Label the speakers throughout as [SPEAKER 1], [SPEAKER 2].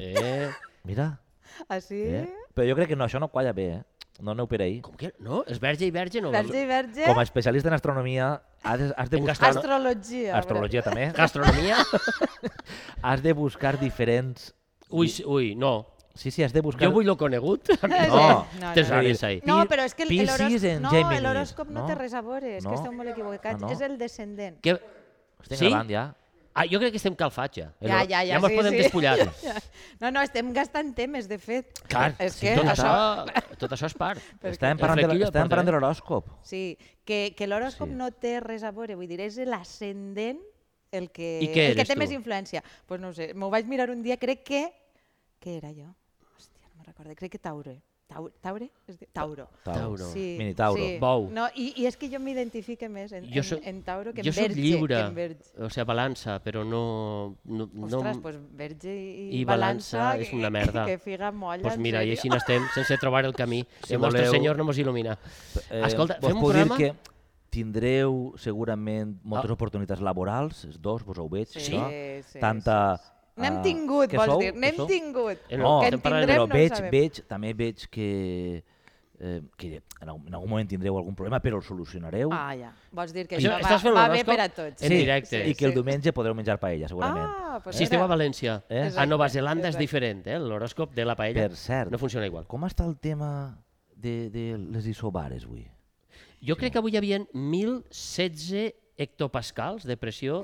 [SPEAKER 1] Eh, mira.
[SPEAKER 2] Així...
[SPEAKER 1] Eh? Però jo crec que no, això no qualla bé, eh? No aneu per ahí.
[SPEAKER 3] Com que no? És verge i verge? No,
[SPEAKER 2] Verge i verge,
[SPEAKER 1] Com a especialista en astronomia, has de, has de
[SPEAKER 3] En
[SPEAKER 1] buscar...
[SPEAKER 3] gastro-
[SPEAKER 2] astrologia.
[SPEAKER 1] Astrologia també.
[SPEAKER 3] Gastronomia?
[SPEAKER 1] Has de buscar diferents...
[SPEAKER 3] Ui, sí, ui, no.
[SPEAKER 1] Sí, sí, has de buscar...
[SPEAKER 3] Jo vull lo conegut.
[SPEAKER 2] brother.
[SPEAKER 1] No.
[SPEAKER 2] no,
[SPEAKER 3] Te
[SPEAKER 2] no.
[SPEAKER 3] sabes ahí.
[SPEAKER 2] No, però és que el-
[SPEAKER 1] Piscis
[SPEAKER 2] l'horòscop-
[SPEAKER 1] en
[SPEAKER 2] no,
[SPEAKER 1] Géminis,
[SPEAKER 2] l'horòscop no,
[SPEAKER 1] no?
[SPEAKER 2] té res a veure, és
[SPEAKER 1] No?
[SPEAKER 2] que esteu molt equivocats.
[SPEAKER 1] Ah, no?
[SPEAKER 2] És el descendent.
[SPEAKER 3] Que...
[SPEAKER 1] Estem
[SPEAKER 3] Sí?
[SPEAKER 1] gravant ja.
[SPEAKER 3] Ah, jo crec que estem calfats ja.
[SPEAKER 2] Ja, ja, ja,
[SPEAKER 3] Ja mos
[SPEAKER 2] sí,
[SPEAKER 3] podem
[SPEAKER 2] sí.
[SPEAKER 3] despullar.
[SPEAKER 2] No, no, estem gastant temes, de fet.
[SPEAKER 3] Clar,
[SPEAKER 2] és
[SPEAKER 3] si
[SPEAKER 2] que
[SPEAKER 3] tot,
[SPEAKER 2] això...
[SPEAKER 3] això, tot això és part.
[SPEAKER 1] Estàvem
[SPEAKER 3] El
[SPEAKER 1] parlant de
[SPEAKER 3] flequillo
[SPEAKER 1] la-
[SPEAKER 3] el
[SPEAKER 1] estàvem
[SPEAKER 3] porta,
[SPEAKER 1] parlant de
[SPEAKER 3] eh?
[SPEAKER 1] l'horòscop.
[SPEAKER 2] Sí, que, que l'horòscop
[SPEAKER 1] Sí.
[SPEAKER 2] no té res a veure, vull dir, és l'ascendent el que,
[SPEAKER 3] I què
[SPEAKER 2] el que té
[SPEAKER 3] eres tu?
[SPEAKER 2] més influència. Doncs pues no ho sé, m'ho vaig mirar un dia, crec que... Què era jo? Hòstia, no me'n recordo, crec que Taure. Taure? Taure? Es diu- Tauro.
[SPEAKER 3] Tauro.
[SPEAKER 2] Sí,
[SPEAKER 1] Mini Tauro.
[SPEAKER 2] Sí.
[SPEAKER 3] Bou.
[SPEAKER 2] No, i, I és que jo m'identifique més en,
[SPEAKER 3] Jo soc-
[SPEAKER 2] en, en Tauro que en
[SPEAKER 3] jo soc
[SPEAKER 2] Verge.
[SPEAKER 3] lliure,
[SPEAKER 2] Que en verge.
[SPEAKER 3] o sigui, balança, però no... no,
[SPEAKER 2] Ostres,
[SPEAKER 3] no...
[SPEAKER 2] doncs Verge i,
[SPEAKER 3] i balança
[SPEAKER 2] balança
[SPEAKER 3] és una merda.
[SPEAKER 2] Que, que figa molla,
[SPEAKER 3] pues mira,
[SPEAKER 2] en
[SPEAKER 3] i
[SPEAKER 2] sèrio.
[SPEAKER 3] així n'estem, sense trobar el camí.
[SPEAKER 1] Si
[SPEAKER 3] Si el nostre
[SPEAKER 1] voleu-
[SPEAKER 3] senyor no mos il·lumina. Escolta,
[SPEAKER 1] Eh, vos
[SPEAKER 3] fem un
[SPEAKER 1] puc dir
[SPEAKER 3] programa?
[SPEAKER 1] Que tindreu segurament moltes oportunitats laborals, els dos, vos ho veig,
[SPEAKER 2] Sí,
[SPEAKER 1] això.
[SPEAKER 2] sí,
[SPEAKER 1] Tanta... ah,
[SPEAKER 2] N'hem tingut,
[SPEAKER 1] què
[SPEAKER 2] vols
[SPEAKER 1] sou?
[SPEAKER 2] dir,
[SPEAKER 1] Què
[SPEAKER 2] n'hem
[SPEAKER 1] sou?
[SPEAKER 2] tingut.
[SPEAKER 3] Eh,
[SPEAKER 1] No,
[SPEAKER 2] que en
[SPEAKER 1] estem parlant-
[SPEAKER 2] tindrem,
[SPEAKER 1] Oh. però
[SPEAKER 2] no ho
[SPEAKER 1] veig,
[SPEAKER 2] sabem.
[SPEAKER 1] veig, també veig que, eh, que en algun, en algun moment tindreu algun problema, però el solucionareu.
[SPEAKER 2] Ah, ja. Vols dir que
[SPEAKER 3] Això-
[SPEAKER 2] això va,
[SPEAKER 3] estàs fent
[SPEAKER 2] va
[SPEAKER 3] un
[SPEAKER 2] bé
[SPEAKER 3] horòscop?
[SPEAKER 2] per a tots.
[SPEAKER 3] en directe.
[SPEAKER 1] I que el diumenge podreu menjar paella, segurament.
[SPEAKER 2] Ah, pues
[SPEAKER 3] Si esteu a
[SPEAKER 2] mira.
[SPEAKER 3] València,
[SPEAKER 1] Eh?
[SPEAKER 3] a Nova
[SPEAKER 2] Exacte,
[SPEAKER 3] Zelanda és
[SPEAKER 2] exacte.
[SPEAKER 3] diferent, eh? L'horòscop de la paella
[SPEAKER 1] Per cert.
[SPEAKER 3] no funciona igual.
[SPEAKER 1] Com està el tema de, de les isobares avui?
[SPEAKER 3] Jo crec que avui hi havia 1.016 hectopascals de pressió,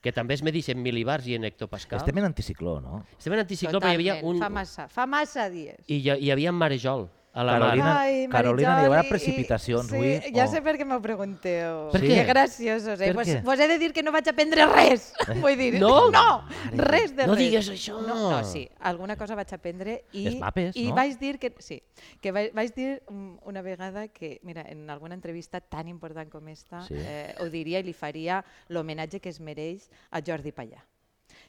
[SPEAKER 3] que també es medix en mil·libars i en hectopascals.
[SPEAKER 1] Estem en anticicló, no?
[SPEAKER 3] Estem en anticicló, però hi havia
[SPEAKER 2] Totalment,
[SPEAKER 3] un...
[SPEAKER 2] Fa massa, fa massa dies.
[SPEAKER 3] I hi, hi havia marejol a la
[SPEAKER 1] Carolina-
[SPEAKER 3] mar.
[SPEAKER 2] Ai,
[SPEAKER 1] Carolina,
[SPEAKER 2] Marijol,
[SPEAKER 1] hi haurà
[SPEAKER 2] i- i-
[SPEAKER 1] precipitacions
[SPEAKER 2] sí,
[SPEAKER 1] avui,
[SPEAKER 2] Ja
[SPEAKER 1] o-
[SPEAKER 2] sé per què m'ho pregunteu.
[SPEAKER 3] Per
[SPEAKER 2] Per
[SPEAKER 3] què?
[SPEAKER 2] què? Que graciosos, eh?
[SPEAKER 1] Per
[SPEAKER 2] Vos,
[SPEAKER 1] què?
[SPEAKER 2] vos he de dir que no vaig aprendre res. Vull dir,
[SPEAKER 3] No?
[SPEAKER 2] no res de
[SPEAKER 3] No
[SPEAKER 2] res.
[SPEAKER 3] digues això.
[SPEAKER 2] No, no, sí, alguna cosa vaig aprendre i,
[SPEAKER 1] Els mapes,
[SPEAKER 2] i
[SPEAKER 1] no?
[SPEAKER 2] vaig dir que, sí, que vaig, vaig dir mm, una vegada que, mira, en alguna entrevista tan important com esta,
[SPEAKER 1] Sí.
[SPEAKER 2] eh, ho diria i li faria l'homenatge que es mereix a Jordi Pallà.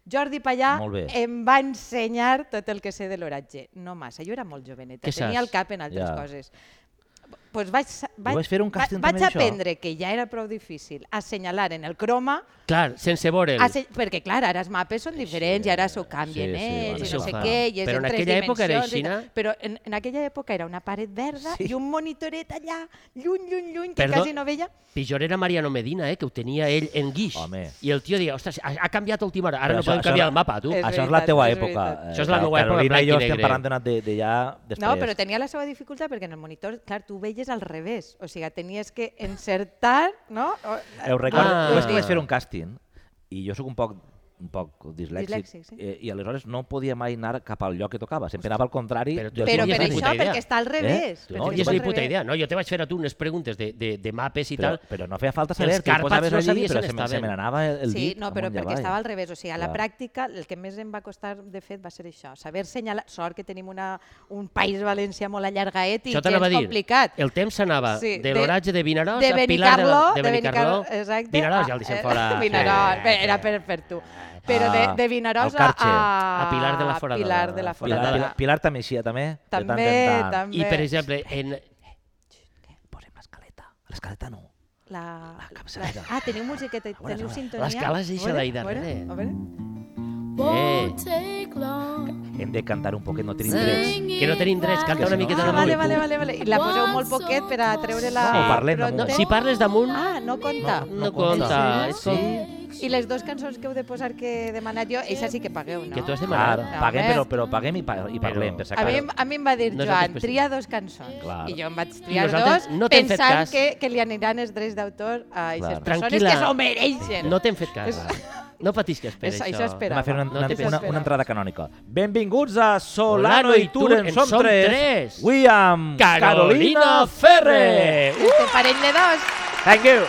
[SPEAKER 2] Jordi Pallà
[SPEAKER 1] Molt bé.
[SPEAKER 2] em va ensenyar tot el que sé de l'oratge. No massa, jo era molt joveneta,
[SPEAKER 3] Què
[SPEAKER 2] tenia
[SPEAKER 3] saps?
[SPEAKER 2] el cap en altres
[SPEAKER 1] Ja.
[SPEAKER 2] coses. Pues vaig, vaig,
[SPEAKER 1] vas fer un càsting
[SPEAKER 2] vaig
[SPEAKER 1] també d'això?
[SPEAKER 2] aprendre que ja era prou difícil assenyalar en el croma,
[SPEAKER 3] Clar, sense veure'l.
[SPEAKER 2] asse... perquè clar, ara els mapes són diferents i ara s'ho
[SPEAKER 1] sí,
[SPEAKER 2] canvien ells
[SPEAKER 1] bueno,
[SPEAKER 2] i no
[SPEAKER 1] això
[SPEAKER 2] sé
[SPEAKER 1] fa.
[SPEAKER 2] què, i és
[SPEAKER 3] Però en
[SPEAKER 2] en tres
[SPEAKER 3] aquella època era
[SPEAKER 2] dimensions i
[SPEAKER 3] aixina?
[SPEAKER 2] tal. Però en, en aquella època era una paret verda
[SPEAKER 1] Sí.
[SPEAKER 2] i un monitoret allà, lluny, lluny, lluny, que
[SPEAKER 3] Perdó-
[SPEAKER 2] quasi no veia.
[SPEAKER 3] Pitjor era Mariano Medina, eh, que ho tenia ell en guix.
[SPEAKER 1] Home.
[SPEAKER 3] I el tio deia, ostres, ha, ha canviat a última hora,
[SPEAKER 1] Però
[SPEAKER 3] ara no
[SPEAKER 1] això-
[SPEAKER 3] podem
[SPEAKER 1] això
[SPEAKER 3] canviar
[SPEAKER 1] no-
[SPEAKER 3] el mapa, tu.
[SPEAKER 2] És
[SPEAKER 1] Això és la
[SPEAKER 2] veritat,
[SPEAKER 1] teva
[SPEAKER 2] és
[SPEAKER 1] època.
[SPEAKER 2] vericat.
[SPEAKER 1] eh,
[SPEAKER 3] Això és la meva època,
[SPEAKER 1] Carolina i
[SPEAKER 3] blanc
[SPEAKER 1] jo
[SPEAKER 3] i
[SPEAKER 1] estem
[SPEAKER 3] negre.
[SPEAKER 1] parlant d'anar de, de ja després.
[SPEAKER 2] No, però tenia la seva dificultat perquè en el monitor, clar, tu ho veies al revés. O sigui, tenies que encertar, no? O-
[SPEAKER 1] Us recordo,
[SPEAKER 3] Ah.
[SPEAKER 1] ah. que vaig fer un càsting i jo sóc un poc un poc dislèxic,
[SPEAKER 2] Dislèxic, sí.
[SPEAKER 1] eh, i aleshores no podia mai anar cap al lloc que tocava, sempre anava al contrari.
[SPEAKER 3] Però tu
[SPEAKER 1] del
[SPEAKER 2] Però
[SPEAKER 3] tu
[SPEAKER 2] per
[SPEAKER 1] contrari.
[SPEAKER 3] tenies ni
[SPEAKER 2] això,
[SPEAKER 3] puta idea.
[SPEAKER 2] perquè està al revés.
[SPEAKER 1] Tu
[SPEAKER 3] Tu
[SPEAKER 2] perquè
[SPEAKER 3] no
[SPEAKER 1] no,
[SPEAKER 2] està
[SPEAKER 3] tenies
[SPEAKER 1] jo
[SPEAKER 2] al
[SPEAKER 3] ni
[SPEAKER 1] vaig-
[SPEAKER 3] puta
[SPEAKER 2] revés.
[SPEAKER 3] idea. No, jo te vaig fer a tu unes preguntes de, de, de mapes i
[SPEAKER 1] però,
[SPEAKER 3] tal.
[SPEAKER 1] però no feia falta
[SPEAKER 3] Els
[SPEAKER 1] saber, tu
[SPEAKER 3] Carpats
[SPEAKER 1] posaves
[SPEAKER 3] no
[SPEAKER 1] allí,
[SPEAKER 3] sabies
[SPEAKER 1] però
[SPEAKER 3] on
[SPEAKER 1] se, me- se
[SPEAKER 3] estaven.
[SPEAKER 1] me n'anava el
[SPEAKER 2] Sí,
[SPEAKER 1] dit
[SPEAKER 2] no, però
[SPEAKER 1] amunt i
[SPEAKER 2] perquè
[SPEAKER 3] eh?
[SPEAKER 1] avall.
[SPEAKER 2] estava al revés. O sigui, a la
[SPEAKER 1] Clar.
[SPEAKER 2] pràctica el que més em va costar, de fet, va ser això. Saber senyalar... Sort que tenim una, un país valencià molt allargaet i
[SPEAKER 3] Això
[SPEAKER 2] que és
[SPEAKER 3] t'anava a dir.
[SPEAKER 2] complicat.
[SPEAKER 3] El temps s'anava
[SPEAKER 2] Sí,
[SPEAKER 3] de
[SPEAKER 2] de-
[SPEAKER 3] l'oratge de Vinaròs
[SPEAKER 2] de
[SPEAKER 3] a Pilar de, la,
[SPEAKER 2] Benicarló,
[SPEAKER 3] de Benicarló.
[SPEAKER 2] exacte.
[SPEAKER 3] Vinaròs,
[SPEAKER 2] a-
[SPEAKER 3] ja el deixem
[SPEAKER 2] eh,
[SPEAKER 3] fora.
[SPEAKER 2] Vinaròs,
[SPEAKER 3] Sí.
[SPEAKER 2] bé, era per, per tu. Però de,
[SPEAKER 1] Ah,
[SPEAKER 2] de Vinaròs
[SPEAKER 1] al
[SPEAKER 2] a,
[SPEAKER 1] Carxe.
[SPEAKER 3] A Pilar de la Foradada.
[SPEAKER 2] Pilar de la
[SPEAKER 1] Pilar,
[SPEAKER 2] Foradada.
[SPEAKER 1] Pilar, Pilar també eixia, també? de tant en
[SPEAKER 2] També,
[SPEAKER 1] tant.
[SPEAKER 2] també.
[SPEAKER 3] I, per exemple, en...
[SPEAKER 1] Posem l'escaleta. L'escaleta no.
[SPEAKER 2] La, la
[SPEAKER 1] capçalera.
[SPEAKER 2] Ah, teniu musiqueta, teniu sintonia.
[SPEAKER 3] L'escala és
[SPEAKER 2] A
[SPEAKER 3] eixa
[SPEAKER 2] veure,
[SPEAKER 3] d'ahí
[SPEAKER 2] a veure,
[SPEAKER 3] darrere.
[SPEAKER 2] a veure.
[SPEAKER 4] Won't take long.
[SPEAKER 1] Hem de cantar un poquet, no tenim drets.
[SPEAKER 4] Singing
[SPEAKER 3] Que no tenim drets,
[SPEAKER 4] like
[SPEAKER 3] canta una
[SPEAKER 4] a
[SPEAKER 3] miqueta
[SPEAKER 2] Ah,
[SPEAKER 3] de
[SPEAKER 2] vale,
[SPEAKER 3] música.
[SPEAKER 2] vale, vale, vale. I la poseu molt poquet per a treure la...
[SPEAKER 1] Sí, parlem damunt.
[SPEAKER 3] No,
[SPEAKER 2] frontera.
[SPEAKER 3] si parles damunt,
[SPEAKER 2] Ah, no compta.
[SPEAKER 3] no compta. És com...
[SPEAKER 2] I les dues cançons que heu de posar que he demanat jo, elles sí que pagueu, no?
[SPEAKER 3] Que tu has demanat.
[SPEAKER 1] Clar,
[SPEAKER 2] Home.
[SPEAKER 1] paguem, però, però paguem i, pa, i parlem, per si
[SPEAKER 2] A mi,
[SPEAKER 1] acaso.
[SPEAKER 2] em- a mi em va dir,
[SPEAKER 3] No és
[SPEAKER 2] Joan,
[SPEAKER 3] específic.
[SPEAKER 2] tria dos cançons.
[SPEAKER 1] Clar.
[SPEAKER 2] I jo em vaig triar
[SPEAKER 3] nosaltres
[SPEAKER 2] dos
[SPEAKER 3] no t'hem fet
[SPEAKER 2] pensant
[SPEAKER 3] cas.
[SPEAKER 2] que, que li aniran els drets d'autor a aquestes persones
[SPEAKER 3] Tranquil·la.
[SPEAKER 2] que s'ho mereixen.
[SPEAKER 3] No t'hem fet cas. No patisques per
[SPEAKER 2] És-
[SPEAKER 3] això.
[SPEAKER 2] això espera.
[SPEAKER 1] Anem a fer una,
[SPEAKER 3] No
[SPEAKER 1] una,
[SPEAKER 3] té
[SPEAKER 1] una, una,
[SPEAKER 2] pena.
[SPEAKER 1] entrada canònica. Benvinguts a Solano i Tur, en som tres. Avui amb Carolina Ferrer.
[SPEAKER 2] Este parell de dos.
[SPEAKER 3] Uh! Thank you.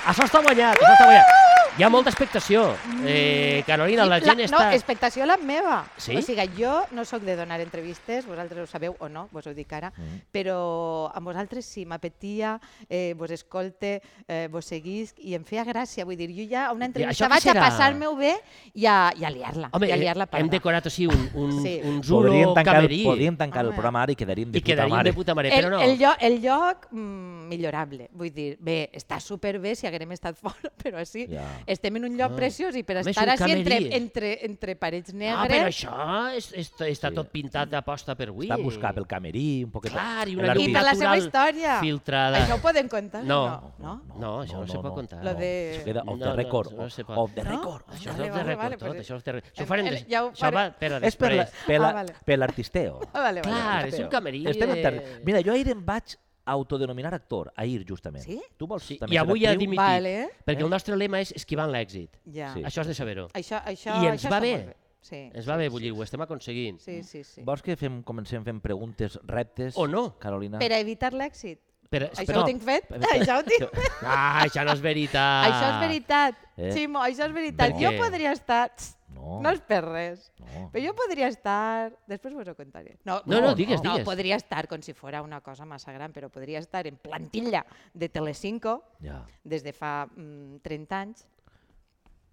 [SPEAKER 3] Això està guanyat, això està guanyat. Hi ha molta expectació. Eh, Carolina, la gent
[SPEAKER 2] No,
[SPEAKER 3] està...
[SPEAKER 2] expectació la meva.
[SPEAKER 3] Sí?
[SPEAKER 2] O sigui, jo no sóc de donar entrevistes, vosaltres ho sabeu o no, vos ho dic ara,
[SPEAKER 1] Mm.
[SPEAKER 2] però amb vosaltres sí, m'apetia, eh, vos escolte, eh, vos seguís i em feia gràcia. Vull dir, jo ja a una entrevista
[SPEAKER 3] això què
[SPEAKER 2] vaig a
[SPEAKER 3] serà?
[SPEAKER 2] passar-me-ho bé i a, i a liar-la.
[SPEAKER 3] Home, eh,
[SPEAKER 2] i a liar-la
[SPEAKER 3] hem decorat així un, un, sí.
[SPEAKER 2] Sí.
[SPEAKER 3] un zulo
[SPEAKER 1] Podríem tancar,
[SPEAKER 3] camerí
[SPEAKER 1] podríem tancar el
[SPEAKER 2] Home.
[SPEAKER 1] programa ara i quedaríem de
[SPEAKER 3] i
[SPEAKER 1] puta
[SPEAKER 3] quedaríem
[SPEAKER 1] mare.
[SPEAKER 3] de puta mare,
[SPEAKER 2] El,
[SPEAKER 3] però no.
[SPEAKER 2] el, lloc, el lloc mm, millorable, vull dir, bé, està superbé si haguem estat fora, però així
[SPEAKER 1] Ja.
[SPEAKER 2] Estem en un lloc
[SPEAKER 3] Ah.
[SPEAKER 2] preciós i per
[SPEAKER 3] Home,
[SPEAKER 2] estar
[SPEAKER 3] són
[SPEAKER 2] així entre,
[SPEAKER 3] cameries.
[SPEAKER 2] entre, entre parets
[SPEAKER 3] Ah, però
[SPEAKER 2] negres...
[SPEAKER 3] això és, és, està tot pintat a posta per avui.
[SPEAKER 5] Està a buscar pel camerí, un poquet...
[SPEAKER 3] Clar, i
[SPEAKER 5] en
[SPEAKER 3] una
[SPEAKER 2] I
[SPEAKER 5] l'arbitre.
[SPEAKER 3] llum
[SPEAKER 2] per la seva
[SPEAKER 3] natural
[SPEAKER 2] història.
[SPEAKER 3] filtrada.
[SPEAKER 2] Això ho podem contar?
[SPEAKER 3] No.
[SPEAKER 2] No?
[SPEAKER 3] No, això no se pot contar.
[SPEAKER 2] Lo de-
[SPEAKER 5] Això queda
[SPEAKER 3] No,
[SPEAKER 5] off
[SPEAKER 3] no,
[SPEAKER 5] the record.
[SPEAKER 3] això no se pot.
[SPEAKER 5] Off the
[SPEAKER 2] No?
[SPEAKER 5] record.
[SPEAKER 2] Vale,
[SPEAKER 3] Això és de
[SPEAKER 2] vale, vale,
[SPEAKER 3] record, tot,
[SPEAKER 2] pues-
[SPEAKER 3] això és de record.
[SPEAKER 2] Em-
[SPEAKER 3] Això ho farem
[SPEAKER 2] em-
[SPEAKER 3] des...
[SPEAKER 2] ja ho
[SPEAKER 3] Això va
[SPEAKER 2] faré.
[SPEAKER 3] per a
[SPEAKER 5] És per, la,
[SPEAKER 3] després.
[SPEAKER 5] per, la,
[SPEAKER 2] Ah, vale.
[SPEAKER 5] per l'artisteo.
[SPEAKER 2] Ah, vale, vale.
[SPEAKER 3] Clar, és
[SPEAKER 5] Esteu-
[SPEAKER 3] un camerí
[SPEAKER 5] Estem en
[SPEAKER 3] de-
[SPEAKER 5] terra. Mira, jo ahir em vaig autodenominar actor, ahir justament.
[SPEAKER 2] Sí?
[SPEAKER 5] Tu vols
[SPEAKER 3] Sí,
[SPEAKER 5] també
[SPEAKER 3] I
[SPEAKER 5] ser
[SPEAKER 3] avui ha
[SPEAKER 5] actriu?
[SPEAKER 3] dimitit.
[SPEAKER 2] Vale.
[SPEAKER 3] Perquè el nostre lema és esquivant l'èxit.
[SPEAKER 2] Ja.
[SPEAKER 5] Sí.
[SPEAKER 3] Això has de saber-ho.
[SPEAKER 2] Això, això,
[SPEAKER 3] I ens
[SPEAKER 2] això
[SPEAKER 3] va
[SPEAKER 2] està
[SPEAKER 3] bé.
[SPEAKER 2] molt Sí,
[SPEAKER 3] Ens va bé, vull dir, ho estem aconseguint.
[SPEAKER 2] sí, sí. sí.
[SPEAKER 5] Vols que fem, comencem fent preguntes, reptes?
[SPEAKER 3] O no.
[SPEAKER 5] Carolina?
[SPEAKER 2] Per a evitar l'èxit.
[SPEAKER 3] Per,
[SPEAKER 2] Això
[SPEAKER 5] no.
[SPEAKER 2] ho tinc fet?
[SPEAKER 5] Espera.
[SPEAKER 2] Això ho tinc?
[SPEAKER 3] Ah, això no és veritat.
[SPEAKER 2] Això és veritat.
[SPEAKER 5] Eh?
[SPEAKER 2] Ximo, això és veritat.
[SPEAKER 3] Per
[SPEAKER 2] Jo
[SPEAKER 3] què?
[SPEAKER 2] podria estar... Tss,
[SPEAKER 5] No.
[SPEAKER 2] No és per res.
[SPEAKER 5] No.
[SPEAKER 2] Però jo podria estar... Després vos ho contaré.
[SPEAKER 3] No, no, digues,
[SPEAKER 2] no,
[SPEAKER 3] digues.
[SPEAKER 2] podria estar com si fora una cosa massa gran, però podria estar en plantilla de Telecinco
[SPEAKER 5] Ja.
[SPEAKER 2] des de fa mm, 30 anys.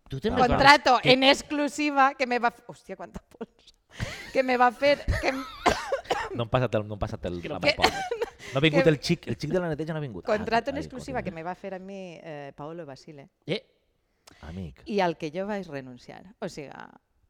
[SPEAKER 3] Tu te'n recordes
[SPEAKER 2] Contrato
[SPEAKER 3] que-
[SPEAKER 2] en exclusiva que me va... f- Hòstia, quanta pols. Que me va fer... Que, em-
[SPEAKER 5] No hem passat el... No, hem passat el, la
[SPEAKER 2] que-
[SPEAKER 5] Maipa. no ha vingut
[SPEAKER 2] que-
[SPEAKER 5] el xic, el xic de la neteja no ha vingut.
[SPEAKER 2] contrato
[SPEAKER 5] Ah,
[SPEAKER 2] en
[SPEAKER 5] ai,
[SPEAKER 2] exclusiva que
[SPEAKER 5] collons.
[SPEAKER 2] me va fer a mi eh, Paolo Basile.
[SPEAKER 3] Eh,
[SPEAKER 5] Amic.
[SPEAKER 2] i al que jo vaig renunciar. O sigui,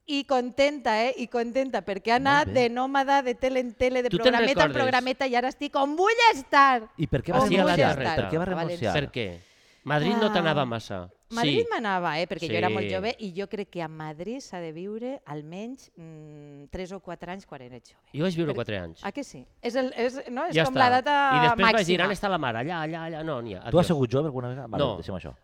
[SPEAKER 2] i contenta, eh? I contenta, perquè ha anat
[SPEAKER 5] bé.
[SPEAKER 2] de nòmada, de tele en tele, de
[SPEAKER 3] Tu te'n
[SPEAKER 2] programeta en
[SPEAKER 3] recordes?
[SPEAKER 2] programeta, i ara estic on vull estar!
[SPEAKER 5] I per què va
[SPEAKER 2] On
[SPEAKER 3] Hacía la
[SPEAKER 5] renunciar?
[SPEAKER 3] terreta.
[SPEAKER 5] Per què va
[SPEAKER 2] A
[SPEAKER 5] renunciar?
[SPEAKER 2] València.
[SPEAKER 3] per què? Madrid no
[SPEAKER 2] Ah.
[SPEAKER 3] t'anava massa.
[SPEAKER 2] Madrid
[SPEAKER 3] sí.
[SPEAKER 2] m'anava, eh? perquè jo era molt
[SPEAKER 3] Sí.
[SPEAKER 2] jove, i jo crec que a Madrid s'ha de viure almenys mm, 3 o 4 anys quan eres jove.
[SPEAKER 3] Jo vaig viure 4 anys.
[SPEAKER 2] Ah, que sí? És, el, és, no? és
[SPEAKER 3] ja
[SPEAKER 2] com
[SPEAKER 3] està.
[SPEAKER 2] la data
[SPEAKER 3] I després
[SPEAKER 2] màxima.
[SPEAKER 3] vaig dir, on està la mare? Allà, allà, allà. No, n'hi ha.
[SPEAKER 5] Tu
[SPEAKER 3] Adiós.
[SPEAKER 5] has sigut jove alguna vegada? Vale,
[SPEAKER 3] No.
[SPEAKER 5] Deixem això.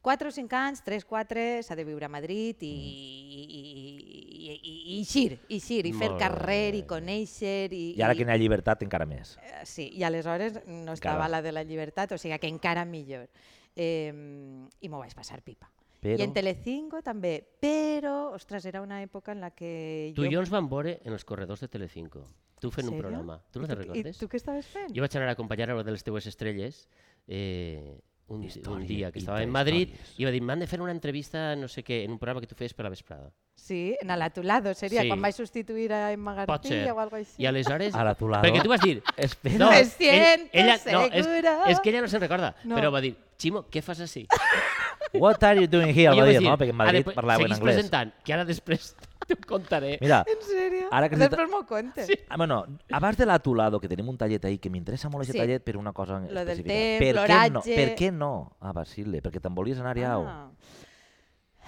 [SPEAKER 2] 4 o 5 anys, 3, 4, s'ha de viure a Madrid i, i, i, i, i eixir, eixir, i fer
[SPEAKER 3] Mm. Molt
[SPEAKER 2] carrer,
[SPEAKER 3] bé.
[SPEAKER 2] i conèixer... I,
[SPEAKER 5] I ara
[SPEAKER 2] i-
[SPEAKER 5] que n'hi ha llibertat encara més.
[SPEAKER 2] Eh, Sí, i aleshores no estava
[SPEAKER 5] Encara.
[SPEAKER 2] la de la llibertat, o sigui que encara millor. Eh, I m'ho vaig passar pipa.
[SPEAKER 5] Però-
[SPEAKER 2] I en Telecinco també, però, ostres, era una època en la que
[SPEAKER 3] Tu i jo
[SPEAKER 2] jo...
[SPEAKER 3] ens vam veure en els corredors de Telecinco. Tu fent un
[SPEAKER 2] Sèrio?
[SPEAKER 3] programa. Tu no te'n
[SPEAKER 2] I
[SPEAKER 3] recordes?
[SPEAKER 2] tu què estaves fent?
[SPEAKER 3] Jo vaig anar a acompanyar a una de les teues estrelles eh, un, un
[SPEAKER 5] Històries,
[SPEAKER 3] dia que estava en Madrid i va dir, m'han de fer una entrevista, no sé què, en un programa que tu feies per la vesprada.
[SPEAKER 2] Sí, en el atolado, seria
[SPEAKER 3] Sí.
[SPEAKER 2] sí. quan vaig substituir a Emma
[SPEAKER 3] Pot ser.
[SPEAKER 2] García o alguna cosa així.
[SPEAKER 3] I aleshores...
[SPEAKER 5] Ara tu l'ado.
[SPEAKER 3] Perquè tu vas dir...
[SPEAKER 5] Espera.
[SPEAKER 2] Me
[SPEAKER 3] ell-
[SPEAKER 2] siento
[SPEAKER 3] no, és,
[SPEAKER 2] segura.
[SPEAKER 3] és que ella no se'n recorda,
[SPEAKER 2] No.
[SPEAKER 3] però va dir, Ximo, què fas així?
[SPEAKER 5] What are you doing here?
[SPEAKER 3] I jo
[SPEAKER 5] Va
[SPEAKER 3] vaig
[SPEAKER 5] dir, no? Perquè en
[SPEAKER 3] "Ara,
[SPEAKER 5] Madrid
[SPEAKER 3] pues,
[SPEAKER 5] parlava en
[SPEAKER 3] seguís
[SPEAKER 5] anglès.
[SPEAKER 3] presentant, que ara després t'ho contaré.
[SPEAKER 5] Mira,
[SPEAKER 2] En sèrio?
[SPEAKER 5] Ara que se
[SPEAKER 2] Després m'ho contes. Sí.
[SPEAKER 5] Ah, bueno, abans de l'atolado, que tenim un tallet ahí, que m'interessa molt aquest
[SPEAKER 2] Sí.
[SPEAKER 5] tallet per una cosa
[SPEAKER 2] del
[SPEAKER 5] específica.
[SPEAKER 2] temps,
[SPEAKER 5] per què no?
[SPEAKER 2] l'oratge.
[SPEAKER 5] Per què no? Ah, Basile, perquè te'n volies anar ja. Ah.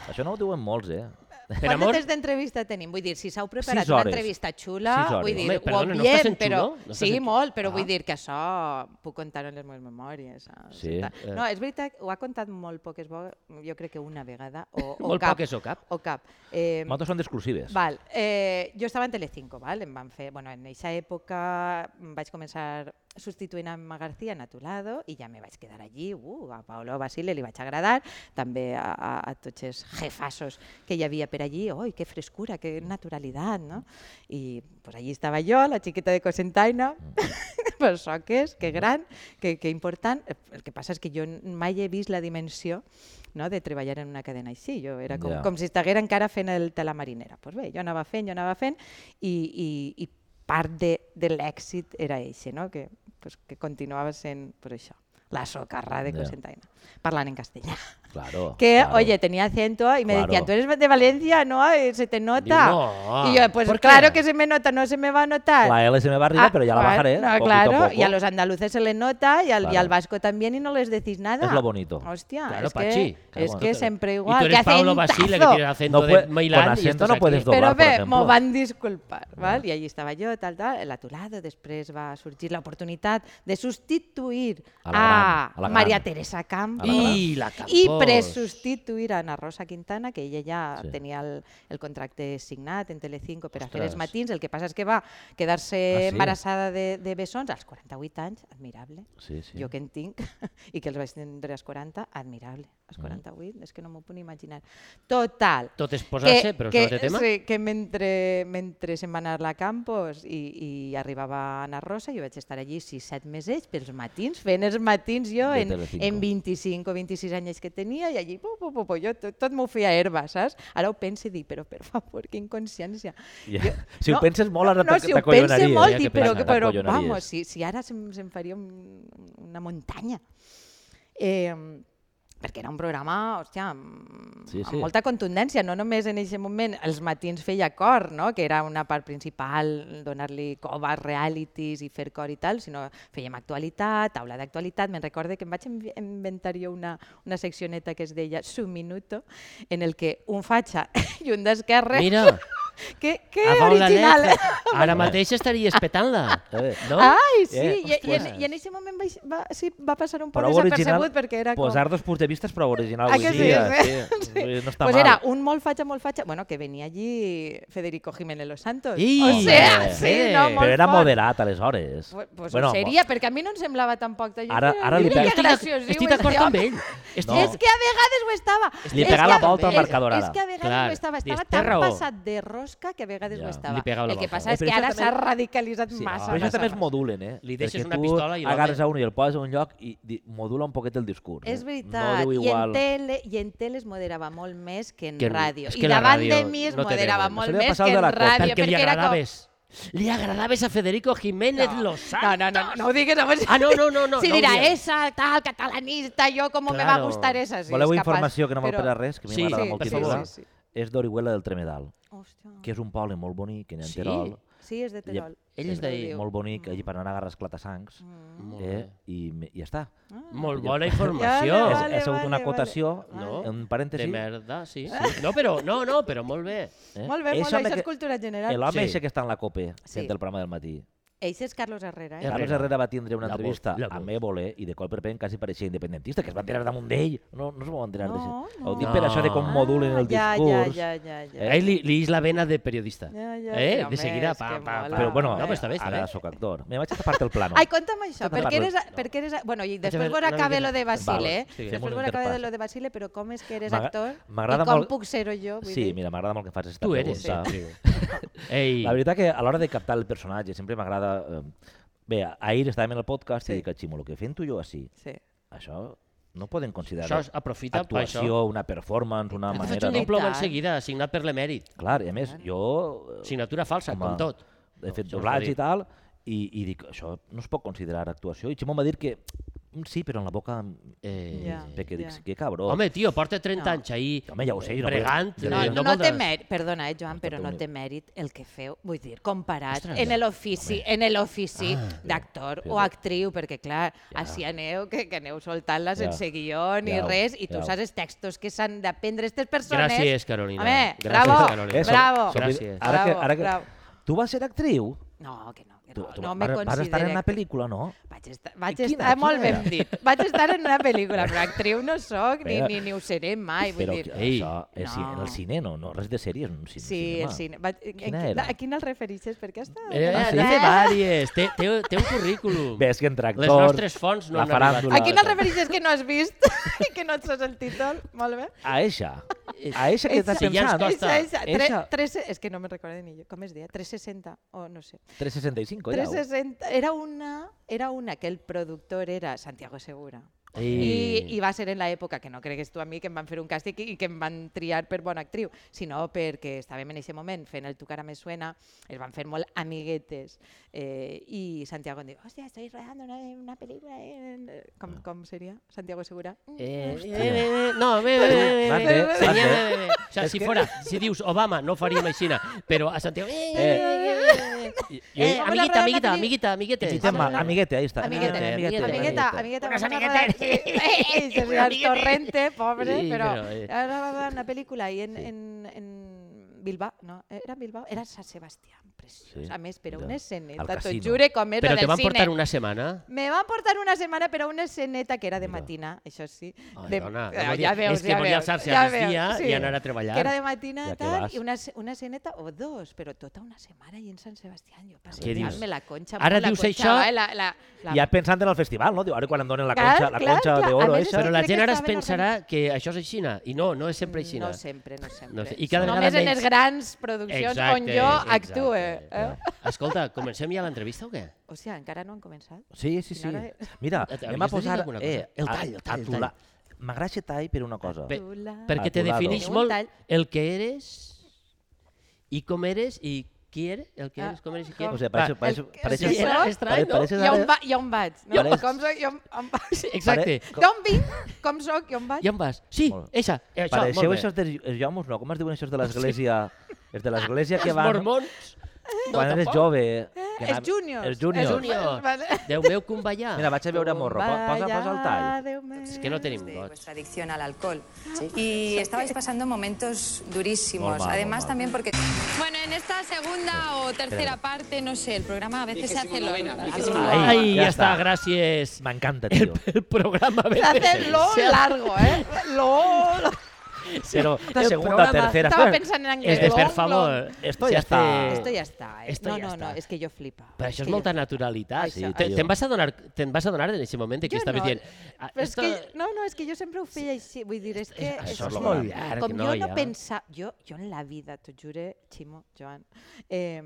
[SPEAKER 5] Això no ho diuen molts, eh?
[SPEAKER 3] Per
[SPEAKER 2] Quantes
[SPEAKER 3] amor,
[SPEAKER 2] hores d'entrevista tenim? Vull dir, si s'heu preparat
[SPEAKER 5] Sis
[SPEAKER 2] una
[SPEAKER 5] hores.
[SPEAKER 2] entrevista xula,
[SPEAKER 5] Sis hores.
[SPEAKER 2] vull dir,
[SPEAKER 3] Home,
[SPEAKER 2] ho
[SPEAKER 3] perdona, no
[SPEAKER 2] obviem,
[SPEAKER 3] estàs en
[SPEAKER 2] però...
[SPEAKER 3] xulo? No estàs
[SPEAKER 2] sí,
[SPEAKER 3] en xulo?
[SPEAKER 2] molt, però vull
[SPEAKER 5] Ah.
[SPEAKER 2] dir que això puc contar-ho en les meves memòries. Saps?
[SPEAKER 5] Sí,
[SPEAKER 2] I tal.
[SPEAKER 3] eh.
[SPEAKER 2] No, és veritat, ho ha contat molt poques vegades, jo crec que una vegada, o, o
[SPEAKER 3] molt
[SPEAKER 2] cap.
[SPEAKER 3] poques o cap.
[SPEAKER 2] O cap. Eh,
[SPEAKER 5] Nosaltres són d'exclusives.
[SPEAKER 2] Val, eh, jo estava en Telecinco, val? em van fer, bueno, en aquesta època mm, vaig començar substituint a Emma García en Atulado i ja me vaig quedar allí, uh, a Paolo Basile li vaig agradar, també a, a, a tots els jefassos que hi havia per allí, oi, que frescura, que naturalitat, no? I pues allí estava jo, la xiqueta de Cosentaina, Pues, per soques, que gran, que, que important. El que passa és que jo mai he vist la dimensió no, de treballar en una cadena així. Jo era com,
[SPEAKER 5] Ja.
[SPEAKER 2] yeah. com si estiguera encara fent el de la marinera. Pues bé, jo anava fent, jo anava fent, i, i, i part de, de l'èxit era eixe, no? que, pues, que continuava sent pues, això, la socarra de
[SPEAKER 5] Ja.
[SPEAKER 2] Cosentaina, parlant en castellà.
[SPEAKER 5] Claro,
[SPEAKER 2] Que,
[SPEAKER 5] claro.
[SPEAKER 2] oye, tenía acento y me
[SPEAKER 5] Claro.
[SPEAKER 2] decía, tú eres de Valencia, ¿no? Eh, Se te nota.
[SPEAKER 3] no,
[SPEAKER 2] y yo, pues
[SPEAKER 3] ¿por qué?
[SPEAKER 2] claro que se me nota, no se me va a notar.
[SPEAKER 5] La L se me va arriba,
[SPEAKER 2] Ah,
[SPEAKER 5] pero ya la
[SPEAKER 2] bueno,
[SPEAKER 5] bajaré.
[SPEAKER 2] no,
[SPEAKER 5] poquito
[SPEAKER 2] claro,
[SPEAKER 5] a poco.
[SPEAKER 2] y a los andaluces se les nota y al, y
[SPEAKER 5] Claro.
[SPEAKER 2] al vasco también y no les decís nada.
[SPEAKER 5] Es lo bonito.
[SPEAKER 2] Hostia, Ah,
[SPEAKER 3] Claro,
[SPEAKER 2] es,
[SPEAKER 3] Pachi.
[SPEAKER 2] que,
[SPEAKER 5] Claro,
[SPEAKER 2] es
[SPEAKER 5] bueno.
[SPEAKER 2] que siempre
[SPEAKER 3] Y
[SPEAKER 2] igual.
[SPEAKER 3] tú
[SPEAKER 2] que
[SPEAKER 3] eres Pablo Basile, que
[SPEAKER 2] acentazo.
[SPEAKER 3] tiene el acento
[SPEAKER 5] No
[SPEAKER 3] de
[SPEAKER 5] puede-
[SPEAKER 3] Milán.
[SPEAKER 5] con
[SPEAKER 3] y
[SPEAKER 5] acento
[SPEAKER 3] estás
[SPEAKER 5] no
[SPEAKER 3] aquí.
[SPEAKER 5] puedes doblar.
[SPEAKER 2] Però
[SPEAKER 5] por
[SPEAKER 2] bé,
[SPEAKER 5] ejemplo.
[SPEAKER 2] m'ho van disculpar, val? i allí estava jo, tal, tal, l'atolado, després va sorgir l'oportunitat de substituir
[SPEAKER 5] A
[SPEAKER 2] a,
[SPEAKER 5] la gran, a la gran.
[SPEAKER 2] Maria Teresa Campos
[SPEAKER 5] A la gran.
[SPEAKER 3] I la
[SPEAKER 2] i
[SPEAKER 3] Campos.
[SPEAKER 2] presustituir a Ana Rosa Quintana, que ella ja
[SPEAKER 5] Sí.
[SPEAKER 2] sí. tenia el, el contracte signat en Telecinco per a fer
[SPEAKER 5] Ostres.
[SPEAKER 2] els matins, el que passa és que va quedar-se
[SPEAKER 5] Ah, sí?
[SPEAKER 2] embarassada de, de bessons als 48 anys, admirable.
[SPEAKER 5] Sí, sí.
[SPEAKER 2] Jo que en tinc i que els vaig tindre als 40, admirable. Als
[SPEAKER 5] Mm.
[SPEAKER 2] 48, és que no m'ho puc ni imaginar. Total,
[SPEAKER 3] Tot és posar-se, però és un
[SPEAKER 2] que,
[SPEAKER 3] altre este tema.
[SPEAKER 2] Sí, que mentre, mentre se'n va anar a la Campos i, i arribava a Ana Rosa, jo vaig estar allí 6-7 mesos pels matins, fent els matins jo
[SPEAKER 5] De
[SPEAKER 2] en,
[SPEAKER 5] Telecinco.
[SPEAKER 2] en 25 o 26 anys que tenia i allí pu, pu, pu, pu, jo tot, tot m'ho feia herba, saps? Ara ho penso i dic, però per favor, que inconsciència.
[SPEAKER 5] Ja.
[SPEAKER 2] Jo-
[SPEAKER 5] Si ho penses molt, ara
[SPEAKER 2] no,
[SPEAKER 5] t'ac-
[SPEAKER 2] si ho pense
[SPEAKER 5] t'acollonaries,
[SPEAKER 2] molt,
[SPEAKER 5] eh,
[SPEAKER 2] dic,
[SPEAKER 5] que
[SPEAKER 2] però,
[SPEAKER 5] penses,
[SPEAKER 2] però
[SPEAKER 5] t'acollonaries.
[SPEAKER 2] vamos, si, si ara se'm, se'm faria un, una muntanya. Eh, perquè era un programa, hòstia, amb,
[SPEAKER 1] Sí,
[SPEAKER 2] sí,
[SPEAKER 1] sí.
[SPEAKER 2] amb molta contundència, no només en aquest moment, els matins feia cor, no? que era una part principal, donar-li coves, realities i fer cor i tal, sinó fèiem actualitat, taula d'actualitat, me'n recorde que em vaig inv- inventar jo una, una seccioneta que es deia Su Minuto, en el que un fatxa i un d'esquerra,
[SPEAKER 3] Mira,
[SPEAKER 2] que, que
[SPEAKER 3] Avant la
[SPEAKER 2] original!
[SPEAKER 3] net, ara mateix estaries petant-la,
[SPEAKER 1] Eh.
[SPEAKER 3] no?
[SPEAKER 2] Ai, sí,
[SPEAKER 1] Eh,
[SPEAKER 2] i, i, en,
[SPEAKER 3] ostres.
[SPEAKER 2] i en aquest moment vaig, va, sí, va passar un poc
[SPEAKER 1] Prou original,
[SPEAKER 2] desapercebut perquè era com...
[SPEAKER 1] posar dos punts de vista és prou original
[SPEAKER 2] Ah,
[SPEAKER 1] avui
[SPEAKER 2] que sí,
[SPEAKER 1] dia.
[SPEAKER 2] eh?
[SPEAKER 1] sí. Vull dir, No està
[SPEAKER 2] pues
[SPEAKER 1] mal.
[SPEAKER 2] era un molt fatxa, molt fatxa, bueno, que venia allí Federico Jiménez Los Santos.
[SPEAKER 3] Ih,
[SPEAKER 2] o sea,
[SPEAKER 3] eh,
[SPEAKER 1] hombre.
[SPEAKER 2] sí, no, molt
[SPEAKER 1] Però era
[SPEAKER 2] fort.
[SPEAKER 1] moderat, aleshores.
[SPEAKER 2] Pues, pues
[SPEAKER 1] Bueno,
[SPEAKER 2] bueno, seria, perquè a mi no em semblava tampoc. Jo
[SPEAKER 1] Ara-
[SPEAKER 2] era-
[SPEAKER 1] ara li pega-
[SPEAKER 2] mira que
[SPEAKER 3] Estic d'ac-
[SPEAKER 2] graciós, diu
[SPEAKER 3] Estic
[SPEAKER 2] este
[SPEAKER 3] d'acord amb
[SPEAKER 2] home.
[SPEAKER 3] ell. Estic...
[SPEAKER 1] No.
[SPEAKER 2] És que a vegades ho estava.
[SPEAKER 1] Li
[SPEAKER 2] És
[SPEAKER 1] pegà
[SPEAKER 2] que
[SPEAKER 1] la
[SPEAKER 2] a-
[SPEAKER 1] volta al
[SPEAKER 2] és-
[SPEAKER 1] marcador,
[SPEAKER 2] És
[SPEAKER 1] ara.
[SPEAKER 2] que a vegades
[SPEAKER 3] Clar,
[SPEAKER 2] ho estava.
[SPEAKER 3] des
[SPEAKER 2] Estava
[SPEAKER 3] té
[SPEAKER 2] tan
[SPEAKER 3] raó.
[SPEAKER 2] passat de rosca que a vegades
[SPEAKER 1] Ja.
[SPEAKER 2] ho estava.
[SPEAKER 3] Li pegava la
[SPEAKER 2] El que
[SPEAKER 3] volta.
[SPEAKER 2] passa és
[SPEAKER 1] Però
[SPEAKER 2] que ara
[SPEAKER 1] això
[SPEAKER 2] s'ha
[SPEAKER 1] també-
[SPEAKER 2] radicalitzat massa.
[SPEAKER 1] però això
[SPEAKER 2] massa,
[SPEAKER 1] també es
[SPEAKER 2] massa.
[SPEAKER 1] modulen, eh?
[SPEAKER 3] Li deixes
[SPEAKER 1] Perquè
[SPEAKER 3] una
[SPEAKER 1] tu
[SPEAKER 3] pistola i l'home-
[SPEAKER 1] agarres a un i el poses a un lloc i di- modula un poquet el discurs.
[SPEAKER 2] És
[SPEAKER 1] eh?
[SPEAKER 2] veritat,
[SPEAKER 1] No diu
[SPEAKER 2] i, en
[SPEAKER 1] igual...
[SPEAKER 2] tele, i en tele es moderava molt més que en
[SPEAKER 3] Que en-
[SPEAKER 2] ràdio.
[SPEAKER 3] és que
[SPEAKER 2] I
[SPEAKER 3] la
[SPEAKER 2] davant
[SPEAKER 3] ràdio
[SPEAKER 2] de mi es
[SPEAKER 3] no té
[SPEAKER 2] moderava
[SPEAKER 3] vergonya.
[SPEAKER 2] molt
[SPEAKER 1] Això li va
[SPEAKER 2] més
[SPEAKER 1] passar
[SPEAKER 2] que
[SPEAKER 1] al
[SPEAKER 2] en
[SPEAKER 1] de la Costa,
[SPEAKER 2] ràdio.
[SPEAKER 3] Perquè li
[SPEAKER 2] era com...
[SPEAKER 3] agradaves. Li agradaves a Federico Jiménez
[SPEAKER 2] No,
[SPEAKER 3] Los Santos.
[SPEAKER 2] No, no, no, no ho digues a vos.
[SPEAKER 3] Ah, no, no, no, no,
[SPEAKER 2] Si
[SPEAKER 3] no ho
[SPEAKER 2] dirà,
[SPEAKER 3] digues.
[SPEAKER 2] esa, tal, catalanista, jo, com me va
[SPEAKER 3] Claro.
[SPEAKER 2] a gustar esa. Sí,
[SPEAKER 1] Voleu
[SPEAKER 2] és capaç,
[SPEAKER 1] informació que no val
[SPEAKER 2] però-
[SPEAKER 1] per a res, que a mi
[SPEAKER 3] Sí,
[SPEAKER 1] m'agrada
[SPEAKER 3] sí,
[SPEAKER 1] molt
[SPEAKER 3] per
[SPEAKER 1] titular?
[SPEAKER 3] favor.
[SPEAKER 2] Sí, sí,
[SPEAKER 1] És d'Orihuela del Tremedal,
[SPEAKER 2] Hòstia.
[SPEAKER 1] que és un poble molt bonic, en
[SPEAKER 3] Sí.
[SPEAKER 1] Terol,
[SPEAKER 2] Sí, és de Terol.
[SPEAKER 3] Ell és
[SPEAKER 2] Sempre ho
[SPEAKER 3] d'ahí,
[SPEAKER 2] diu.
[SPEAKER 1] molt bonic, allí per anar a agarrar esclatasangs,
[SPEAKER 2] Mm.
[SPEAKER 3] Molt,
[SPEAKER 1] eh?
[SPEAKER 3] bé.
[SPEAKER 1] i, me- i ja està.
[SPEAKER 3] molt bona
[SPEAKER 2] Ja,
[SPEAKER 3] informació.
[SPEAKER 2] ja,
[SPEAKER 1] És-
[SPEAKER 2] Ah, vale,
[SPEAKER 1] ha sigut una
[SPEAKER 2] vale,
[SPEAKER 1] acotació,
[SPEAKER 3] vale.
[SPEAKER 1] un
[SPEAKER 3] De
[SPEAKER 1] parèntesi.
[SPEAKER 3] merda, sí. sí. No, però, no, no, però molt bé.
[SPEAKER 1] Eh?
[SPEAKER 2] Molt bé, molt
[SPEAKER 1] Eixa
[SPEAKER 2] bé, això
[SPEAKER 1] me-
[SPEAKER 2] és cultura general.
[SPEAKER 1] L'home
[SPEAKER 3] Sí.
[SPEAKER 1] sí. que està en la COPE,
[SPEAKER 2] Sí.
[SPEAKER 1] sí. el programa del matí.
[SPEAKER 2] Eix és Carlos Herrera, eh?
[SPEAKER 3] Herrera.
[SPEAKER 1] Carlos Herrera va tindre una
[SPEAKER 3] La voz,
[SPEAKER 1] entrevista
[SPEAKER 3] la
[SPEAKER 1] amb
[SPEAKER 3] voz.
[SPEAKER 1] Évole i de cop per quasi pareixia independentista, que es va tirar damunt d'ell. No, no es va tirar
[SPEAKER 2] No,
[SPEAKER 1] d'això.
[SPEAKER 2] no.
[SPEAKER 1] Ho dic per això de com
[SPEAKER 3] Ah,
[SPEAKER 1] modulen el
[SPEAKER 2] ja,
[SPEAKER 1] discurs.
[SPEAKER 2] Ja, ja, ja, ja.
[SPEAKER 3] A ell li, li és la vena de periodista.
[SPEAKER 2] Ja, ja,
[SPEAKER 3] eh?
[SPEAKER 2] però,
[SPEAKER 3] de
[SPEAKER 2] home,
[SPEAKER 3] seguida,
[SPEAKER 2] és
[SPEAKER 3] pa,
[SPEAKER 2] que
[SPEAKER 3] pa, pa.
[SPEAKER 2] mola,
[SPEAKER 1] Però bueno,
[SPEAKER 3] no, però està bé, està bé.
[SPEAKER 1] ara sóc actor. Me vaig a tapar-te el plano.
[SPEAKER 2] Ai, conta'm això,
[SPEAKER 1] Escolta,
[SPEAKER 2] perquè
[SPEAKER 1] parlo.
[SPEAKER 2] eres, perquè eres... Bueno, i
[SPEAKER 3] a
[SPEAKER 2] després
[SPEAKER 3] veure
[SPEAKER 2] vos
[SPEAKER 3] una
[SPEAKER 2] acabe
[SPEAKER 3] miqueta.
[SPEAKER 2] lo de Basile,
[SPEAKER 1] Vale,
[SPEAKER 2] eh?
[SPEAKER 1] sí, fem
[SPEAKER 2] Després
[SPEAKER 1] un
[SPEAKER 2] vos acabe de
[SPEAKER 1] interpàs.
[SPEAKER 2] lo de Basile, però com és que eres
[SPEAKER 1] M'agra-
[SPEAKER 2] actor
[SPEAKER 1] m'agrada
[SPEAKER 2] i com
[SPEAKER 1] molt-
[SPEAKER 2] puc ser-ho jo? Vull
[SPEAKER 1] Sí,
[SPEAKER 2] dir.
[SPEAKER 1] mira, m'agrada molt que facis aquesta
[SPEAKER 3] Tu eres.
[SPEAKER 1] pregunta.
[SPEAKER 3] Sí. Ei,
[SPEAKER 1] La veritat que a l'hora de captar el personatge sempre m'agrada... Eh... Bé, ahir estàvem en el podcast
[SPEAKER 2] Sí.
[SPEAKER 1] i dic a Ximo, el que fem tu i jo així,
[SPEAKER 2] Sí.
[SPEAKER 1] això no podem considerar
[SPEAKER 3] això es- aprofita per això.
[SPEAKER 1] actuació, una performance, una
[SPEAKER 3] Et faig
[SPEAKER 1] manera...
[SPEAKER 3] un
[SPEAKER 1] No?
[SPEAKER 3] diploma
[SPEAKER 2] I tant.
[SPEAKER 3] enseguida, signat per l'emèrit.
[SPEAKER 1] Clar, i a més, jo... eh,
[SPEAKER 3] Signatura falsa,
[SPEAKER 1] Home,
[SPEAKER 3] com tot.
[SPEAKER 1] he fet
[SPEAKER 3] això us ho
[SPEAKER 1] doblatge
[SPEAKER 3] dic.
[SPEAKER 1] i tal, i, i dic, això no es pot considerar actuació. I Ximón va dir que mm, sí, però en la boca... Eh,
[SPEAKER 2] Ja,
[SPEAKER 1] perquè dic,
[SPEAKER 2] ja.
[SPEAKER 1] que cabró.
[SPEAKER 3] Home, tio, porta 30
[SPEAKER 2] No.
[SPEAKER 3] anys ahí
[SPEAKER 1] Home, ja ho sé, jo no
[SPEAKER 3] bregant.
[SPEAKER 1] vull- jo
[SPEAKER 2] No,
[SPEAKER 1] Eh, no
[SPEAKER 2] no, no té
[SPEAKER 3] podràs.
[SPEAKER 2] mèrit, perdona, eh, Joan, però no
[SPEAKER 1] Déu
[SPEAKER 2] té mèrit el que feu, vull dir, comparat
[SPEAKER 3] Ostres,
[SPEAKER 2] en
[SPEAKER 3] ja.
[SPEAKER 2] l'ofici en l'ofici
[SPEAKER 1] Ah,
[SPEAKER 2] d'actor
[SPEAKER 1] però-
[SPEAKER 2] o actriu, perquè clar, així aneu, que, que aneu soltant-la
[SPEAKER 1] Ja.
[SPEAKER 2] sense guió ni
[SPEAKER 1] Ja ho-
[SPEAKER 2] res, i tu
[SPEAKER 1] ja ho.
[SPEAKER 2] saps els textos que s'han d'aprendre aquestes persones.
[SPEAKER 3] Gràcies, Carolina.
[SPEAKER 2] Home,
[SPEAKER 3] Gràcies,
[SPEAKER 2] bravo,
[SPEAKER 3] Carolina.
[SPEAKER 1] Eh, som-
[SPEAKER 2] bravo.
[SPEAKER 1] som-
[SPEAKER 3] Gràcies.
[SPEAKER 1] Ara que,
[SPEAKER 2] Bravo,
[SPEAKER 1] ara que,
[SPEAKER 2] bravo.
[SPEAKER 1] Tu vas ser actriu?
[SPEAKER 2] No, que no, que
[SPEAKER 1] Tu,
[SPEAKER 2] no,
[SPEAKER 1] tu
[SPEAKER 2] no me
[SPEAKER 1] vas, vas estar en
[SPEAKER 2] considero
[SPEAKER 1] una pel·lícula, no?
[SPEAKER 2] Vaig estar, vaig
[SPEAKER 1] quina?
[SPEAKER 2] estar
[SPEAKER 1] Quina
[SPEAKER 2] molt ben
[SPEAKER 1] era?
[SPEAKER 2] dit. Vaig estar en una pel·lícula, però actriu no sóc, ni,
[SPEAKER 1] Espera.
[SPEAKER 2] ni, ni ho seré mai. Vull
[SPEAKER 1] però
[SPEAKER 2] dir. eh,
[SPEAKER 1] que
[SPEAKER 3] Ei,
[SPEAKER 1] això, el, no.
[SPEAKER 2] no.
[SPEAKER 1] el cine, no, no res de sèries, un cine,
[SPEAKER 2] Sí,
[SPEAKER 1] cinema.
[SPEAKER 2] el cine. Vaig, en
[SPEAKER 1] Quina
[SPEAKER 2] qui-
[SPEAKER 1] era?
[SPEAKER 2] a quina el referixes? Perquè està...
[SPEAKER 3] Eh, eh,
[SPEAKER 1] Ah, sí?
[SPEAKER 3] n'ha fet vàries. Té, té, té un currículum.
[SPEAKER 1] Ves que entre actors...
[SPEAKER 3] Les nostres fonts no
[SPEAKER 1] la
[SPEAKER 3] han arribat.
[SPEAKER 1] faràndula.
[SPEAKER 2] A quina el referixes que no has vist i que no et saps el títol? Molt bé.
[SPEAKER 1] A eixa.
[SPEAKER 3] Eh,
[SPEAKER 1] A eixa que estàs
[SPEAKER 3] Si ja ens
[SPEAKER 1] pensant.
[SPEAKER 3] costa.
[SPEAKER 2] Esa, esa. Tre,
[SPEAKER 1] Esa.
[SPEAKER 2] tres, e- és que no me'n recordo ni jo. Com es deia? 360 o no sé.
[SPEAKER 1] 365, ja.
[SPEAKER 2] 360. Era una, era una que el productor era Santiago Segura. I,
[SPEAKER 3] Ei.
[SPEAKER 2] I va ser en l'època, que no cregues tu a mi, que em van fer un càstig i que em van triar per bona actriu, sinó perquè estàvem en aquest moment fent el Tu cara me suena, es van fer molt amiguetes, eh, i Santiago em diu, hòstia, estoy rodando una, una película... eh, eh, eh". Com, com seria? Santiago Segura? Mm.
[SPEAKER 3] Eh, eh, eh, eh, no, bé, bé, bé,
[SPEAKER 1] Vas
[SPEAKER 3] bé,
[SPEAKER 1] bé,
[SPEAKER 3] bé,
[SPEAKER 1] vas
[SPEAKER 3] bé,
[SPEAKER 1] bé.
[SPEAKER 3] bé, bé, bé. O sea, si fora, si dius Obama, no faríem així, però a Santiago... Eh, eh, eh, eh, eh, eh,
[SPEAKER 2] Vamos a
[SPEAKER 3] amiguita,
[SPEAKER 2] rodar
[SPEAKER 3] amiguita,
[SPEAKER 2] una
[SPEAKER 3] amiguita, amiguita.
[SPEAKER 1] Sí, tema, amiguete, ahí está.
[SPEAKER 2] Amiguete,
[SPEAKER 1] Ah,
[SPEAKER 3] amiguete,
[SPEAKER 2] Amigueta, amigueta,
[SPEAKER 3] Unos
[SPEAKER 2] vamos a rodar- Ey, se llama Torrente, pobre,
[SPEAKER 3] Sí,
[SPEAKER 2] pero
[SPEAKER 3] pero, eh.
[SPEAKER 2] ahora va a rodar una película ahí en,
[SPEAKER 1] Sí.
[SPEAKER 2] en, en Bilbao, no, era en Bilbao, era San Sebastián, preciosa,
[SPEAKER 1] Sí,
[SPEAKER 2] a més, però
[SPEAKER 1] mira,
[SPEAKER 2] una esceneta,
[SPEAKER 1] al
[SPEAKER 2] t'ho
[SPEAKER 1] casino.
[SPEAKER 2] jure com era
[SPEAKER 3] Però
[SPEAKER 2] del
[SPEAKER 3] te van
[SPEAKER 2] cine.
[SPEAKER 3] portar una setmana?
[SPEAKER 2] Me van portar una setmana, però una esceneta que era de
[SPEAKER 1] Mira.
[SPEAKER 2] matina, això sí.
[SPEAKER 3] Ai,
[SPEAKER 2] de...
[SPEAKER 3] dona, no
[SPEAKER 2] Ah,
[SPEAKER 3] volia-
[SPEAKER 2] ja veus,
[SPEAKER 3] és que
[SPEAKER 2] ja
[SPEAKER 3] volia
[SPEAKER 2] veus,
[SPEAKER 3] alçar-se
[SPEAKER 2] ja
[SPEAKER 3] al migdia
[SPEAKER 2] veus,
[SPEAKER 3] i anar a treballar.
[SPEAKER 2] Que era de matina
[SPEAKER 1] Ja que
[SPEAKER 2] tal,
[SPEAKER 1] vas.
[SPEAKER 2] i una, se- una esceneta o dos, però tota una setmana i en Sant Sebastián, jo
[SPEAKER 3] Què dius?
[SPEAKER 2] passejant-me la conxa.
[SPEAKER 3] Ara
[SPEAKER 2] molt, la
[SPEAKER 3] dius
[SPEAKER 2] conxa,
[SPEAKER 3] això
[SPEAKER 2] va, La, la, la,
[SPEAKER 1] Ja pensant en el festival, no? Diu, ara quan em donen la
[SPEAKER 2] Clar,
[SPEAKER 1] conxa, la
[SPEAKER 2] clar,
[SPEAKER 1] conxa
[SPEAKER 2] clar.
[SPEAKER 1] d'oro,
[SPEAKER 2] A més,
[SPEAKER 1] eixa.
[SPEAKER 3] Però la
[SPEAKER 2] crec que
[SPEAKER 3] gent ara es
[SPEAKER 2] estava ben
[SPEAKER 3] pensarà que això és aixina, i no, Mm, no és sempre aixina.
[SPEAKER 2] No sempre, no sempre.
[SPEAKER 3] No sé, i cada
[SPEAKER 2] Només
[SPEAKER 3] vegada
[SPEAKER 2] en les
[SPEAKER 3] menys.
[SPEAKER 2] grans produccions on jo actue. Eh?
[SPEAKER 3] exacte. Escolta, comencem ja l'entrevista o què?
[SPEAKER 2] O sigui, encara no han començat?
[SPEAKER 1] Sí, sí, sí.
[SPEAKER 2] Quina hora
[SPEAKER 1] Mira,
[SPEAKER 3] Et-
[SPEAKER 1] anem a
[SPEAKER 3] havies de dir
[SPEAKER 1] posar...
[SPEAKER 3] alguna cosa. Ah,
[SPEAKER 1] Eh,
[SPEAKER 3] El
[SPEAKER 1] a-
[SPEAKER 3] tall, el tall,
[SPEAKER 1] a
[SPEAKER 3] el
[SPEAKER 1] tu
[SPEAKER 3] tall.
[SPEAKER 1] la- M'agrada aquest tall per una cosa.
[SPEAKER 3] Pe-
[SPEAKER 2] Tu la-
[SPEAKER 3] perquè te
[SPEAKER 1] Aturado.
[SPEAKER 3] definís
[SPEAKER 2] Un
[SPEAKER 3] molt
[SPEAKER 2] tall.
[SPEAKER 3] el que eres i com eres i Qui era? El que
[SPEAKER 2] Ah,
[SPEAKER 3] eres? Com eres? i Qui
[SPEAKER 2] com-
[SPEAKER 3] eres?
[SPEAKER 1] O sea, parece,
[SPEAKER 3] Va,
[SPEAKER 1] parece,
[SPEAKER 2] el-
[SPEAKER 1] parece,
[SPEAKER 2] sí,
[SPEAKER 3] era
[SPEAKER 2] això-
[SPEAKER 3] estrany, no?
[SPEAKER 1] parece-
[SPEAKER 2] I on, va, I on vaig? No?
[SPEAKER 1] Pareix-
[SPEAKER 2] Com soc, i on, on vaig?
[SPEAKER 3] Exacte.
[SPEAKER 1] Pare-
[SPEAKER 2] D'on vinc? Com soc, i on vaig?
[SPEAKER 3] I on vas? Sí,
[SPEAKER 1] Molt bé.
[SPEAKER 3] eixa. eh, Això, molt
[SPEAKER 1] Pareixeu
[SPEAKER 3] bé.
[SPEAKER 1] això dels els llomos, no? Com es diuen això de l'església? Els de l'església que
[SPEAKER 3] Els
[SPEAKER 1] van...
[SPEAKER 3] mormons. No,
[SPEAKER 1] quan eres
[SPEAKER 3] tampoc.
[SPEAKER 1] jove... que
[SPEAKER 2] Els
[SPEAKER 1] anava-
[SPEAKER 2] juniors.
[SPEAKER 1] Els juniors.
[SPEAKER 3] Els juniors.
[SPEAKER 2] Vale.
[SPEAKER 3] Déu meu, com ballar.
[SPEAKER 1] Mira, vaig a veure Morro. Po- Posa, posa el tall.
[SPEAKER 2] Mm.
[SPEAKER 3] És que no tenim
[SPEAKER 6] de
[SPEAKER 2] pues
[SPEAKER 3] goig.
[SPEAKER 6] vuestra adicción al alcohol. Y estabais pasando momentos durísimos.
[SPEAKER 1] Normal,
[SPEAKER 6] Además,
[SPEAKER 1] normal.
[SPEAKER 6] también porque.
[SPEAKER 7] Bueno, en esta segunda o tercera parte, no sé, el programa a veces se hace lo
[SPEAKER 1] Ai,
[SPEAKER 3] Ai,
[SPEAKER 1] ja
[SPEAKER 3] ja està,
[SPEAKER 1] està.
[SPEAKER 3] gràcies.
[SPEAKER 1] M'encanta, tio.
[SPEAKER 3] El programa a
[SPEAKER 2] Se
[SPEAKER 3] veces
[SPEAKER 2] hace lo
[SPEAKER 3] se hace-
[SPEAKER 2] largo, ¿eh? Lo... lo-
[SPEAKER 1] Però
[SPEAKER 3] el
[SPEAKER 1] esta segunda,
[SPEAKER 3] programa-
[SPEAKER 1] tercera...
[SPEAKER 2] Estaba pensando en
[SPEAKER 3] És
[SPEAKER 2] inglés.
[SPEAKER 3] de, per
[SPEAKER 2] Long, long.
[SPEAKER 3] favor.
[SPEAKER 1] Esto
[SPEAKER 3] se
[SPEAKER 1] ya
[SPEAKER 3] hace-
[SPEAKER 1] está.
[SPEAKER 2] Esto ya está, ¿eh?
[SPEAKER 3] Esto
[SPEAKER 2] no,
[SPEAKER 3] ya
[SPEAKER 2] no,
[SPEAKER 3] está.
[SPEAKER 2] no, es que yo flipa.
[SPEAKER 3] Pero eso es
[SPEAKER 2] que
[SPEAKER 3] mucha
[SPEAKER 2] yo-
[SPEAKER 3] naturalidad.
[SPEAKER 2] Ay, sí,
[SPEAKER 3] Te,
[SPEAKER 1] tío.
[SPEAKER 3] te vas a donar, te vas a donar en ese momento que
[SPEAKER 2] Yo
[SPEAKER 3] estabas
[SPEAKER 2] no.
[SPEAKER 3] diciendo. "Ah,
[SPEAKER 2] Però és
[SPEAKER 3] esto-
[SPEAKER 2] que, no, no, és que jo sempre ho feia així, vull dir, és que...
[SPEAKER 3] això
[SPEAKER 1] és
[SPEAKER 2] així.
[SPEAKER 1] molt
[SPEAKER 3] llarg,
[SPEAKER 2] Com jo
[SPEAKER 3] noia.
[SPEAKER 2] no pensava... Jo, jo en la vida, t'ho jure, Ximo, Joan, eh,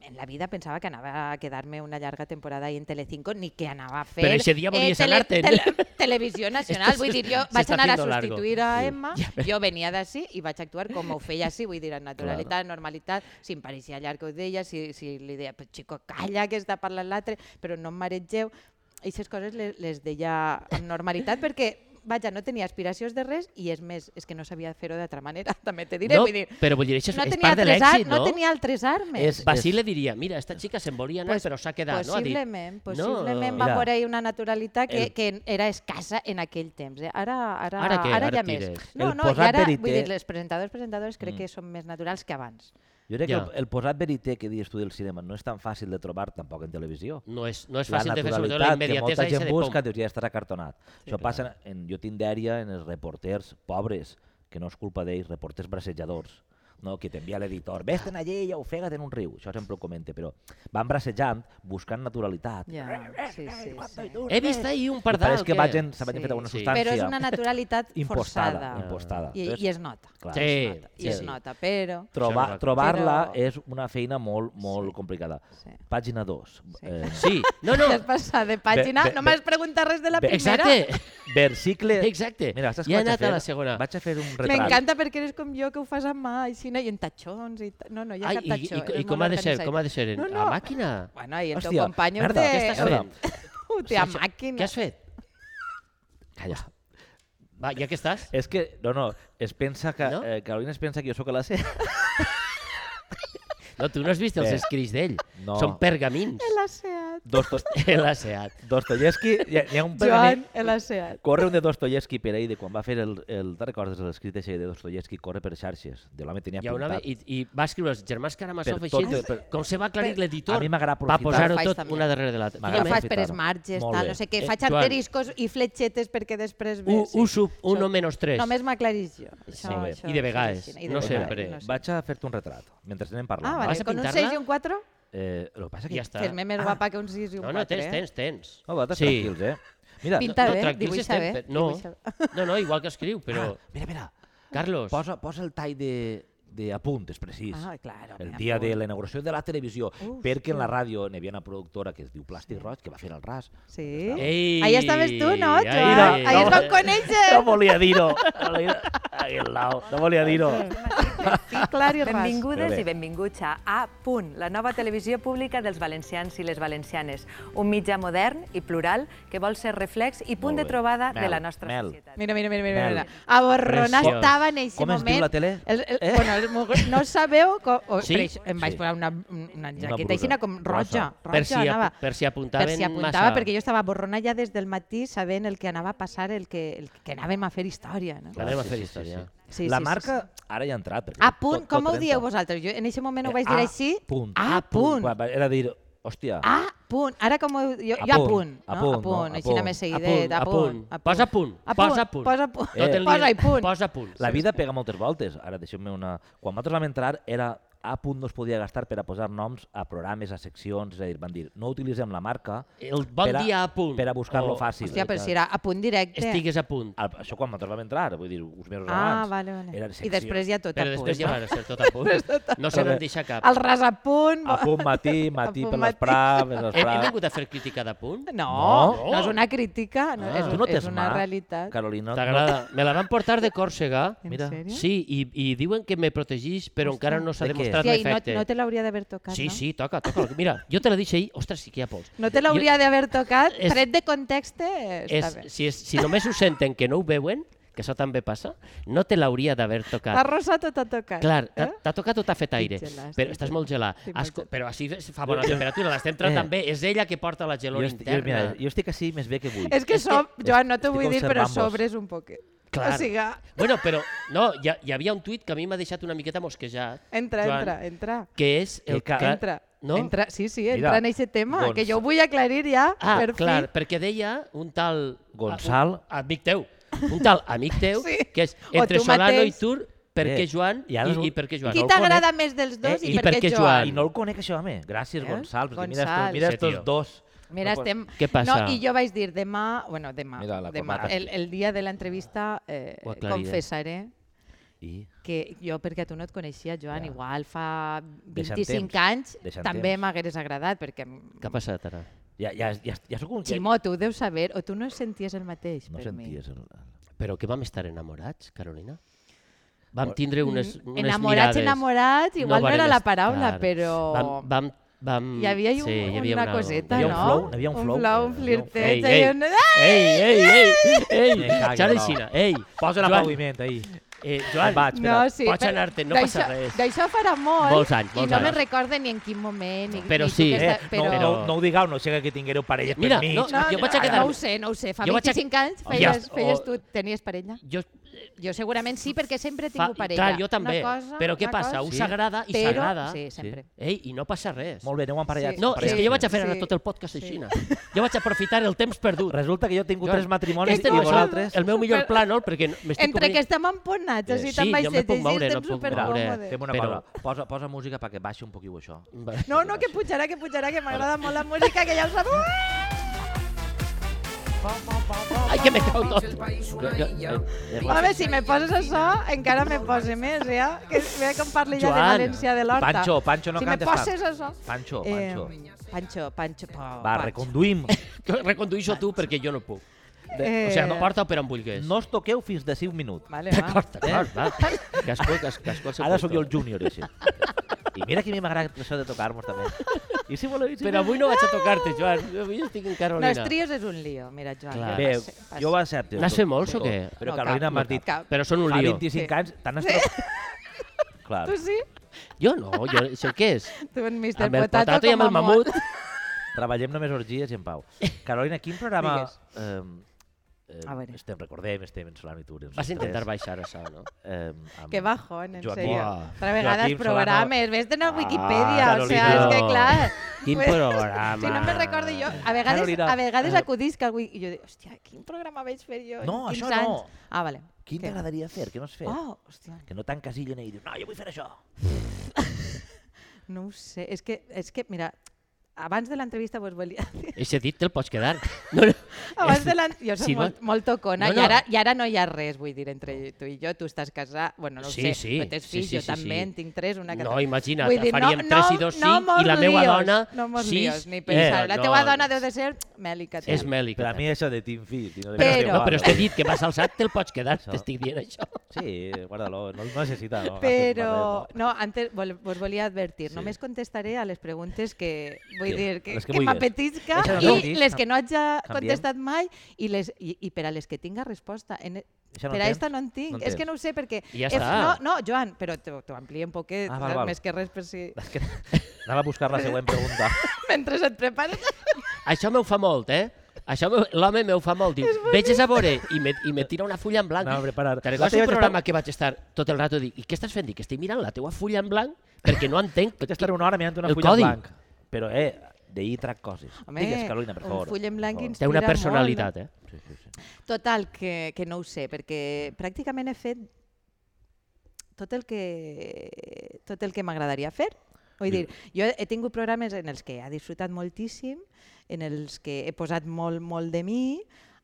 [SPEAKER 2] en la vida pensava que anava a quedar-me una llarga temporada ahí en Telecinco, ni que anava a fer...
[SPEAKER 3] Però ese dia volies anar-te'n.
[SPEAKER 2] tele- Televisió Nacional,
[SPEAKER 3] Esto
[SPEAKER 2] vull dir, jo
[SPEAKER 3] se-
[SPEAKER 2] vaig
[SPEAKER 3] se está
[SPEAKER 2] anar a
[SPEAKER 3] haciendo largo.
[SPEAKER 2] substituir a
[SPEAKER 3] Sí.
[SPEAKER 2] Emma, jo venia d'ací i vaig actuar com ho feia així, vull dir, amb naturalitat, normalitat, si em pareixia llarg que ho deia, si, si li deia, però xico, calla, que està parlant l'altre, però no em maregeu, aquestes coses les, les deia amb normalitat perquè vaja, no tenia aspiracions de res i és més, és que no sabia fer-ho d'altra manera, també te diré,
[SPEAKER 3] no,
[SPEAKER 2] vull dir,
[SPEAKER 3] pero vull dir, això és-
[SPEAKER 2] no
[SPEAKER 3] és
[SPEAKER 2] tenia,
[SPEAKER 3] part de
[SPEAKER 2] altres ar-
[SPEAKER 3] l'èxit,
[SPEAKER 2] no?
[SPEAKER 3] no?
[SPEAKER 2] tenia altres armes.
[SPEAKER 1] És-
[SPEAKER 3] Basile diria, mira, esta chica se'n volia anar,
[SPEAKER 2] Pues,
[SPEAKER 3] però s'ha quedat, no? Ha dit,
[SPEAKER 2] Possiblement,
[SPEAKER 3] "No,
[SPEAKER 2] possiblement va
[SPEAKER 1] mira,
[SPEAKER 2] por ahí una naturalitat que,
[SPEAKER 1] el-
[SPEAKER 2] que era escassa en aquell temps. Eh? Ara, ara,
[SPEAKER 3] Ara què? Ara
[SPEAKER 2] ja
[SPEAKER 3] tires.
[SPEAKER 2] més. No,
[SPEAKER 1] El
[SPEAKER 2] no, i
[SPEAKER 1] posat
[SPEAKER 2] ara,
[SPEAKER 1] verité-
[SPEAKER 2] vull dir, les presentadors, presentadors
[SPEAKER 3] Mm.
[SPEAKER 2] crec que són més naturals que abans.
[SPEAKER 1] Jo crec que
[SPEAKER 3] Ja.
[SPEAKER 1] el, el posat verité que dius tu del cinema no és tan fàcil de trobar tampoc en televisió.
[SPEAKER 3] No és, no és
[SPEAKER 1] la
[SPEAKER 3] fàcil de fer, sobretot la
[SPEAKER 1] naturalitat que molta
[SPEAKER 3] immediatesa
[SPEAKER 1] gent
[SPEAKER 3] eixa de
[SPEAKER 1] busca,
[SPEAKER 3] pom.
[SPEAKER 1] dius, ja estarà cartonat. Això passa, en, jo tinc dèria en els reporters pobres, que no és culpa d'ells, reporters bracejadors, no? que t'envia l'editor, vés-te'n
[SPEAKER 3] Ah.
[SPEAKER 1] allí i ofega't en un riu, això sempre ho comente, però van bracejant, buscant naturalitat.
[SPEAKER 2] Ja, sí, sí, sí.
[SPEAKER 3] He vist ahí un
[SPEAKER 1] I
[SPEAKER 3] pardal.
[SPEAKER 1] pareix que
[SPEAKER 3] què?"
[SPEAKER 1] vagin, se vagin
[SPEAKER 2] Sí.
[SPEAKER 1] fet alguna
[SPEAKER 3] Sí.
[SPEAKER 1] substància
[SPEAKER 2] Però és una naturalitat
[SPEAKER 1] impostada.
[SPEAKER 2] forçada.
[SPEAKER 1] impostada.
[SPEAKER 2] I,
[SPEAKER 1] Entonces,
[SPEAKER 2] I es nota.
[SPEAKER 1] clar,
[SPEAKER 3] Sí.
[SPEAKER 2] I es nota,
[SPEAKER 3] Eh, sí,
[SPEAKER 2] I es
[SPEAKER 3] sí.
[SPEAKER 2] nota, però...
[SPEAKER 1] trobar-
[SPEAKER 3] Això no va-
[SPEAKER 1] Trobar-la
[SPEAKER 2] Però-
[SPEAKER 1] és una feina molt, molt complicada.
[SPEAKER 2] Sí.
[SPEAKER 1] Pàgina 2. Eh,
[SPEAKER 3] Sí, no, no,
[SPEAKER 2] No. Has passat de pàgina,
[SPEAKER 1] Ve- ve-
[SPEAKER 2] no m'has preguntat res de la
[SPEAKER 1] ve-
[SPEAKER 2] primera.
[SPEAKER 3] exacte,
[SPEAKER 1] Versicle...
[SPEAKER 3] exacte.
[SPEAKER 1] Mira, saps
[SPEAKER 3] I
[SPEAKER 1] què
[SPEAKER 3] ha
[SPEAKER 1] vaig a
[SPEAKER 3] anat a
[SPEAKER 1] fer?
[SPEAKER 3] la segona.
[SPEAKER 1] Vaig a fer un retrat.
[SPEAKER 2] M'encanta perquè eres com jo, que ho fas amb mà, així, no? i en tatxons. I ta... No, no, hi ha
[SPEAKER 3] Ai,
[SPEAKER 2] cap
[SPEAKER 3] i,
[SPEAKER 2] tatxó.
[SPEAKER 3] i, i
[SPEAKER 2] eres
[SPEAKER 3] com ha
[SPEAKER 2] molt
[SPEAKER 3] de ser?
[SPEAKER 2] organitzat.
[SPEAKER 3] Com ha de ser? En-
[SPEAKER 2] No,
[SPEAKER 3] A
[SPEAKER 2] no.
[SPEAKER 3] màquina?
[SPEAKER 2] Bueno, i el teu
[SPEAKER 1] Hòstia,
[SPEAKER 2] company ho
[SPEAKER 1] merda,
[SPEAKER 2] té,
[SPEAKER 1] què
[SPEAKER 3] estàs
[SPEAKER 2] ho-
[SPEAKER 3] fent?
[SPEAKER 2] ho té a màquina.
[SPEAKER 3] Què has fet? Calla. Va, ja que estàs.
[SPEAKER 1] És que, no, no, es pensa que,
[SPEAKER 3] No?
[SPEAKER 1] no? eh, Carolina es pensa que jo sóc a la C.
[SPEAKER 3] No, tu no has vist els
[SPEAKER 1] Bé.
[SPEAKER 3] escrits d'ell.
[SPEAKER 1] Eh, No.
[SPEAKER 3] Són pergamins.
[SPEAKER 2] El Seat.
[SPEAKER 1] Dosto...
[SPEAKER 3] L'ha seat.
[SPEAKER 1] Dostoyevski, hi, ha- hi ha un pergamí...
[SPEAKER 2] Joan, el Seat.
[SPEAKER 1] Corre un de Dostoyevski per ahir, de quan va fer el... el te recordes de l'escrit eixe de Dostoyevski? Corre per xarxes. De l'home tenia
[SPEAKER 3] Hi ha una,
[SPEAKER 1] apuntat.
[SPEAKER 3] i, I va escriure els germans Karamazov
[SPEAKER 1] Per
[SPEAKER 3] així,
[SPEAKER 1] tot-
[SPEAKER 3] per, com se va aclarir l'editor.
[SPEAKER 1] A mi m'agrada
[SPEAKER 3] Va
[SPEAKER 1] aprofitar.
[SPEAKER 3] posar-ho
[SPEAKER 2] Faig
[SPEAKER 3] tot
[SPEAKER 2] també.
[SPEAKER 3] una darrere de l'altra.
[SPEAKER 1] M'agrada
[SPEAKER 2] Jo
[SPEAKER 3] Digue'm,
[SPEAKER 2] faig per
[SPEAKER 1] aprofitar-ho.
[SPEAKER 2] els marges,
[SPEAKER 1] Molt
[SPEAKER 2] tal,
[SPEAKER 1] bé.
[SPEAKER 2] no sé què,
[SPEAKER 3] Eh,
[SPEAKER 2] faig
[SPEAKER 3] Joan.
[SPEAKER 2] arteriscos i fletxetes perquè després ve.
[SPEAKER 3] un,
[SPEAKER 2] sí.
[SPEAKER 3] un sub, un o menys tres.
[SPEAKER 2] Només m'aclarís jo. Això,
[SPEAKER 1] Molt bé.
[SPEAKER 2] això,
[SPEAKER 3] I de
[SPEAKER 2] sí,
[SPEAKER 3] vegades,
[SPEAKER 2] sí, sí,
[SPEAKER 3] no
[SPEAKER 2] vegades,
[SPEAKER 3] sempre.
[SPEAKER 2] no sé.
[SPEAKER 1] Vaig a fer-te un retrat, mentre anem parlant.
[SPEAKER 2] Ah, vale,
[SPEAKER 3] Vas a
[SPEAKER 2] con un
[SPEAKER 3] pintar-la?
[SPEAKER 2] 6 i un 4?
[SPEAKER 1] Eh, lo que passa que...
[SPEAKER 3] Ja està. Ah.
[SPEAKER 2] Fes-me més guapa que un 6 i un eh?
[SPEAKER 3] No,
[SPEAKER 2] 4.
[SPEAKER 3] no, tens, tens, tens.
[SPEAKER 1] No, vosaltres
[SPEAKER 3] Sí.
[SPEAKER 1] tranquils, eh? Mira,
[SPEAKER 2] Pinta-
[SPEAKER 3] No,
[SPEAKER 2] bé,
[SPEAKER 3] tranquils
[SPEAKER 2] dibuixa
[SPEAKER 3] estem,
[SPEAKER 2] bé,
[SPEAKER 3] per- No,
[SPEAKER 2] dibuixa
[SPEAKER 3] no, no, igual que escriu, però...
[SPEAKER 1] Ah, mira, mira.
[SPEAKER 3] Carlos,
[SPEAKER 1] Posa, posa el tall de, de apuntes, precís.
[SPEAKER 2] Ah, claro.
[SPEAKER 1] el
[SPEAKER 2] mira,
[SPEAKER 1] dia
[SPEAKER 2] por-
[SPEAKER 1] de la inauguració de la televisió,
[SPEAKER 2] Uf,
[SPEAKER 1] perquè en la ràdio n'hi havia una productora que es diu Plàstic Roig, que va fer el ras.
[SPEAKER 2] Sí.
[SPEAKER 3] Ei,
[SPEAKER 2] Ahí estaves tu, no,
[SPEAKER 3] ai,
[SPEAKER 2] Joan?
[SPEAKER 1] mira,
[SPEAKER 2] Ahí
[SPEAKER 1] no.
[SPEAKER 2] es van conèixer.
[SPEAKER 1] volia dir-ho. No volia- Ai, el lao, No volia dir-ho.
[SPEAKER 2] Sí, clar i ras.
[SPEAKER 6] Benvingudes
[SPEAKER 1] Molt bé.
[SPEAKER 6] i benvinguts a A Punt, la nova televisió pública dels valencians i les valencianes. Un mitjà modern i plural que vol ser reflex i
[SPEAKER 1] Molt
[SPEAKER 6] punt de
[SPEAKER 1] bé.
[SPEAKER 6] trobada de
[SPEAKER 1] Mel,
[SPEAKER 6] la nostra
[SPEAKER 1] Mel.
[SPEAKER 6] societat.
[SPEAKER 2] Mira, mira, mira, mira,
[SPEAKER 1] Mel.
[SPEAKER 2] mira. A Borrona
[SPEAKER 3] Preciós.
[SPEAKER 2] estava en aquest
[SPEAKER 1] Com
[SPEAKER 2] moment.
[SPEAKER 1] es diu la tele?
[SPEAKER 2] El, el, eh? bueno, el, mogo- no sabeu... Com, o,
[SPEAKER 3] Sí?
[SPEAKER 2] sí? Això, em vaig
[SPEAKER 1] Sí.
[SPEAKER 2] posar una, una jaqueta
[SPEAKER 1] bruta.
[SPEAKER 2] així com roja.
[SPEAKER 1] Rosa.
[SPEAKER 2] roja
[SPEAKER 3] per si,
[SPEAKER 2] anava.
[SPEAKER 3] ap per si apuntaven
[SPEAKER 2] per si apuntava,
[SPEAKER 3] massa.
[SPEAKER 2] perquè jo estava a Borrona ja des del matí sabent el que anava a passar, el que, el que anàvem a fer història. No?
[SPEAKER 3] Anem a fer història.
[SPEAKER 2] Sí,
[SPEAKER 1] la
[SPEAKER 2] sí,
[SPEAKER 1] marca ara ja ha entrat. perquè
[SPEAKER 2] A punt,
[SPEAKER 1] tot-
[SPEAKER 2] com
[SPEAKER 1] tot
[SPEAKER 2] ho dieu
[SPEAKER 1] renta.
[SPEAKER 2] vosaltres? Jo en aquest moment ho vaig dir
[SPEAKER 1] A
[SPEAKER 2] així.
[SPEAKER 1] punt.
[SPEAKER 2] A punt.
[SPEAKER 1] Va, va, Era dir, hòstia,
[SPEAKER 2] A punt. Ara com ho... Jo, jo a punt, no? A punt,
[SPEAKER 1] no? A
[SPEAKER 2] així
[SPEAKER 1] punt.
[SPEAKER 2] només seguidet.
[SPEAKER 3] a punt. Posa punt,
[SPEAKER 2] A
[SPEAKER 3] posa punt.
[SPEAKER 2] Posa punt.
[SPEAKER 1] Eh,
[SPEAKER 3] li-
[SPEAKER 2] Posa i punt.
[SPEAKER 3] Posa punt.
[SPEAKER 1] la vida pega moltes voltes. Ara, deixeu-me una... Quan nosaltres vam entrar, era a punt no es podia gastar per a posar noms a programes, a seccions, és a dir, van dir, no utilitzem la marca
[SPEAKER 3] El Eh, bon
[SPEAKER 1] per a,
[SPEAKER 3] dia a punt. Oh.
[SPEAKER 1] per a buscar-lo
[SPEAKER 3] O-
[SPEAKER 1] fàcil.
[SPEAKER 2] Hòstia, però si era a punt directe.
[SPEAKER 3] Estigues a punt.
[SPEAKER 1] Al- això quan nosaltres vam entrar, vull dir, uns mesos
[SPEAKER 2] Ah,
[SPEAKER 1] abans.
[SPEAKER 2] vale, vale.
[SPEAKER 1] Era
[SPEAKER 2] I
[SPEAKER 1] secció.
[SPEAKER 2] després ja tot a
[SPEAKER 3] Però
[SPEAKER 2] punt.
[SPEAKER 3] després ja va ser tot a punt. No se n'han deixat cap.
[SPEAKER 2] El ras a punt...
[SPEAKER 1] A punt matí, matí
[SPEAKER 2] punt
[SPEAKER 1] per
[SPEAKER 2] matí.
[SPEAKER 1] l'esprà, per
[SPEAKER 3] Hem, hem
[SPEAKER 1] l'esprà...
[SPEAKER 3] vingut a fer crítica de punt?
[SPEAKER 2] No, no,
[SPEAKER 1] No.
[SPEAKER 2] és una crítica, no,
[SPEAKER 1] Ah,
[SPEAKER 2] és,
[SPEAKER 1] tu no
[SPEAKER 2] és
[SPEAKER 1] tens
[SPEAKER 2] una
[SPEAKER 1] mà,
[SPEAKER 2] realitat.
[SPEAKER 1] Carolina, no,
[SPEAKER 3] T'agrada? Me la van portar de Còrsega.
[SPEAKER 2] En
[SPEAKER 1] Mira.
[SPEAKER 2] sèrio?
[SPEAKER 3] Sí, i, i diuen que me protegís, però encara no s'ha
[SPEAKER 1] De què?
[SPEAKER 3] Ostres,
[SPEAKER 2] Hòstia, i no,
[SPEAKER 3] perfecte.
[SPEAKER 2] no te l'hauria d'haver tocat,
[SPEAKER 3] eh. Sí,
[SPEAKER 2] no?
[SPEAKER 3] sí, toca, toca. Mira, jo te la deixo ahir. Ostres, sí que hi ha pols.
[SPEAKER 2] No te l'hauria d'haver tocat,
[SPEAKER 3] és-
[SPEAKER 2] tret de context, eh,
[SPEAKER 3] És,
[SPEAKER 2] està bé.
[SPEAKER 3] si, és, si només ho senten que no ho veuen, que això també passa, no te l'hauria d'haver
[SPEAKER 2] La
[SPEAKER 3] tocat.
[SPEAKER 2] rosa tot ha tocat.
[SPEAKER 3] Clar, t'ha
[SPEAKER 2] eh?
[SPEAKER 3] t'ha tocat o t'ha fet aire?
[SPEAKER 2] Estic gelat,
[SPEAKER 3] Però
[SPEAKER 2] estic
[SPEAKER 3] estàs molt gelat.
[SPEAKER 2] Estic
[SPEAKER 3] Has
[SPEAKER 2] molt
[SPEAKER 3] co- Però així es fa bona temperatura, l'estem tratant bé. És ella que porta la
[SPEAKER 1] Eh. Jo,
[SPEAKER 3] gelor
[SPEAKER 1] est- jo, mira,
[SPEAKER 3] interna.
[SPEAKER 1] jo estic així més bé que vull.
[SPEAKER 2] És que
[SPEAKER 3] és que-
[SPEAKER 2] som, Joan, no t'ho
[SPEAKER 1] estic
[SPEAKER 2] vull dir, però
[SPEAKER 1] observant-vos.
[SPEAKER 2] sobres un poquet.
[SPEAKER 3] Clar.
[SPEAKER 2] O sigui,
[SPEAKER 3] Bueno, però no, hi, ha, hi havia un tuit que a mi m'ha deixat una miqueta mosquejat,
[SPEAKER 2] entra,
[SPEAKER 3] Joan.
[SPEAKER 2] entra, entra.
[SPEAKER 3] que és... El
[SPEAKER 1] Que
[SPEAKER 3] que-
[SPEAKER 2] Entra.
[SPEAKER 3] No?
[SPEAKER 2] Entra, sí, sí,
[SPEAKER 1] Mira,
[SPEAKER 2] entra en aquest tema,
[SPEAKER 1] doncs-
[SPEAKER 2] que jo ho vull aclarir ja,
[SPEAKER 3] Ah,
[SPEAKER 2] per
[SPEAKER 3] clar,
[SPEAKER 2] fi.
[SPEAKER 3] perquè deia un tal... Ah,
[SPEAKER 1] Gonçal.
[SPEAKER 3] Un, amic teu. Un tal amic teu,
[SPEAKER 2] Sí.
[SPEAKER 3] que és
[SPEAKER 2] O
[SPEAKER 3] entre
[SPEAKER 2] tu
[SPEAKER 3] Solano
[SPEAKER 2] mateix.
[SPEAKER 3] i Tur, per
[SPEAKER 1] Eh,
[SPEAKER 3] què Joan
[SPEAKER 1] i
[SPEAKER 3] i,
[SPEAKER 1] ara és un-
[SPEAKER 3] i, per què Joan.
[SPEAKER 2] Qui
[SPEAKER 1] el
[SPEAKER 2] t'agrada més dels dos
[SPEAKER 3] Eh,
[SPEAKER 2] i, per què Joan?
[SPEAKER 1] I no el conec, això, home. Gràcies,
[SPEAKER 2] Eh?
[SPEAKER 1] Gonçal. perquè Mira,
[SPEAKER 2] Gonçal.
[SPEAKER 1] estos, mira
[SPEAKER 3] Sí,
[SPEAKER 1] estos
[SPEAKER 3] tio.
[SPEAKER 1] dos.
[SPEAKER 2] Mira,
[SPEAKER 1] No,
[SPEAKER 2] estem...
[SPEAKER 3] Què passa?
[SPEAKER 2] No, i jo vaig dir demà, bueno, demà,
[SPEAKER 1] Mira, la
[SPEAKER 2] demà
[SPEAKER 1] corbata.
[SPEAKER 2] el, el dia de l'entrevista eh,
[SPEAKER 3] Ho aclariré.
[SPEAKER 2] confessaré
[SPEAKER 1] I...
[SPEAKER 2] que jo, perquè tu no et coneixia, Joan,
[SPEAKER 1] Ja.
[SPEAKER 2] igual fa
[SPEAKER 1] Deixa'm
[SPEAKER 2] 25
[SPEAKER 1] temps.
[SPEAKER 2] anys,
[SPEAKER 1] Deixa'm
[SPEAKER 2] també
[SPEAKER 1] temps.
[SPEAKER 2] m'hagués agradat, perquè...
[SPEAKER 3] Què ha passat ara?
[SPEAKER 1] Ja, ja, ja, ja sóc un...
[SPEAKER 2] Ximó, tu ho deus saber, o tu no senties el mateix
[SPEAKER 1] no
[SPEAKER 2] per
[SPEAKER 1] senties el...
[SPEAKER 3] Però que vam estar enamorats, Carolina? Vam tindre Mm, unes,
[SPEAKER 2] mi.
[SPEAKER 3] unes
[SPEAKER 2] Mm, Enamorats,
[SPEAKER 3] mirades...
[SPEAKER 2] enamorats, igual no,
[SPEAKER 3] varen
[SPEAKER 2] era la
[SPEAKER 3] estar.
[SPEAKER 2] paraula, però...
[SPEAKER 3] Vam, vam, vam...
[SPEAKER 2] Hi havia un,
[SPEAKER 3] sí, hi havia
[SPEAKER 2] una, coseta,
[SPEAKER 1] hi havia
[SPEAKER 2] no?
[SPEAKER 1] un flow, hi havia un flow.
[SPEAKER 2] Un flow, un
[SPEAKER 1] Hi havia un
[SPEAKER 2] flirteig.
[SPEAKER 3] flow.
[SPEAKER 2] hi
[SPEAKER 3] Ei, ei.
[SPEAKER 2] havia una- Ah!
[SPEAKER 3] Ei, ei, ei, ei,
[SPEAKER 1] Me
[SPEAKER 3] ei,
[SPEAKER 1] cago,
[SPEAKER 3] Xara i
[SPEAKER 1] no.
[SPEAKER 3] Xina, ei.
[SPEAKER 1] Posa la
[SPEAKER 3] Joan,
[SPEAKER 1] paviment, ahir.
[SPEAKER 3] Eh, Joan,
[SPEAKER 1] Em vaig,
[SPEAKER 2] No, sí,
[SPEAKER 3] pots
[SPEAKER 2] però
[SPEAKER 3] anar-te, no passa
[SPEAKER 2] d'això-
[SPEAKER 3] res.
[SPEAKER 2] D'això farà molt.
[SPEAKER 3] Molts anys,
[SPEAKER 2] I
[SPEAKER 3] molts
[SPEAKER 2] no
[SPEAKER 3] anys.
[SPEAKER 2] me recorde ni en quin moment. Ni,
[SPEAKER 3] Però
[SPEAKER 2] ni tu
[SPEAKER 3] sí,
[SPEAKER 2] que
[SPEAKER 1] Eh,
[SPEAKER 2] esta-
[SPEAKER 1] no,
[SPEAKER 2] però...
[SPEAKER 1] no, no ho digueu, no sé que tinguereu parelles
[SPEAKER 3] Mira,
[SPEAKER 1] per mig.
[SPEAKER 3] no,
[SPEAKER 2] No,
[SPEAKER 3] jo
[SPEAKER 2] no,
[SPEAKER 3] vaig a quedar-
[SPEAKER 2] No ho sé, no ho sé. Fa
[SPEAKER 3] Jo vaig a- Oh,
[SPEAKER 2] 25 anys
[SPEAKER 3] Ja,
[SPEAKER 2] feies,
[SPEAKER 3] o-
[SPEAKER 2] feies tu, tenies parella?
[SPEAKER 3] Jo,
[SPEAKER 2] Jo segurament sí, perquè sempre he
[SPEAKER 3] fa,
[SPEAKER 2] tingut parella.
[SPEAKER 3] clar, jo també,
[SPEAKER 2] Una cosa,
[SPEAKER 3] però què
[SPEAKER 2] una
[SPEAKER 3] passa?
[SPEAKER 2] Cosa,
[SPEAKER 3] Us agrada i
[SPEAKER 2] però,
[SPEAKER 3] s'agrada.
[SPEAKER 2] Sí, sempre.
[SPEAKER 3] Ei, i no passa res.
[SPEAKER 1] Molt bé, aneu emparellats.
[SPEAKER 2] Sí.
[SPEAKER 3] No,
[SPEAKER 2] Sí.
[SPEAKER 3] és que jo vaig a fer ara
[SPEAKER 2] Sí.
[SPEAKER 3] tot el podcast
[SPEAKER 2] Sí.
[SPEAKER 3] així. no? Jo vaig a aprofitar el temps perdut.
[SPEAKER 1] Resulta que jo he tingut
[SPEAKER 3] Joan,
[SPEAKER 1] tres matrimonis
[SPEAKER 3] Este
[SPEAKER 1] i
[SPEAKER 3] no és
[SPEAKER 1] vosaltres...
[SPEAKER 3] el meu millor plànol, perquè no- m'estic...
[SPEAKER 2] Entre
[SPEAKER 3] convenint-
[SPEAKER 2] que estem emponats, així
[SPEAKER 3] Eh,
[SPEAKER 2] te'n
[SPEAKER 3] sí,
[SPEAKER 2] vaig
[SPEAKER 3] jo me puc
[SPEAKER 2] llegir,
[SPEAKER 3] moure, no
[SPEAKER 2] estem
[SPEAKER 3] puc moure.
[SPEAKER 2] supercòmodes.
[SPEAKER 1] Fem una
[SPEAKER 3] Però-
[SPEAKER 1] cosa, posa, posa música perquè baixi un poquiu això.
[SPEAKER 3] Va.
[SPEAKER 2] No, no, que pujarà, que pujarà, que m'agrada molt la música, que ja ho sabeu.
[SPEAKER 3] Ai, que me cau tot. eh,
[SPEAKER 2] A veure, si me poses això, encara me pose més, ja. Que ve com parli ja de
[SPEAKER 3] Joan,
[SPEAKER 2] València de l'Horta.
[SPEAKER 1] Pancho, Pancho, no
[SPEAKER 2] si
[SPEAKER 1] cantes
[SPEAKER 2] me poses això... eh,
[SPEAKER 1] Pancho,
[SPEAKER 3] Eh,
[SPEAKER 1] Pancho.
[SPEAKER 2] Pancho, Pancho, po-
[SPEAKER 1] Va,
[SPEAKER 2] Pancho.
[SPEAKER 1] reconduïm.
[SPEAKER 3] Reconduïixo tu perquè jo no puc.
[SPEAKER 2] Eh,
[SPEAKER 3] O sigui, no porta per on vulguis.
[SPEAKER 1] No us toqueu fins de 5 minuts.
[SPEAKER 2] Vale, va.
[SPEAKER 3] D'acord, d'acord, va. Cascú, cascú, cascú al seu
[SPEAKER 1] Ara sóc jo el
[SPEAKER 3] punto.
[SPEAKER 1] júnior, així. I mira que a mi m'agrada això de tocar-nos, també. I si voleu... i Si
[SPEAKER 3] Però avui no vaig a tocar-te, Joan. Avui estic en
[SPEAKER 2] No, els
[SPEAKER 3] Carolina.
[SPEAKER 2] trios és un lío, mira, Joan. Eh,
[SPEAKER 3] Clar.
[SPEAKER 1] Bé,
[SPEAKER 2] passa, passa.
[SPEAKER 1] jo ho accepto.
[SPEAKER 3] N'has fet molts o què?
[SPEAKER 1] Però
[SPEAKER 2] No,
[SPEAKER 1] Carolina
[SPEAKER 2] cap,
[SPEAKER 1] m'ha
[SPEAKER 2] no
[SPEAKER 1] dit...
[SPEAKER 2] cap.
[SPEAKER 3] Però són un
[SPEAKER 1] Fa
[SPEAKER 3] lío.
[SPEAKER 1] 25 anys, tant has trobat... Clar.
[SPEAKER 2] Tu sí?
[SPEAKER 3] Jo no, jo, això què és?
[SPEAKER 2] Tu en Mr.
[SPEAKER 3] Amb el
[SPEAKER 2] Potato,
[SPEAKER 3] potato i
[SPEAKER 2] com
[SPEAKER 3] amb el
[SPEAKER 2] a
[SPEAKER 3] mamut.
[SPEAKER 1] Treballem només orgies i en pau. Carolina, quin programa...
[SPEAKER 2] Digues.
[SPEAKER 1] Eh, eh,
[SPEAKER 2] A veure.
[SPEAKER 1] estem, recordem, estem en Solano i tu.
[SPEAKER 3] Vas intentar baixar això, no?
[SPEAKER 1] Eh, amb...
[SPEAKER 2] Que bajón, en
[SPEAKER 1] Joaquim-
[SPEAKER 2] serio.
[SPEAKER 3] Buah.
[SPEAKER 2] Otra vegada
[SPEAKER 1] Joaquim Solano. Ah,
[SPEAKER 2] programes, ves a Wikipedia, o
[SPEAKER 1] Carolina. Ah,
[SPEAKER 2] sea, es que clar...
[SPEAKER 3] Quin
[SPEAKER 2] pues,
[SPEAKER 3] programa.
[SPEAKER 2] Si no me recordo jo, a vegades,
[SPEAKER 1] Carolina. Eh.
[SPEAKER 2] a vegades acudís que algú... I jo dic, hòstia, quin programa vaig fer jo?
[SPEAKER 1] No,
[SPEAKER 2] Quins
[SPEAKER 1] això no.
[SPEAKER 2] anys?" Ah, vale.
[SPEAKER 1] Quin
[SPEAKER 2] Què?
[SPEAKER 1] t'agradaria fer? Què no has fet?
[SPEAKER 2] Oh, hòstia,
[SPEAKER 1] Que no t'encasillen i dius, no, jo vull fer això.
[SPEAKER 2] no ho sé. És que, és que mira, abans de l'entrevista vos volia dir...
[SPEAKER 3] Eixe dit te'l pots quedar. No, no.
[SPEAKER 2] Abans de l'en- Jo soc
[SPEAKER 3] Si no-
[SPEAKER 2] molt, molt tocona
[SPEAKER 3] No,
[SPEAKER 2] I,
[SPEAKER 3] no.
[SPEAKER 2] ara, i ara no hi ha res, vull dir, entre tu i jo. Tu estàs casat, bueno, no ho
[SPEAKER 3] Sí,
[SPEAKER 2] sé,
[SPEAKER 3] sí,
[SPEAKER 2] però tens
[SPEAKER 3] sí,
[SPEAKER 2] fills,
[SPEAKER 3] sí,
[SPEAKER 2] jo
[SPEAKER 3] sí,
[SPEAKER 2] també
[SPEAKER 3] sí.
[SPEAKER 2] en tinc tres, una que
[SPEAKER 3] No, imagina't,
[SPEAKER 2] Vull dir,
[SPEAKER 3] faríem tres i dos, cinc,
[SPEAKER 2] mos
[SPEAKER 3] i la meua
[SPEAKER 2] lios,
[SPEAKER 3] dona,
[SPEAKER 2] No mos
[SPEAKER 3] sis.
[SPEAKER 2] lios, ni
[SPEAKER 3] Eh,
[SPEAKER 2] pensar. la
[SPEAKER 3] no,
[SPEAKER 2] teua
[SPEAKER 3] no. Eh,
[SPEAKER 2] dona deu de ser mèlica.
[SPEAKER 3] És mèlic.
[SPEAKER 1] Per a mi això de Tim Fit. No
[SPEAKER 2] Però-
[SPEAKER 1] li-
[SPEAKER 3] No, però
[SPEAKER 1] Guarda.
[SPEAKER 3] este dit que m'has alçat te'l pots quedar, t'estic dient això.
[SPEAKER 1] Sí, guarda-lo, no, no necessita. No,
[SPEAKER 2] Però,
[SPEAKER 1] gastes-
[SPEAKER 2] no, antes vol, vos volia advertir,
[SPEAKER 1] Sí.
[SPEAKER 2] només contestaré a les preguntes que vull
[SPEAKER 1] Sí,
[SPEAKER 2] dir que,
[SPEAKER 1] les que
[SPEAKER 2] que
[SPEAKER 1] vulgues.
[SPEAKER 2] m'apetisca
[SPEAKER 1] Les que no
[SPEAKER 2] i
[SPEAKER 1] vulguis,
[SPEAKER 2] les que no haja
[SPEAKER 1] canviem.
[SPEAKER 2] contestat mai i, les, i, i per a les que tinga resposta. En,
[SPEAKER 1] Això no
[SPEAKER 2] per a
[SPEAKER 1] tens?
[SPEAKER 2] esta no en tinc.
[SPEAKER 1] No en
[SPEAKER 2] és que
[SPEAKER 1] tens.
[SPEAKER 2] no ho sé perquè...
[SPEAKER 3] I ja
[SPEAKER 2] és-
[SPEAKER 3] està.
[SPEAKER 2] No, no, Joan, però t'ho t'ho amplié un poquet,
[SPEAKER 1] Ah, val, val.
[SPEAKER 2] més que res, per si...
[SPEAKER 1] És que anava a buscar la següent pregunta.
[SPEAKER 2] Mentre et prepares...
[SPEAKER 3] Això m'ho fa molt, eh? Això m'ho- l'home m'ho fa molt. Diu, veges a veure i me, i me tira una fulla en blanc.
[SPEAKER 1] No, hombre, parar.
[SPEAKER 3] Te'n
[SPEAKER 1] La
[SPEAKER 3] recordes
[SPEAKER 1] teva
[SPEAKER 3] un
[SPEAKER 1] vaig
[SPEAKER 3] programa que vaig estar tot el rato dic, i què estàs fent? Dic, estic mirant la teua fulla en blanc perquè no entenc.
[SPEAKER 1] Vaig estar una hora mirant una
[SPEAKER 3] El
[SPEAKER 1] fulla
[SPEAKER 3] codi.
[SPEAKER 1] en blanc. Però, eh, d'ahir trac coses.
[SPEAKER 2] Home,
[SPEAKER 1] Digues, Carolina, per
[SPEAKER 2] un
[SPEAKER 1] favor.
[SPEAKER 2] full en blanc
[SPEAKER 1] Per favor.
[SPEAKER 2] ins-
[SPEAKER 3] Té una
[SPEAKER 2] Mira, molt,
[SPEAKER 3] personalitat, eh?
[SPEAKER 1] Sí, sí, sí.
[SPEAKER 2] Total, que, que no ho sé, perquè pràcticament he fet tot el que, tot el que m'agradaria fer. Vull dir, jo he tingut programes en els que he disfrutat moltíssim, en els que he posat molt, molt de mi,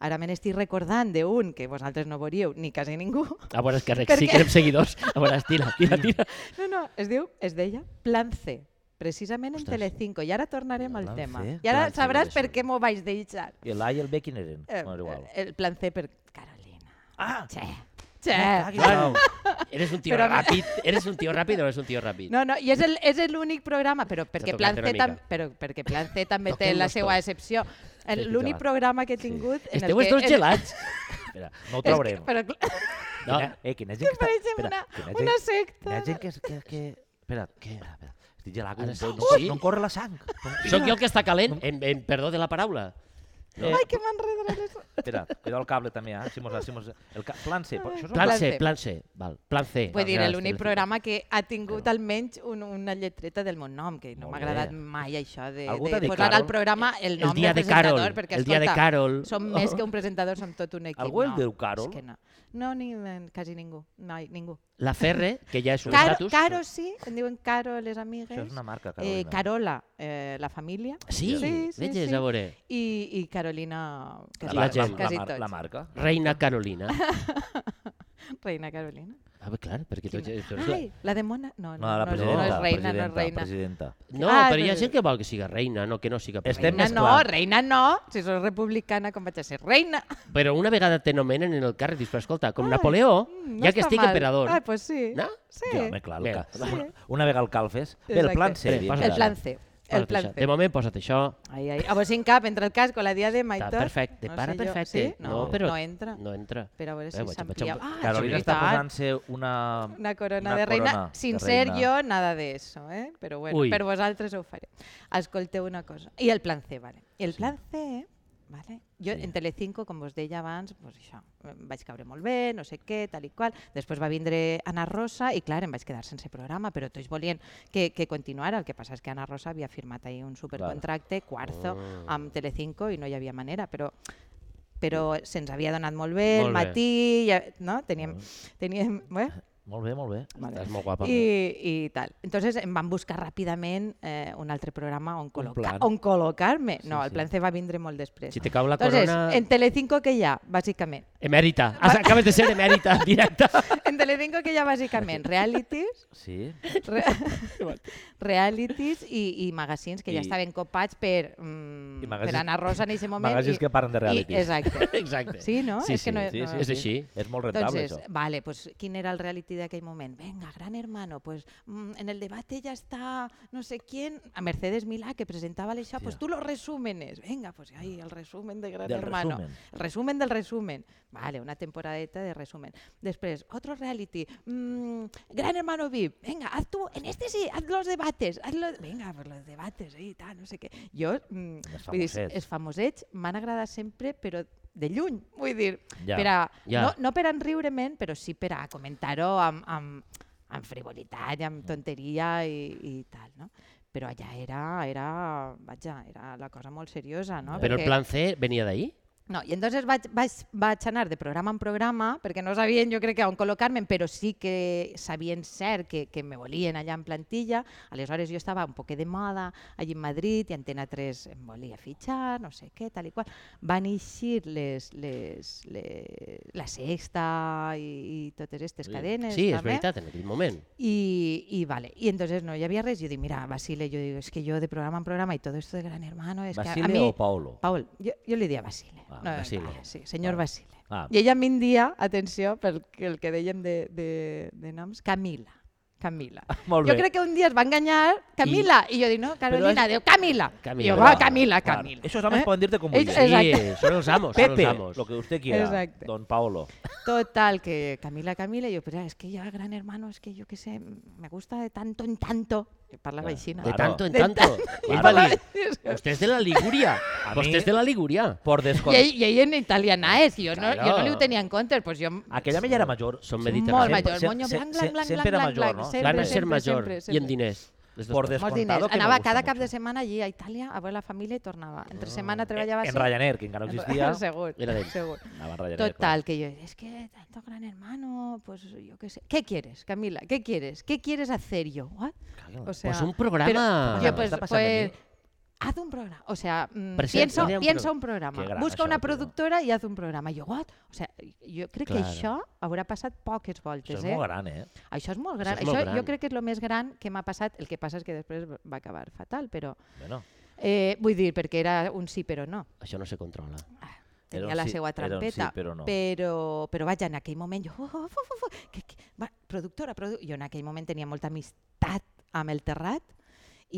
[SPEAKER 2] ara me n'estic recordant d'un que vosaltres no veuríeu, ni quasi ningú.
[SPEAKER 3] A veure, és que
[SPEAKER 2] Per
[SPEAKER 3] sí
[SPEAKER 2] què?
[SPEAKER 3] que érem seguidors. A veure, tira, tira, tira.
[SPEAKER 2] No, no, es diu, es deia Plan C, precisament en Telecinco, i ara tornarem al
[SPEAKER 1] Plan
[SPEAKER 2] tema.
[SPEAKER 1] C?
[SPEAKER 2] I ara
[SPEAKER 1] Plan C,
[SPEAKER 2] sabràs
[SPEAKER 1] no
[SPEAKER 2] per
[SPEAKER 1] sé.
[SPEAKER 2] què m'ho vaig deixar.
[SPEAKER 1] I l'A i el B quin eren?
[SPEAKER 2] Eh,
[SPEAKER 1] bueno, era igual.
[SPEAKER 2] El Plan C per Carolina.
[SPEAKER 1] Ah,
[SPEAKER 2] Che, Sí.
[SPEAKER 3] Bueno, eres un tío
[SPEAKER 2] Però-
[SPEAKER 3] ràpid, eres un tío ràpid o no eres un tío ràpid?
[SPEAKER 2] No, no, i és el- és l'únic programa, però perquè,
[SPEAKER 3] tocat
[SPEAKER 2] Plan
[SPEAKER 3] una
[SPEAKER 2] C
[SPEAKER 3] mica.
[SPEAKER 2] tam, però perquè Plan C també té
[SPEAKER 3] Toquem-nos
[SPEAKER 2] la seva
[SPEAKER 3] tot.
[SPEAKER 2] excepció. El-
[SPEAKER 1] Sí,
[SPEAKER 2] L'únic
[SPEAKER 1] gelat.
[SPEAKER 2] programa que he tingut... Sí.
[SPEAKER 3] Esteu els dos gelats.
[SPEAKER 1] Espera, no ho
[SPEAKER 2] És
[SPEAKER 1] traurem.
[SPEAKER 2] que, però, clar,
[SPEAKER 3] No,
[SPEAKER 1] Quina, eh, quina gent que està...
[SPEAKER 2] pareixem
[SPEAKER 1] Espera,
[SPEAKER 2] una,
[SPEAKER 1] quina
[SPEAKER 2] una
[SPEAKER 1] gent,
[SPEAKER 2] secta.
[SPEAKER 1] quina gent que... que, que... Espera, què? Espera, estic gelat com
[SPEAKER 3] Ara
[SPEAKER 1] un
[SPEAKER 3] sí.
[SPEAKER 1] poll.
[SPEAKER 3] Oh,
[SPEAKER 1] No,
[SPEAKER 3] sí.
[SPEAKER 1] no em corre la sang. No,
[SPEAKER 3] sóc jo el que està calent, en, en perdó de la paraula. No.
[SPEAKER 2] Ai, que m'enredaré les...
[SPEAKER 1] Espera, cuidado el cable també, eh? Si mos, si mos, el ca... Plan C, però això és
[SPEAKER 3] Plan
[SPEAKER 1] un...
[SPEAKER 2] Plan
[SPEAKER 3] C,
[SPEAKER 2] C.
[SPEAKER 3] plan C, val. Plan C.
[SPEAKER 2] Vull dir,
[SPEAKER 3] Ja,
[SPEAKER 2] l'únic
[SPEAKER 3] estic-
[SPEAKER 2] programa que ha tingut almenys un, una lletreta del meu nom, que no
[SPEAKER 1] Molt
[SPEAKER 2] m'ha
[SPEAKER 1] bé.
[SPEAKER 2] agradat mai això de,
[SPEAKER 1] Algú t'ha
[SPEAKER 2] de
[SPEAKER 1] dit
[SPEAKER 2] posar
[SPEAKER 1] Carol?
[SPEAKER 2] al programa el
[SPEAKER 3] El
[SPEAKER 2] nom
[SPEAKER 3] dia
[SPEAKER 2] del
[SPEAKER 3] de Carol,
[SPEAKER 2] presentador, perquè,
[SPEAKER 3] el dia de
[SPEAKER 2] escolta,
[SPEAKER 3] Carol. oh,
[SPEAKER 2] som més que un presentador, som tot un equip.
[SPEAKER 1] Algú el
[SPEAKER 2] no,
[SPEAKER 1] diu Carol?
[SPEAKER 2] És que no. No, ni, quasi ningú. Mai, ningú.
[SPEAKER 3] La Ferre, que ja és un
[SPEAKER 2] Caro,
[SPEAKER 3] estatus.
[SPEAKER 2] Caro sí, em diuen Caro les amigues.
[SPEAKER 1] Això és una marca,
[SPEAKER 2] Eh,
[SPEAKER 1] Carolina.
[SPEAKER 2] Carola, eh, la família.
[SPEAKER 3] Sí,
[SPEAKER 2] Sí, sí,
[SPEAKER 3] veges,
[SPEAKER 2] sí.
[SPEAKER 3] a veure.
[SPEAKER 2] I, i Carolina,
[SPEAKER 1] La, la,
[SPEAKER 2] quasi,
[SPEAKER 3] La
[SPEAKER 1] la,
[SPEAKER 3] gent.
[SPEAKER 1] la,
[SPEAKER 2] quasi
[SPEAKER 1] mar-
[SPEAKER 2] tots.
[SPEAKER 1] la marca.
[SPEAKER 3] Reina Carolina.
[SPEAKER 2] Reina Carolina.
[SPEAKER 3] A veure, clar, perquè tu, tu eres la...
[SPEAKER 2] Ai, la de Mona... No, no,
[SPEAKER 1] No, la
[SPEAKER 2] no, és- no
[SPEAKER 1] presidenta.
[SPEAKER 2] és reina, no
[SPEAKER 1] presidenta,
[SPEAKER 2] és reina.
[SPEAKER 1] Presidenta.
[SPEAKER 3] No,
[SPEAKER 2] Ah,
[SPEAKER 3] però hi ha
[SPEAKER 2] però-
[SPEAKER 3] gent que vol que siga reina, no que no siga
[SPEAKER 1] Estem
[SPEAKER 3] presidenta.
[SPEAKER 2] Reina
[SPEAKER 1] més
[SPEAKER 2] no,
[SPEAKER 1] clar.
[SPEAKER 2] reina no. Si soc republicana, com vaig a ser reina?
[SPEAKER 3] Però una vegada te nomenen en el càrrec, dius, però escolta, com
[SPEAKER 2] Ai,
[SPEAKER 3] Napoleó,
[SPEAKER 2] mm,
[SPEAKER 3] ja
[SPEAKER 2] està
[SPEAKER 3] que estic
[SPEAKER 2] mal.
[SPEAKER 3] emperador.
[SPEAKER 2] Ah, pues sí.
[SPEAKER 3] No?
[SPEAKER 2] Sí.
[SPEAKER 1] Ja, home, clar, el
[SPEAKER 3] Mira,
[SPEAKER 1] ca... una, una vegada el calfes. Bé, el
[SPEAKER 2] Exacte.
[SPEAKER 1] plan C.
[SPEAKER 3] Espera,
[SPEAKER 1] diem,
[SPEAKER 3] posa
[SPEAKER 2] El
[SPEAKER 1] ara.
[SPEAKER 2] plan C. El
[SPEAKER 3] Posa't
[SPEAKER 2] plan
[SPEAKER 3] això.
[SPEAKER 2] C.
[SPEAKER 3] De moment posa't això.
[SPEAKER 2] Ai, ai. A vos sin cap, entre el casco, la diadema i
[SPEAKER 3] Està
[SPEAKER 2] tot.
[SPEAKER 3] perfecte, para
[SPEAKER 2] sé jo.
[SPEAKER 3] perfecte.
[SPEAKER 2] Sí? No, però... no entra.
[SPEAKER 3] No entra.
[SPEAKER 2] Però a veure
[SPEAKER 3] Eh,
[SPEAKER 2] si
[SPEAKER 3] vaig-
[SPEAKER 2] s'amplia.
[SPEAKER 3] vaig-
[SPEAKER 2] Ah,
[SPEAKER 1] Carolina
[SPEAKER 2] és
[SPEAKER 1] està
[SPEAKER 2] veritat.
[SPEAKER 1] posant-se una...
[SPEAKER 2] Una corona
[SPEAKER 1] una
[SPEAKER 2] de reina,
[SPEAKER 1] corona de
[SPEAKER 2] sin ser
[SPEAKER 1] reina.
[SPEAKER 2] jo nada de eso, eh? però bueno,
[SPEAKER 3] Ui.
[SPEAKER 2] per vosaltres ho faré. Escolteu una cosa, i el plan C, vale. I el plan C, vale? jo
[SPEAKER 1] Sí.
[SPEAKER 2] en Telecinco, com vos deia abans, pues això, em vaig caure molt bé, no sé què, tal i qual, després va vindre Anna Rosa i clar, em vaig quedar sense programa, però tots volien que, que continuara, el que passa és que Anna Rosa havia firmat ahir un supercontracte, quarzo,
[SPEAKER 1] Oh.
[SPEAKER 2] amb Telecinco i no hi havia manera, però però se'ns havia donat molt bé
[SPEAKER 3] Molt
[SPEAKER 2] el
[SPEAKER 3] bé.
[SPEAKER 2] matí, ja, no? Teníem, teníem, bé,
[SPEAKER 1] Molt bé, molt bé.
[SPEAKER 2] Vale.
[SPEAKER 3] Estàs molt guapa.
[SPEAKER 2] I, i tal. Entonces em van buscar ràpidament eh, un altre programa on, col·loca
[SPEAKER 1] plan.
[SPEAKER 2] on col·locar-me. No, el plan C va vindre molt després.
[SPEAKER 3] Si te cau la
[SPEAKER 2] Entonces,
[SPEAKER 3] corona-
[SPEAKER 2] en Telecinco que hi ha, bàsicament.
[SPEAKER 3] Emèrita. Has, acabes Ah, de ser emèrita directa.
[SPEAKER 2] En Telecinco que hi ha, bàsicament, realities,
[SPEAKER 1] Sí.
[SPEAKER 2] re realities i, i magazines que ja
[SPEAKER 1] I-
[SPEAKER 2] estaven copats per, mm,
[SPEAKER 1] I
[SPEAKER 2] per
[SPEAKER 1] magazines-
[SPEAKER 2] Anna Rosa en aquest moment.
[SPEAKER 1] magazines
[SPEAKER 2] i-
[SPEAKER 1] que parlen de
[SPEAKER 2] i-
[SPEAKER 1] realities.
[SPEAKER 2] Exacte.
[SPEAKER 3] Exacte.
[SPEAKER 2] Sí, no?
[SPEAKER 3] Sí,
[SPEAKER 2] És Doncs que
[SPEAKER 3] sí.
[SPEAKER 2] no-
[SPEAKER 1] Sí,
[SPEAKER 2] no-
[SPEAKER 1] sí,
[SPEAKER 3] És
[SPEAKER 1] sí.
[SPEAKER 3] així.
[SPEAKER 1] És molt rentable,
[SPEAKER 2] Entonces,
[SPEAKER 1] això.
[SPEAKER 2] vale, pues ¿quién era el reality de aquel momento? Venga, gran hermano, pues mm, en el debate ya está no sé quién, a Mercedes Milá que presentaba el show, pues tú los resúmenes, venga, pues ahí el resumen de gran
[SPEAKER 1] Del
[SPEAKER 2] hermano.
[SPEAKER 1] resumen.
[SPEAKER 2] El resumen del resumen. Vale, una temporadeta de resumen. Después, otro reality, mm, gran hermano VIP, venga, haz tú, en este sí, haz los debates, haz los- venga, pues los debates, ahí, tal, no sé qué. Jo, mm,
[SPEAKER 1] Els
[SPEAKER 2] vull dir,
[SPEAKER 1] famosets.
[SPEAKER 2] els famosets m'han agradat sempre, però de lluny, vull dir,
[SPEAKER 1] Ja.
[SPEAKER 2] ja. per a
[SPEAKER 3] Ja.
[SPEAKER 2] no, no per enriurement, però sí per a comentar-ho amb, amb, amb frivolitat i amb tonteria i, i tal, no? Però allà era, era, vaja, era la cosa molt seriosa, no?
[SPEAKER 3] Però el plan C venia d'ahir?
[SPEAKER 2] No, i entonces vaig, vaig, vaig anar de programa en programa, perquè no sabien, jo crec que on col·locar-me, però sí que sabien cert que, que me volien allà en plantilla. Aleshores jo estava un poc de moda allí en Madrid i Antena 3 em volia fitxar, no sé què, tal i qual. Van eixir les, les, les, la Sexta i, i totes aquestes cadenes.
[SPEAKER 3] Sí, és
[SPEAKER 2] també.
[SPEAKER 3] veritat, en aquell moment.
[SPEAKER 2] Y, y vale, y entonces no, ya había res. Yo digo, mira, Basile, yo digo, es que yo de programa en programa y todo esto de Gran Hermano, es que a
[SPEAKER 1] Basile
[SPEAKER 2] mí.
[SPEAKER 1] o Paulo?
[SPEAKER 2] Paul, yo, yo le di a Basile.
[SPEAKER 1] Ah,
[SPEAKER 2] No,
[SPEAKER 1] Basile.
[SPEAKER 2] vale, sí, señor
[SPEAKER 1] Vale.
[SPEAKER 2] Basile.
[SPEAKER 1] Ah.
[SPEAKER 2] I ella m'india, atenció, pel que- el que dèiem de, de, de noms, Camila. Camila.
[SPEAKER 1] Molt
[SPEAKER 2] jo
[SPEAKER 1] bé.
[SPEAKER 2] crec que un dia es va enganyar Camila i, jo dic, no, Carolina, diu Camila.
[SPEAKER 3] Camila.
[SPEAKER 2] I jo, va,
[SPEAKER 3] Clar,
[SPEAKER 2] Camila,
[SPEAKER 1] clar.
[SPEAKER 2] Camila. ¿Eh?
[SPEAKER 1] Esos homes poden dir-te com vulguin.
[SPEAKER 2] Ells-
[SPEAKER 3] Sí,
[SPEAKER 2] Exacte.
[SPEAKER 3] són els amos, són
[SPEAKER 1] Pepe,
[SPEAKER 3] els amos.
[SPEAKER 1] lo que usted quiera.
[SPEAKER 2] Exacte.
[SPEAKER 1] Don Paolo.
[SPEAKER 2] Total, que Camila, Camila, y yo, pero es que ya Gran Hermano, es que yo qué sé, me gusta de tanto en tanto. Yo parla baixina.
[SPEAKER 3] De
[SPEAKER 1] Claro.
[SPEAKER 3] tanto en
[SPEAKER 2] De
[SPEAKER 3] tanto. Ell
[SPEAKER 1] Claro.
[SPEAKER 3] va dir, vostè és de la Ligúria.
[SPEAKER 1] A
[SPEAKER 3] Vostè
[SPEAKER 1] mi-
[SPEAKER 3] és de la Ligúria.
[SPEAKER 1] Por
[SPEAKER 2] I
[SPEAKER 1] descompte.
[SPEAKER 2] ell, i ell en italianà és, jo no, jo no li ho
[SPEAKER 3] Claro.
[SPEAKER 2] tenia en pues compte, doncs jo...
[SPEAKER 1] Aquella ella era major.
[SPEAKER 3] Són
[SPEAKER 2] Molt
[SPEAKER 3] mediterranis.
[SPEAKER 2] major, moño blanc, blanc, blanc,
[SPEAKER 1] Sempre era
[SPEAKER 2] blanc,
[SPEAKER 1] major,
[SPEAKER 2] blanc,
[SPEAKER 1] no?
[SPEAKER 2] sempre.
[SPEAKER 3] Van a ser major
[SPEAKER 2] sempre,
[SPEAKER 3] i en
[SPEAKER 2] sempre.
[SPEAKER 3] diners. Les dues
[SPEAKER 1] Por
[SPEAKER 3] coses.
[SPEAKER 2] Molts
[SPEAKER 1] descontado
[SPEAKER 2] diners.
[SPEAKER 1] que me
[SPEAKER 2] Anava
[SPEAKER 1] gusta
[SPEAKER 2] cada
[SPEAKER 1] mucho.
[SPEAKER 2] cap de setmana allí a Itàlia a veure la família i tornava. Entre setmana treballava
[SPEAKER 1] En Ryanair, que encara no existia.
[SPEAKER 2] Segur,
[SPEAKER 3] Era d'ell.
[SPEAKER 2] segur.
[SPEAKER 1] Anava en Ryanair,
[SPEAKER 2] Total, que yo, es que tanto gran hermano, pues yo qué sé. ¿Qué quieres, Camila? ¿Qué quieres? ¿Qué quieres hacer yo? What? O sea,
[SPEAKER 3] Pues un programa.
[SPEAKER 2] Pero, yo, pues,
[SPEAKER 1] Está pasando
[SPEAKER 2] pues,
[SPEAKER 1] bien.
[SPEAKER 2] haz un programa. O sea, mm,
[SPEAKER 3] Presenta.
[SPEAKER 2] piensa,
[SPEAKER 3] Idea un
[SPEAKER 2] piensa
[SPEAKER 3] pro-
[SPEAKER 2] un programa.
[SPEAKER 1] Qué gran
[SPEAKER 2] Busca
[SPEAKER 1] això,
[SPEAKER 2] una
[SPEAKER 1] tio.
[SPEAKER 2] productora i haz un programa. I jo, what? O sea, jo crec
[SPEAKER 3] Claro.
[SPEAKER 2] que això haurà passat poques
[SPEAKER 1] Això
[SPEAKER 2] voltes.
[SPEAKER 1] és
[SPEAKER 2] eh?
[SPEAKER 1] molt gran, eh?
[SPEAKER 2] Això és molt gran.
[SPEAKER 3] és molt
[SPEAKER 2] Això
[SPEAKER 3] gran.
[SPEAKER 2] jo crec que és el més gran que m'ha passat. El que passa és que després va acabar fatal, però...
[SPEAKER 1] Bueno,
[SPEAKER 2] Eh, vull dir, perquè era un sí però no.
[SPEAKER 3] Això no se controla.
[SPEAKER 2] tenia
[SPEAKER 1] Era un
[SPEAKER 2] la
[SPEAKER 1] sí-
[SPEAKER 2] seva
[SPEAKER 1] era un sí,
[SPEAKER 2] trampeta,
[SPEAKER 1] però no.
[SPEAKER 2] però, però vaja, en aquell moment jo, oh, oh, fu, fu, fu, que, que, va, productora, produ... jo en aquell moment tenia molta amistat amb el Terrat,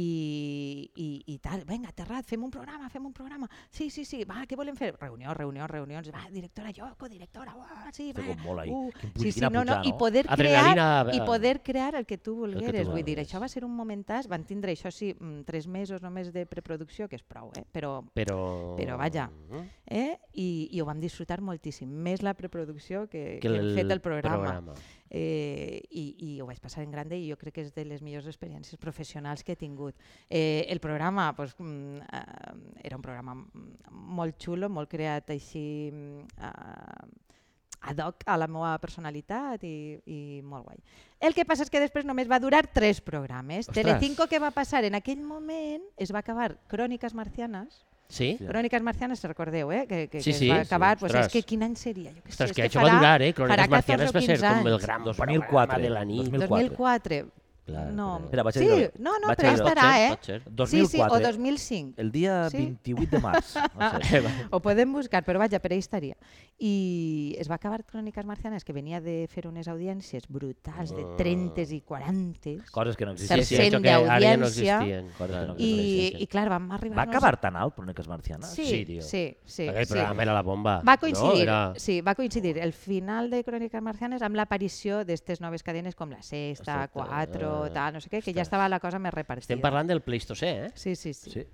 [SPEAKER 2] i, i, i tal, vinga, Terrat, fem un programa, fem un programa, sí, sí, sí, va, què volem fer? Reunió, reunió, reunions, va, directora, jo, codirectora, uah, sí,
[SPEAKER 1] Té
[SPEAKER 2] va,
[SPEAKER 1] com molt ahí.
[SPEAKER 2] uh,
[SPEAKER 1] Quin
[SPEAKER 2] sí, sí,
[SPEAKER 1] pujar,
[SPEAKER 2] no, no,
[SPEAKER 1] pujar,
[SPEAKER 2] i
[SPEAKER 1] no?
[SPEAKER 2] poder
[SPEAKER 3] Adrenalina,
[SPEAKER 2] crear, i
[SPEAKER 3] eh,
[SPEAKER 2] poder crear el que tu volgueres, vull dir,
[SPEAKER 1] vulgueres.
[SPEAKER 2] això va ser un momentàs, van tindre això sí, mm, tres mesos només de preproducció, que és prou, eh? però
[SPEAKER 3] Però...
[SPEAKER 2] Però vaja,
[SPEAKER 3] Mm.
[SPEAKER 2] eh? I, i ho vam disfrutar moltíssim, més la preproducció que, que, hem fet el programa. Eh, i, I ho vaig passar en grande i jo crec que és de les millors experiències professionals que he tingut. Eh, el programa pues, mm, eh, era un programa mm, molt xulo, molt creat així mm, eh, ad hoc a la meva personalitat i, i molt guai. El que passa és que després només va durar tres programes.
[SPEAKER 3] Ostres.
[SPEAKER 2] Telecinco que va passar en aquell moment es va acabar Cròniques Marcianes
[SPEAKER 3] Sí?
[SPEAKER 1] Sí.
[SPEAKER 2] Cròniques marcianes, recordeu, eh? Que, que,
[SPEAKER 3] Sí,
[SPEAKER 2] que
[SPEAKER 3] sí,
[SPEAKER 2] es va
[SPEAKER 3] sí,
[SPEAKER 2] acabar, pues
[SPEAKER 3] ostres.
[SPEAKER 2] és que quin any seria? Jo que
[SPEAKER 3] Ostres,
[SPEAKER 2] sé,
[SPEAKER 3] que
[SPEAKER 2] és
[SPEAKER 3] això va durar, eh?
[SPEAKER 2] farà 14
[SPEAKER 3] Cròniques Marcianes
[SPEAKER 2] o
[SPEAKER 3] va ser
[SPEAKER 2] 15
[SPEAKER 3] com el
[SPEAKER 2] anys.
[SPEAKER 3] gran
[SPEAKER 1] 2004,
[SPEAKER 3] programa de la nit.
[SPEAKER 2] 2004.
[SPEAKER 1] Clar,
[SPEAKER 2] no,
[SPEAKER 1] però- Espera, vaig a
[SPEAKER 2] sí,
[SPEAKER 1] dir-ho.
[SPEAKER 2] no, no,
[SPEAKER 1] Vaig a
[SPEAKER 2] però
[SPEAKER 1] dir-ho.
[SPEAKER 2] estarà, eh?
[SPEAKER 3] Pot ser, pot ser.
[SPEAKER 2] Sí, sí,
[SPEAKER 3] ¿eh?
[SPEAKER 2] o
[SPEAKER 1] 2004,
[SPEAKER 2] 2005.
[SPEAKER 1] el dia
[SPEAKER 2] Sí.
[SPEAKER 1] 28 de març. No sé.
[SPEAKER 2] Ho podem buscar, però vaja, per ahí estaria. I es va acabar Cròniques marcianes, que venia de fer unes audiències brutals de
[SPEAKER 3] Ah.
[SPEAKER 2] 30 i 40.
[SPEAKER 1] Coses que no
[SPEAKER 3] Sí,
[SPEAKER 1] existeixen.
[SPEAKER 3] sí,
[SPEAKER 2] Tercer
[SPEAKER 3] això que ara ja no
[SPEAKER 2] d'audiència.
[SPEAKER 3] existien.
[SPEAKER 1] Coses que no
[SPEAKER 2] I,
[SPEAKER 1] existeixen.
[SPEAKER 2] i clar, vam arribar...
[SPEAKER 1] Va
[SPEAKER 2] no sé-
[SPEAKER 1] acabar tan alt, Cròniques Marcianes?
[SPEAKER 2] Sí,
[SPEAKER 3] Sí,
[SPEAKER 2] sí,
[SPEAKER 3] tio.
[SPEAKER 2] sí, sí.
[SPEAKER 3] Aquell programa era la bomba.
[SPEAKER 2] Va coincidir,
[SPEAKER 3] Ah, No, era...
[SPEAKER 2] sí, va coincidir el final de Cròniques Marcianes amb l'aparició d'estes noves cadenes com la Sexta,
[SPEAKER 3] Exacte,
[SPEAKER 2] Quatre,
[SPEAKER 3] eh,
[SPEAKER 2] tal, no sé què, que ja estava la cosa més repartida.
[SPEAKER 3] Estem parlant del Pleistocè, eh?
[SPEAKER 2] Sí, sí, sí.
[SPEAKER 1] Sí.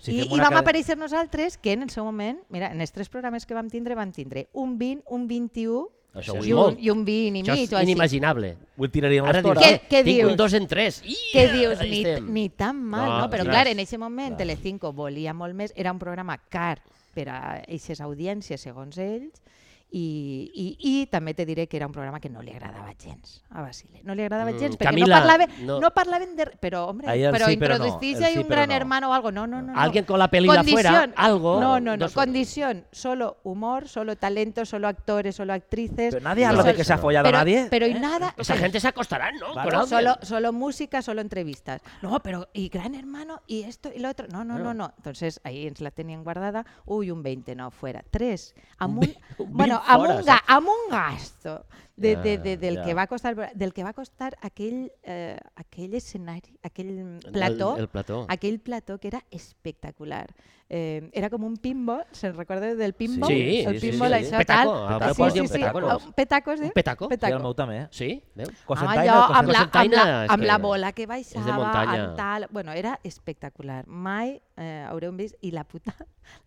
[SPEAKER 1] Si
[SPEAKER 2] I,
[SPEAKER 1] fem
[SPEAKER 2] I
[SPEAKER 1] una
[SPEAKER 2] vam
[SPEAKER 1] cade-
[SPEAKER 2] aparèixer nosaltres que en el seu moment, mira, en els tres programes que vam tindre, vam tindre un 20, un 21
[SPEAKER 1] Això
[SPEAKER 3] Això
[SPEAKER 1] ho
[SPEAKER 3] és
[SPEAKER 2] i
[SPEAKER 1] diu.
[SPEAKER 2] un,
[SPEAKER 3] molt.
[SPEAKER 2] i un 20 i
[SPEAKER 3] Això és
[SPEAKER 2] mig o així.
[SPEAKER 3] inimaginable.
[SPEAKER 1] Ho tiraríem a
[SPEAKER 3] Ara dius,
[SPEAKER 1] l'estora.
[SPEAKER 2] Què- què
[SPEAKER 3] tinc
[SPEAKER 2] dius?
[SPEAKER 3] un dos en tres. I,
[SPEAKER 2] Què dius?
[SPEAKER 3] ahí
[SPEAKER 2] Ni,
[SPEAKER 3] estem.
[SPEAKER 2] ni tan mal,
[SPEAKER 3] No,
[SPEAKER 2] no? Però
[SPEAKER 3] ostres.
[SPEAKER 2] clar, en aquest moment Telecinco volia molt més, era un programa car per a aquestes audiències, segons ells, i, i, i també te diré que era un programa que no li agradava gens a Basile. No li agradava
[SPEAKER 3] Mm,
[SPEAKER 2] gens perquè
[SPEAKER 3] Camila,
[SPEAKER 2] no, parlava,
[SPEAKER 3] no.
[SPEAKER 2] no. parlaven de... re- Però, hombre,
[SPEAKER 1] Ahí el
[SPEAKER 2] però
[SPEAKER 1] sí, però no,
[SPEAKER 2] introducís
[SPEAKER 1] el sí,
[SPEAKER 2] un
[SPEAKER 1] però
[SPEAKER 2] gran
[SPEAKER 1] no.
[SPEAKER 2] hermano o algo. No, no, no. no.
[SPEAKER 3] Alguien con la peli de afuera,
[SPEAKER 2] Condición.
[SPEAKER 3] algo.
[SPEAKER 2] No, no, no.
[SPEAKER 3] Dos-
[SPEAKER 2] Condición. Solo humor, solo talento, solo actores, solo actrices.
[SPEAKER 1] Pero nadie
[SPEAKER 2] Y
[SPEAKER 1] habla de
[SPEAKER 2] sol-
[SPEAKER 1] que se ha follado a
[SPEAKER 2] pero-
[SPEAKER 1] nadie, ¿Eh?
[SPEAKER 2] Pero y nada.
[SPEAKER 3] Esa gente se acostará, ¿no?
[SPEAKER 1] Claro.
[SPEAKER 3] Con alguien.
[SPEAKER 2] Solo, solo música, solo entrevistas. No, pero y Gran Hermano y esto y lo otro. No, no, no,
[SPEAKER 3] Claro.
[SPEAKER 2] no. Entonces ahí ens la tenían guardada. Uy, un 20, no, fuera. Tres. Amb un, bueno, amb
[SPEAKER 1] fora,
[SPEAKER 2] un,
[SPEAKER 3] eh.
[SPEAKER 2] ga- amb un gasto de,
[SPEAKER 3] Ja,
[SPEAKER 2] de, de, del,
[SPEAKER 1] ja.
[SPEAKER 2] que va costar, del que va costar aquell, eh, aquell escenari, aquell
[SPEAKER 3] El-
[SPEAKER 2] plató.
[SPEAKER 3] El, plató.
[SPEAKER 2] aquell plató que era espectacular. Eh, era com un pinball, se'n recorda del pinball?
[SPEAKER 3] Sí,
[SPEAKER 2] el
[SPEAKER 3] sí, sí,
[SPEAKER 2] pinball,
[SPEAKER 3] sí.
[SPEAKER 2] això,
[SPEAKER 3] Petaco, a
[SPEAKER 2] tal.
[SPEAKER 1] propòsit,
[SPEAKER 2] sí, sí, sí.
[SPEAKER 3] petacos.
[SPEAKER 2] Un petacos, eh?
[SPEAKER 3] Un petaco.
[SPEAKER 1] Sí, el
[SPEAKER 2] Petaco.
[SPEAKER 1] meu també.
[SPEAKER 3] Sí, veus?
[SPEAKER 2] Home,
[SPEAKER 1] Cosentaina,
[SPEAKER 2] allò, Ah, amb,
[SPEAKER 1] cosentaina.
[SPEAKER 2] la, amb, la,
[SPEAKER 3] Cosentaina és
[SPEAKER 2] amb
[SPEAKER 3] que
[SPEAKER 2] la bola que
[SPEAKER 3] és de
[SPEAKER 2] baixava,
[SPEAKER 3] muntanya.
[SPEAKER 2] amb tal... Bueno, era espectacular. Mai eh, haureu vist... I la puta,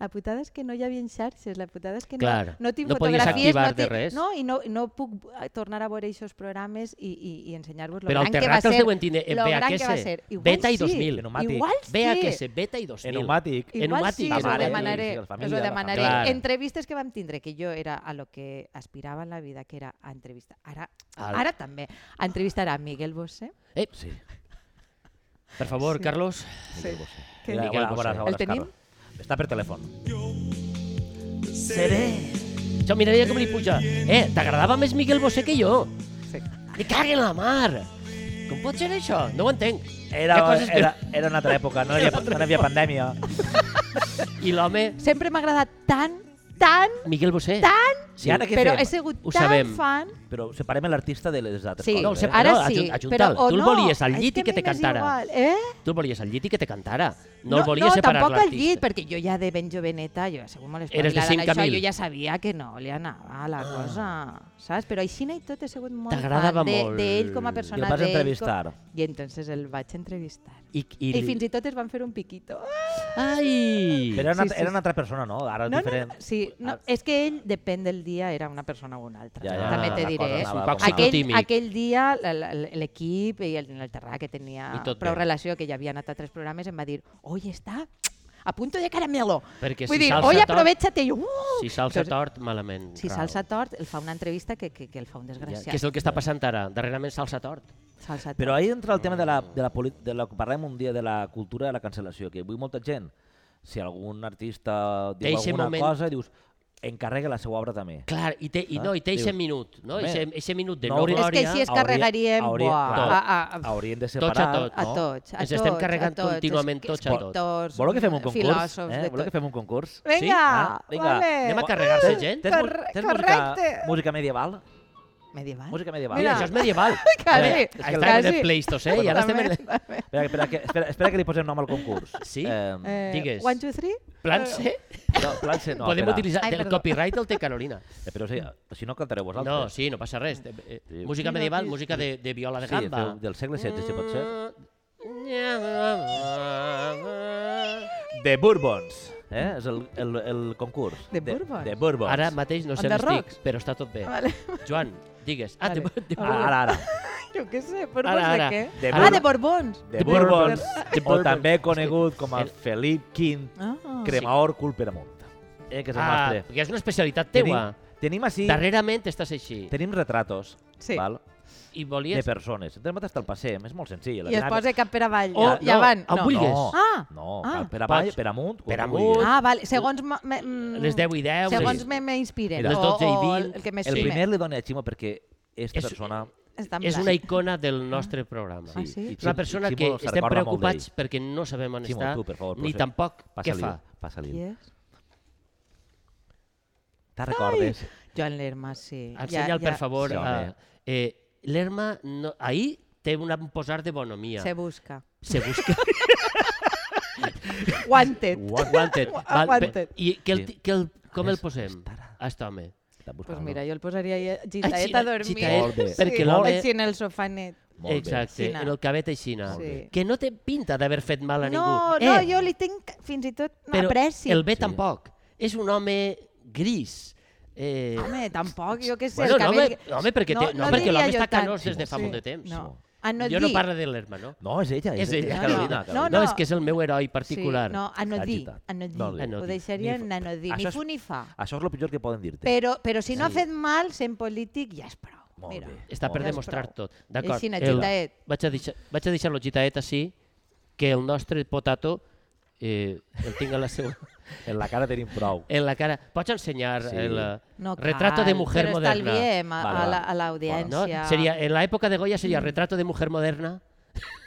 [SPEAKER 2] la putada és que no hi havia xarxes, la putada és que
[SPEAKER 3] Clar,
[SPEAKER 2] no, no tinc
[SPEAKER 3] no podies
[SPEAKER 2] fotografies...
[SPEAKER 3] activar de
[SPEAKER 2] tinc-
[SPEAKER 3] res.
[SPEAKER 2] No, i no, i no puc eh, tornar a veure aquests programes i, i, i ensenyar-vos lo
[SPEAKER 3] Però al
[SPEAKER 2] gran que va
[SPEAKER 3] Terrat els
[SPEAKER 2] ser.
[SPEAKER 3] deuen eh, tindre en
[SPEAKER 2] lo gran que va
[SPEAKER 3] VHS,
[SPEAKER 2] ser. Igual
[SPEAKER 3] Beta i
[SPEAKER 2] sí,
[SPEAKER 3] 2000.
[SPEAKER 1] Pneumàtic.
[SPEAKER 2] Igual sí.
[SPEAKER 3] VHS, Beta i 2000.
[SPEAKER 1] Pneumàtic.
[SPEAKER 3] I-
[SPEAKER 2] Igual sí,
[SPEAKER 3] Enumàtic, la
[SPEAKER 2] us ho
[SPEAKER 3] mare,
[SPEAKER 1] sí,
[SPEAKER 2] demanaré.
[SPEAKER 1] la
[SPEAKER 2] us ho
[SPEAKER 1] família, la
[SPEAKER 2] demanaré.
[SPEAKER 3] família. Clar.
[SPEAKER 2] Entrevistes que vam tindre, que jo era a lo que aspirava en la vida, que era a entrevistar. Ara,
[SPEAKER 3] Al-
[SPEAKER 2] ara també. A entrevistar a Miguel Bosé.
[SPEAKER 3] Eh,
[SPEAKER 1] Sí.
[SPEAKER 3] per favor, Carlos.
[SPEAKER 1] Miguel Bosé.
[SPEAKER 2] Què
[SPEAKER 1] Mira,
[SPEAKER 2] diu?
[SPEAKER 1] bona- bona-
[SPEAKER 3] El
[SPEAKER 1] bona,
[SPEAKER 2] tenim?
[SPEAKER 1] Carlos. Està per telèfon.
[SPEAKER 3] Jo miraria com li puja. Eh, t'agradava més Miguel Bosé que jo.
[SPEAKER 2] Sí.
[SPEAKER 3] Me cague en la mar. Com pot ser això? No ho entenc.
[SPEAKER 1] Era,
[SPEAKER 3] Hi ha coses que-
[SPEAKER 1] era, era una altra època, no hi havia, no hi havia pandèmia.
[SPEAKER 3] I l'home,
[SPEAKER 2] Sempre m'ha agradat tant, tant,
[SPEAKER 3] Miguel Bosé.
[SPEAKER 2] tant,
[SPEAKER 1] Sí, ara què
[SPEAKER 2] però
[SPEAKER 1] fem?
[SPEAKER 2] he sigut
[SPEAKER 3] Ho
[SPEAKER 2] tan
[SPEAKER 3] sabem.
[SPEAKER 2] fan.
[SPEAKER 1] Però separem l'artista de les altres
[SPEAKER 2] Sí,
[SPEAKER 1] coses.
[SPEAKER 3] no, ho sé,
[SPEAKER 1] eh?
[SPEAKER 3] separa-
[SPEAKER 2] ara
[SPEAKER 3] no,
[SPEAKER 2] sí,
[SPEAKER 3] ajun- ajuntal.
[SPEAKER 2] però o
[SPEAKER 3] Tu el
[SPEAKER 2] no.
[SPEAKER 3] volies al
[SPEAKER 2] és
[SPEAKER 3] llit i
[SPEAKER 2] a
[SPEAKER 3] que
[SPEAKER 2] mi
[SPEAKER 3] te
[SPEAKER 2] m'és
[SPEAKER 3] cantara.
[SPEAKER 2] Igual, eh?
[SPEAKER 3] Tu el volies al llit i que te cantara. No, el volies
[SPEAKER 2] no,
[SPEAKER 3] separar
[SPEAKER 2] tampoc al
[SPEAKER 3] l'artista.
[SPEAKER 2] llit, perquè jo ja de ben joveneta, jo segur molt
[SPEAKER 3] Eres de Ah.
[SPEAKER 2] espavilada en
[SPEAKER 3] cinc a
[SPEAKER 2] això,
[SPEAKER 3] mil.
[SPEAKER 2] jo ja sabia que no li anava la cosa, saps? Però així i tot he sigut molt
[SPEAKER 3] T'agradava
[SPEAKER 2] fan de-
[SPEAKER 3] molt.
[SPEAKER 2] d'ell com a persona.
[SPEAKER 1] vas
[SPEAKER 2] d'ell com-
[SPEAKER 1] entrevistar.
[SPEAKER 2] I entonces el vaig entrevistar.
[SPEAKER 3] I, i, Ah,
[SPEAKER 2] I, fins i tot es van fer un piquito.
[SPEAKER 3] Ai!
[SPEAKER 1] Però era una,
[SPEAKER 2] Sí, sí,
[SPEAKER 1] era una altra persona, no? Ara és
[SPEAKER 2] No, no,
[SPEAKER 1] diferent.
[SPEAKER 2] no, sí, no,
[SPEAKER 3] Ah,
[SPEAKER 2] és que ell, depèn del dia, era una persona o una altra.
[SPEAKER 1] Ja, ja,
[SPEAKER 2] també te
[SPEAKER 1] la
[SPEAKER 2] diré.
[SPEAKER 1] cosa
[SPEAKER 2] eh?
[SPEAKER 1] anava
[SPEAKER 3] Un poc
[SPEAKER 1] com anava.
[SPEAKER 2] Aquell,
[SPEAKER 3] psicotímic.
[SPEAKER 2] aquell dia l- l- l'equip i el, el Terrà, que tenia
[SPEAKER 3] I tot
[SPEAKER 2] prou
[SPEAKER 3] bé.
[SPEAKER 2] relació, que ja havia anat a tres programes, em va dir, oi, està a punto de caramelo.
[SPEAKER 3] Perquè
[SPEAKER 2] Vull
[SPEAKER 3] si
[SPEAKER 2] dir,
[SPEAKER 3] salsa
[SPEAKER 2] oi,
[SPEAKER 3] tort-
[SPEAKER 2] aprovecha't. I jo, uh!
[SPEAKER 3] Si salsa
[SPEAKER 2] Entonces,
[SPEAKER 3] tort, malament.
[SPEAKER 2] Si salsa tort, el fa una entrevista que, que, que el fa un
[SPEAKER 3] Ja,
[SPEAKER 2] desgraciat.
[SPEAKER 3] que és el que està passant ara. Darrerament salsa tort.
[SPEAKER 2] Salsa tort.
[SPEAKER 1] Però ahir entra el tema de la, de la, poli- de la parlem un dia de la cultura de la cancel·lació, que avui molta gent, si algun artista diu
[SPEAKER 3] Eixe
[SPEAKER 1] alguna
[SPEAKER 3] moment-
[SPEAKER 1] cosa, dius, encarrega la seva obra també.
[SPEAKER 3] Clar, i, te, i, no, i té
[SPEAKER 1] Dius,
[SPEAKER 3] eixe minut, no?
[SPEAKER 1] Ah, home,
[SPEAKER 3] Eixe, eixe minut de
[SPEAKER 1] no
[SPEAKER 3] no,
[SPEAKER 1] hauria-
[SPEAKER 3] glòria...
[SPEAKER 1] És
[SPEAKER 2] És que així es
[SPEAKER 1] Hauria-
[SPEAKER 2] carregaríem
[SPEAKER 1] hauria-
[SPEAKER 2] buah,
[SPEAKER 1] tot.
[SPEAKER 2] a, a, a,
[SPEAKER 1] Haurien de separar...
[SPEAKER 3] Tots a tots,
[SPEAKER 2] a
[SPEAKER 3] no?
[SPEAKER 2] tots. A
[SPEAKER 3] Ens estem
[SPEAKER 2] tots,
[SPEAKER 3] carregant
[SPEAKER 2] a tots,
[SPEAKER 3] contínuament
[SPEAKER 2] es-
[SPEAKER 3] tots a tots.
[SPEAKER 2] escriptors,
[SPEAKER 1] Voleu que fem un concurs?
[SPEAKER 2] filòsofs,
[SPEAKER 1] Eh?
[SPEAKER 2] de
[SPEAKER 1] Voleu
[SPEAKER 2] tot.
[SPEAKER 1] que fem un concurs?
[SPEAKER 2] Vinga,
[SPEAKER 1] Ah, vinga,
[SPEAKER 2] vale.
[SPEAKER 3] Anem a carregar-se gent?
[SPEAKER 1] Tens, mu-
[SPEAKER 2] Corre-
[SPEAKER 1] tens música,
[SPEAKER 2] correcte.
[SPEAKER 1] música medieval?
[SPEAKER 2] Medieval.
[SPEAKER 1] Música medieval.
[SPEAKER 3] Mira,
[SPEAKER 2] Mira.
[SPEAKER 3] això és medieval.
[SPEAKER 2] Quasi,
[SPEAKER 3] Veure,
[SPEAKER 1] és que
[SPEAKER 3] Estàvem
[SPEAKER 1] la-
[SPEAKER 3] en el Pleistocè i ara estem en... el-
[SPEAKER 2] També.
[SPEAKER 1] Espera, espera, que, espera, espera que li posem nom al concurs.
[SPEAKER 3] Sí?
[SPEAKER 1] Eh,
[SPEAKER 2] Eh,
[SPEAKER 3] Mm, Digues.
[SPEAKER 2] One, two, three.
[SPEAKER 3] Plan C?
[SPEAKER 1] no, plan C, no,
[SPEAKER 3] Podem
[SPEAKER 1] espera.
[SPEAKER 3] utilitzar...
[SPEAKER 2] Ai,
[SPEAKER 3] el
[SPEAKER 2] perdó.
[SPEAKER 3] copyright el té Carolina.
[SPEAKER 1] Eh, Però sí, si no cantareu vosaltres.
[SPEAKER 3] No, sí, no passa res. Eh, eh,
[SPEAKER 1] Sí.
[SPEAKER 3] Música medieval, música de, de viola de
[SPEAKER 1] Sí,
[SPEAKER 3] gamba.
[SPEAKER 1] feu del segle VII, si pot ser. Mm. De Bourbons. Eh? És el, el, el concurs.
[SPEAKER 2] De Bourbons?
[SPEAKER 1] De Bourbons.
[SPEAKER 3] Ara mateix no sé
[SPEAKER 2] On the
[SPEAKER 3] on estic,
[SPEAKER 2] rocks.
[SPEAKER 3] però està tot bé.
[SPEAKER 2] Vale.
[SPEAKER 3] Joan, digues. Ah,
[SPEAKER 2] Vale.
[SPEAKER 3] de, de,
[SPEAKER 1] Ah, ara, ara.
[SPEAKER 2] Jo què sé, per
[SPEAKER 3] Ara,
[SPEAKER 2] ara,
[SPEAKER 3] ara.
[SPEAKER 2] de què?
[SPEAKER 1] De
[SPEAKER 2] ah, de
[SPEAKER 1] Bourbons.
[SPEAKER 2] Borbons.
[SPEAKER 1] De
[SPEAKER 3] The
[SPEAKER 1] Bourbons,
[SPEAKER 3] Bourbons. The
[SPEAKER 1] o
[SPEAKER 3] Bourbons.
[SPEAKER 1] també conegut com a
[SPEAKER 3] El-
[SPEAKER 1] Felip V
[SPEAKER 2] Ah.
[SPEAKER 1] Cremaor Culperamunt. Eh, que és el
[SPEAKER 3] Ah,
[SPEAKER 1] nostre.
[SPEAKER 3] perquè és una especialitat teua.
[SPEAKER 1] Tenim, tenim així,
[SPEAKER 3] Darrerament estàs així.
[SPEAKER 1] tenim retratos,
[SPEAKER 2] Sí.
[SPEAKER 1] val?
[SPEAKER 3] I
[SPEAKER 1] De
[SPEAKER 3] volies...
[SPEAKER 1] persones. Entenem hasta el passem, és molt senzill.
[SPEAKER 2] I es posa cap per avall.
[SPEAKER 3] O,
[SPEAKER 2] ja
[SPEAKER 3] Oh, no,
[SPEAKER 2] van.
[SPEAKER 3] on vulguis.
[SPEAKER 1] No,
[SPEAKER 2] Ah,
[SPEAKER 1] no,
[SPEAKER 2] ah.
[SPEAKER 1] cal per avall,
[SPEAKER 3] Pots-
[SPEAKER 1] per amunt,
[SPEAKER 3] per
[SPEAKER 1] com tu
[SPEAKER 3] amunt.
[SPEAKER 1] vulguis.
[SPEAKER 2] Ah, vale. Segons... ma- Me, mm,
[SPEAKER 3] Les 10 i 10.
[SPEAKER 2] Segons
[SPEAKER 3] les-
[SPEAKER 2] me, me inspiren.
[SPEAKER 1] Mira,
[SPEAKER 3] les
[SPEAKER 2] o-
[SPEAKER 3] 12 i
[SPEAKER 2] o
[SPEAKER 3] 20,
[SPEAKER 2] El que més
[SPEAKER 1] El
[SPEAKER 2] sí.
[SPEAKER 1] primer li dona a Ximo perquè aquesta
[SPEAKER 3] És-
[SPEAKER 1] persona...
[SPEAKER 2] Està en
[SPEAKER 3] És
[SPEAKER 2] blanc.
[SPEAKER 3] una icona del nostre programa.
[SPEAKER 2] Ah, sí?
[SPEAKER 1] i
[SPEAKER 3] És una
[SPEAKER 1] Ximo-
[SPEAKER 3] persona
[SPEAKER 1] Ximo
[SPEAKER 3] que
[SPEAKER 1] se
[SPEAKER 3] estem
[SPEAKER 1] recorda molt
[SPEAKER 3] preocupats
[SPEAKER 1] d'ell.
[SPEAKER 3] perquè no sabem on
[SPEAKER 1] Ximo,
[SPEAKER 3] està,
[SPEAKER 1] tu, per favor,
[SPEAKER 3] ni
[SPEAKER 1] profe,
[SPEAKER 3] tampoc què
[SPEAKER 1] Passa-li,
[SPEAKER 3] fa.
[SPEAKER 1] passa-li.
[SPEAKER 2] Qui és?
[SPEAKER 1] Te recordes?
[SPEAKER 2] Joan Lerma, sí.
[SPEAKER 3] Ensenya'l, per favor.
[SPEAKER 1] Sí,
[SPEAKER 3] a-
[SPEAKER 1] home.
[SPEAKER 3] eh, L'Herma, no, ahir té una- un posar de bonomia.
[SPEAKER 2] Se busca.
[SPEAKER 3] Se busca.
[SPEAKER 2] Wanted.
[SPEAKER 3] Wanted.
[SPEAKER 2] Ah,
[SPEAKER 3] Val,
[SPEAKER 2] wanted.
[SPEAKER 3] pe- I que el,
[SPEAKER 1] Sí.
[SPEAKER 3] que el, com el
[SPEAKER 1] És-
[SPEAKER 3] posem?
[SPEAKER 1] estarà.
[SPEAKER 3] A este home.
[SPEAKER 1] Està buscant,
[SPEAKER 2] Pues
[SPEAKER 1] no?
[SPEAKER 2] mira, jo el posaria ahí, eh,
[SPEAKER 3] Ai,
[SPEAKER 2] gitaet
[SPEAKER 3] gita-
[SPEAKER 2] a dormir.
[SPEAKER 3] gitaet,
[SPEAKER 1] Molt bé.
[SPEAKER 3] perquè
[SPEAKER 2] Molt
[SPEAKER 3] l'home-
[SPEAKER 2] Així en el sofanet.
[SPEAKER 1] Molt bé.
[SPEAKER 3] Exacte,
[SPEAKER 2] Xina.
[SPEAKER 3] en el cabet aixina.
[SPEAKER 2] Molt bé.
[SPEAKER 3] Que no té pinta d'haver fet mal a ningú. Eh.
[SPEAKER 2] No, no, jo li tinc fins i tot no,
[SPEAKER 3] però
[SPEAKER 2] apreci.
[SPEAKER 3] el bé tampoc. És un home gris. Eh,
[SPEAKER 2] Home, tampoc, jo què sé,
[SPEAKER 3] bueno,
[SPEAKER 2] el
[SPEAKER 3] no, home,
[SPEAKER 2] cabell...
[SPEAKER 3] no, home, perquè, té, no, perquè
[SPEAKER 2] diria
[SPEAKER 3] l'home
[SPEAKER 2] jo
[SPEAKER 3] està
[SPEAKER 2] tant.
[SPEAKER 3] canós des de fa
[SPEAKER 2] Sí.
[SPEAKER 3] molt de temps.
[SPEAKER 2] No. Ah, no
[SPEAKER 3] jo
[SPEAKER 2] dir.
[SPEAKER 3] no parlo de l'Herma, no?
[SPEAKER 1] No, és ella.
[SPEAKER 3] És
[SPEAKER 1] és
[SPEAKER 3] ella,
[SPEAKER 2] No,
[SPEAKER 1] Carolina.
[SPEAKER 2] no,
[SPEAKER 1] Carolina.
[SPEAKER 3] No, és que és el meu heroi particular.
[SPEAKER 2] Sí, no, a no
[SPEAKER 1] Està
[SPEAKER 2] dir,
[SPEAKER 1] agitat.
[SPEAKER 2] a no dir.
[SPEAKER 1] No,
[SPEAKER 3] no
[SPEAKER 2] Ho
[SPEAKER 3] dir.
[SPEAKER 2] deixaria
[SPEAKER 1] Ni
[SPEAKER 2] en
[SPEAKER 1] fa-
[SPEAKER 2] a no dir,
[SPEAKER 1] Això
[SPEAKER 2] ni
[SPEAKER 1] és-
[SPEAKER 2] fu ni fa.
[SPEAKER 1] Això és el pitjor que poden dir-te.
[SPEAKER 2] Però, però si no ha
[SPEAKER 3] Sí.
[SPEAKER 2] fet mal, sent polític ja és prou.
[SPEAKER 1] Molt
[SPEAKER 2] Mira.
[SPEAKER 1] bé.
[SPEAKER 3] Està per
[SPEAKER 1] Molt bé.
[SPEAKER 3] demostrar
[SPEAKER 2] prou.
[SPEAKER 3] tot. D'acord.
[SPEAKER 2] Aixina,
[SPEAKER 3] el-
[SPEAKER 2] gitaet.
[SPEAKER 3] Vaig a deixar, vaig a deixar lo gitaet així, que el nostre potato eh, el tinc a la seva...
[SPEAKER 1] En la cara tenim prou.
[SPEAKER 3] En la cara. Pots ensenyar
[SPEAKER 1] Sí.
[SPEAKER 3] el eh,
[SPEAKER 2] No cal,
[SPEAKER 3] retrato de mujer
[SPEAKER 2] però
[SPEAKER 3] moderna?
[SPEAKER 2] estalviem a,
[SPEAKER 1] Vale,
[SPEAKER 2] a,
[SPEAKER 1] vale.
[SPEAKER 2] la, a
[SPEAKER 3] No?
[SPEAKER 2] l'audiència.
[SPEAKER 3] Seria, en la època de Goya
[SPEAKER 2] Mm.
[SPEAKER 3] seria retrato de mujer moderna.